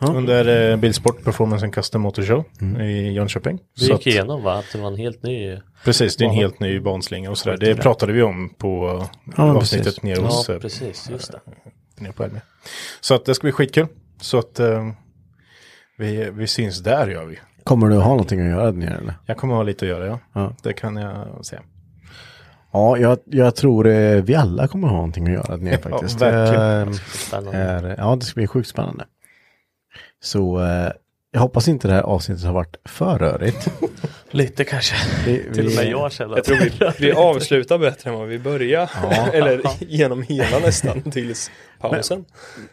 Speaker 3: Under eh, Bilsport Performance and Custom Motor Show
Speaker 2: Mm.
Speaker 3: i Jönköping.
Speaker 4: Du
Speaker 3: Så
Speaker 4: gick
Speaker 3: att-
Speaker 4: igenom va? Att det var en helt ny...
Speaker 3: Precis, det är en helt ny banslinga och sådär. Det pratade vi om på eh,
Speaker 2: Ja,
Speaker 3: avsnittet
Speaker 2: precis.
Speaker 3: nere
Speaker 4: Ja,
Speaker 3: hos eh,
Speaker 4: precis. Just det.
Speaker 3: nere på Elmia. Så att det ska bli skitkul. Så att eh, vi, vi syns där gör vi.
Speaker 2: Kommer du ha någonting att göra där nere eller?
Speaker 3: Jag kommer ha lite att göra ja.
Speaker 2: Ja.
Speaker 3: Det kan jag säga.
Speaker 2: Ja, jag, jag tror eh, vi alla kommer ha någonting att göra där nere
Speaker 3: Ja,
Speaker 2: faktiskt.
Speaker 3: verkligen.
Speaker 2: Eh,
Speaker 4: Spännande.
Speaker 2: är, ja, det ska bli sjukt spännande. Så eh, jag hoppas inte det här avsnittet har varit för rörigt.
Speaker 4: Lite kanske.
Speaker 2: Vi,
Speaker 4: Till och
Speaker 2: vi-
Speaker 4: med jag känner
Speaker 12: Jag
Speaker 4: att
Speaker 12: tror vi, vi avslutar bättre än vad vi börjar. Eller genom hela nästan tills pausen.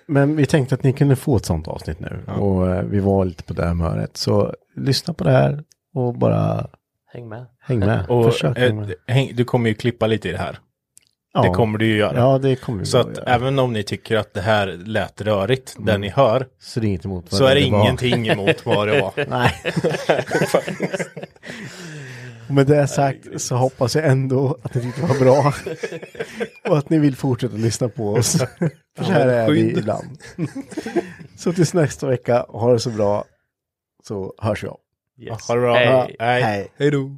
Speaker 2: Men vi tänkte att ni kunde få ett sånt avsnitt nu. Och eh, vi var lite på det humöret. Så lyssna på det här och bara
Speaker 4: häng med.
Speaker 2: häng med.
Speaker 3: Och
Speaker 2: Försök
Speaker 3: eh,
Speaker 2: häng med.
Speaker 3: häng, du kommer ju klippa lite i det här.
Speaker 2: Ja.
Speaker 3: Det kommer du ju göra.
Speaker 2: Ja, det kommer vi
Speaker 3: Så
Speaker 2: att
Speaker 3: att
Speaker 2: göra.
Speaker 3: även om ni tycker att det här lät rörigt, det ni hör,
Speaker 2: Så det är inget emot vad
Speaker 3: så är det
Speaker 2: var.
Speaker 3: ingenting emot vad det var.
Speaker 2: Nej. Och Med det sagt så hoppas jag ändå att ni tyckte det var bra. Och att ni vill fortsätta lyssna på oss. För så här är vi
Speaker 12: skydd.
Speaker 2: ibland. Så tills nästa vecka, ha det så bra. Så hörs vi av.
Speaker 4: Yes.
Speaker 3: Ha det bra.
Speaker 4: Hej.
Speaker 2: Hej.
Speaker 12: Hej då.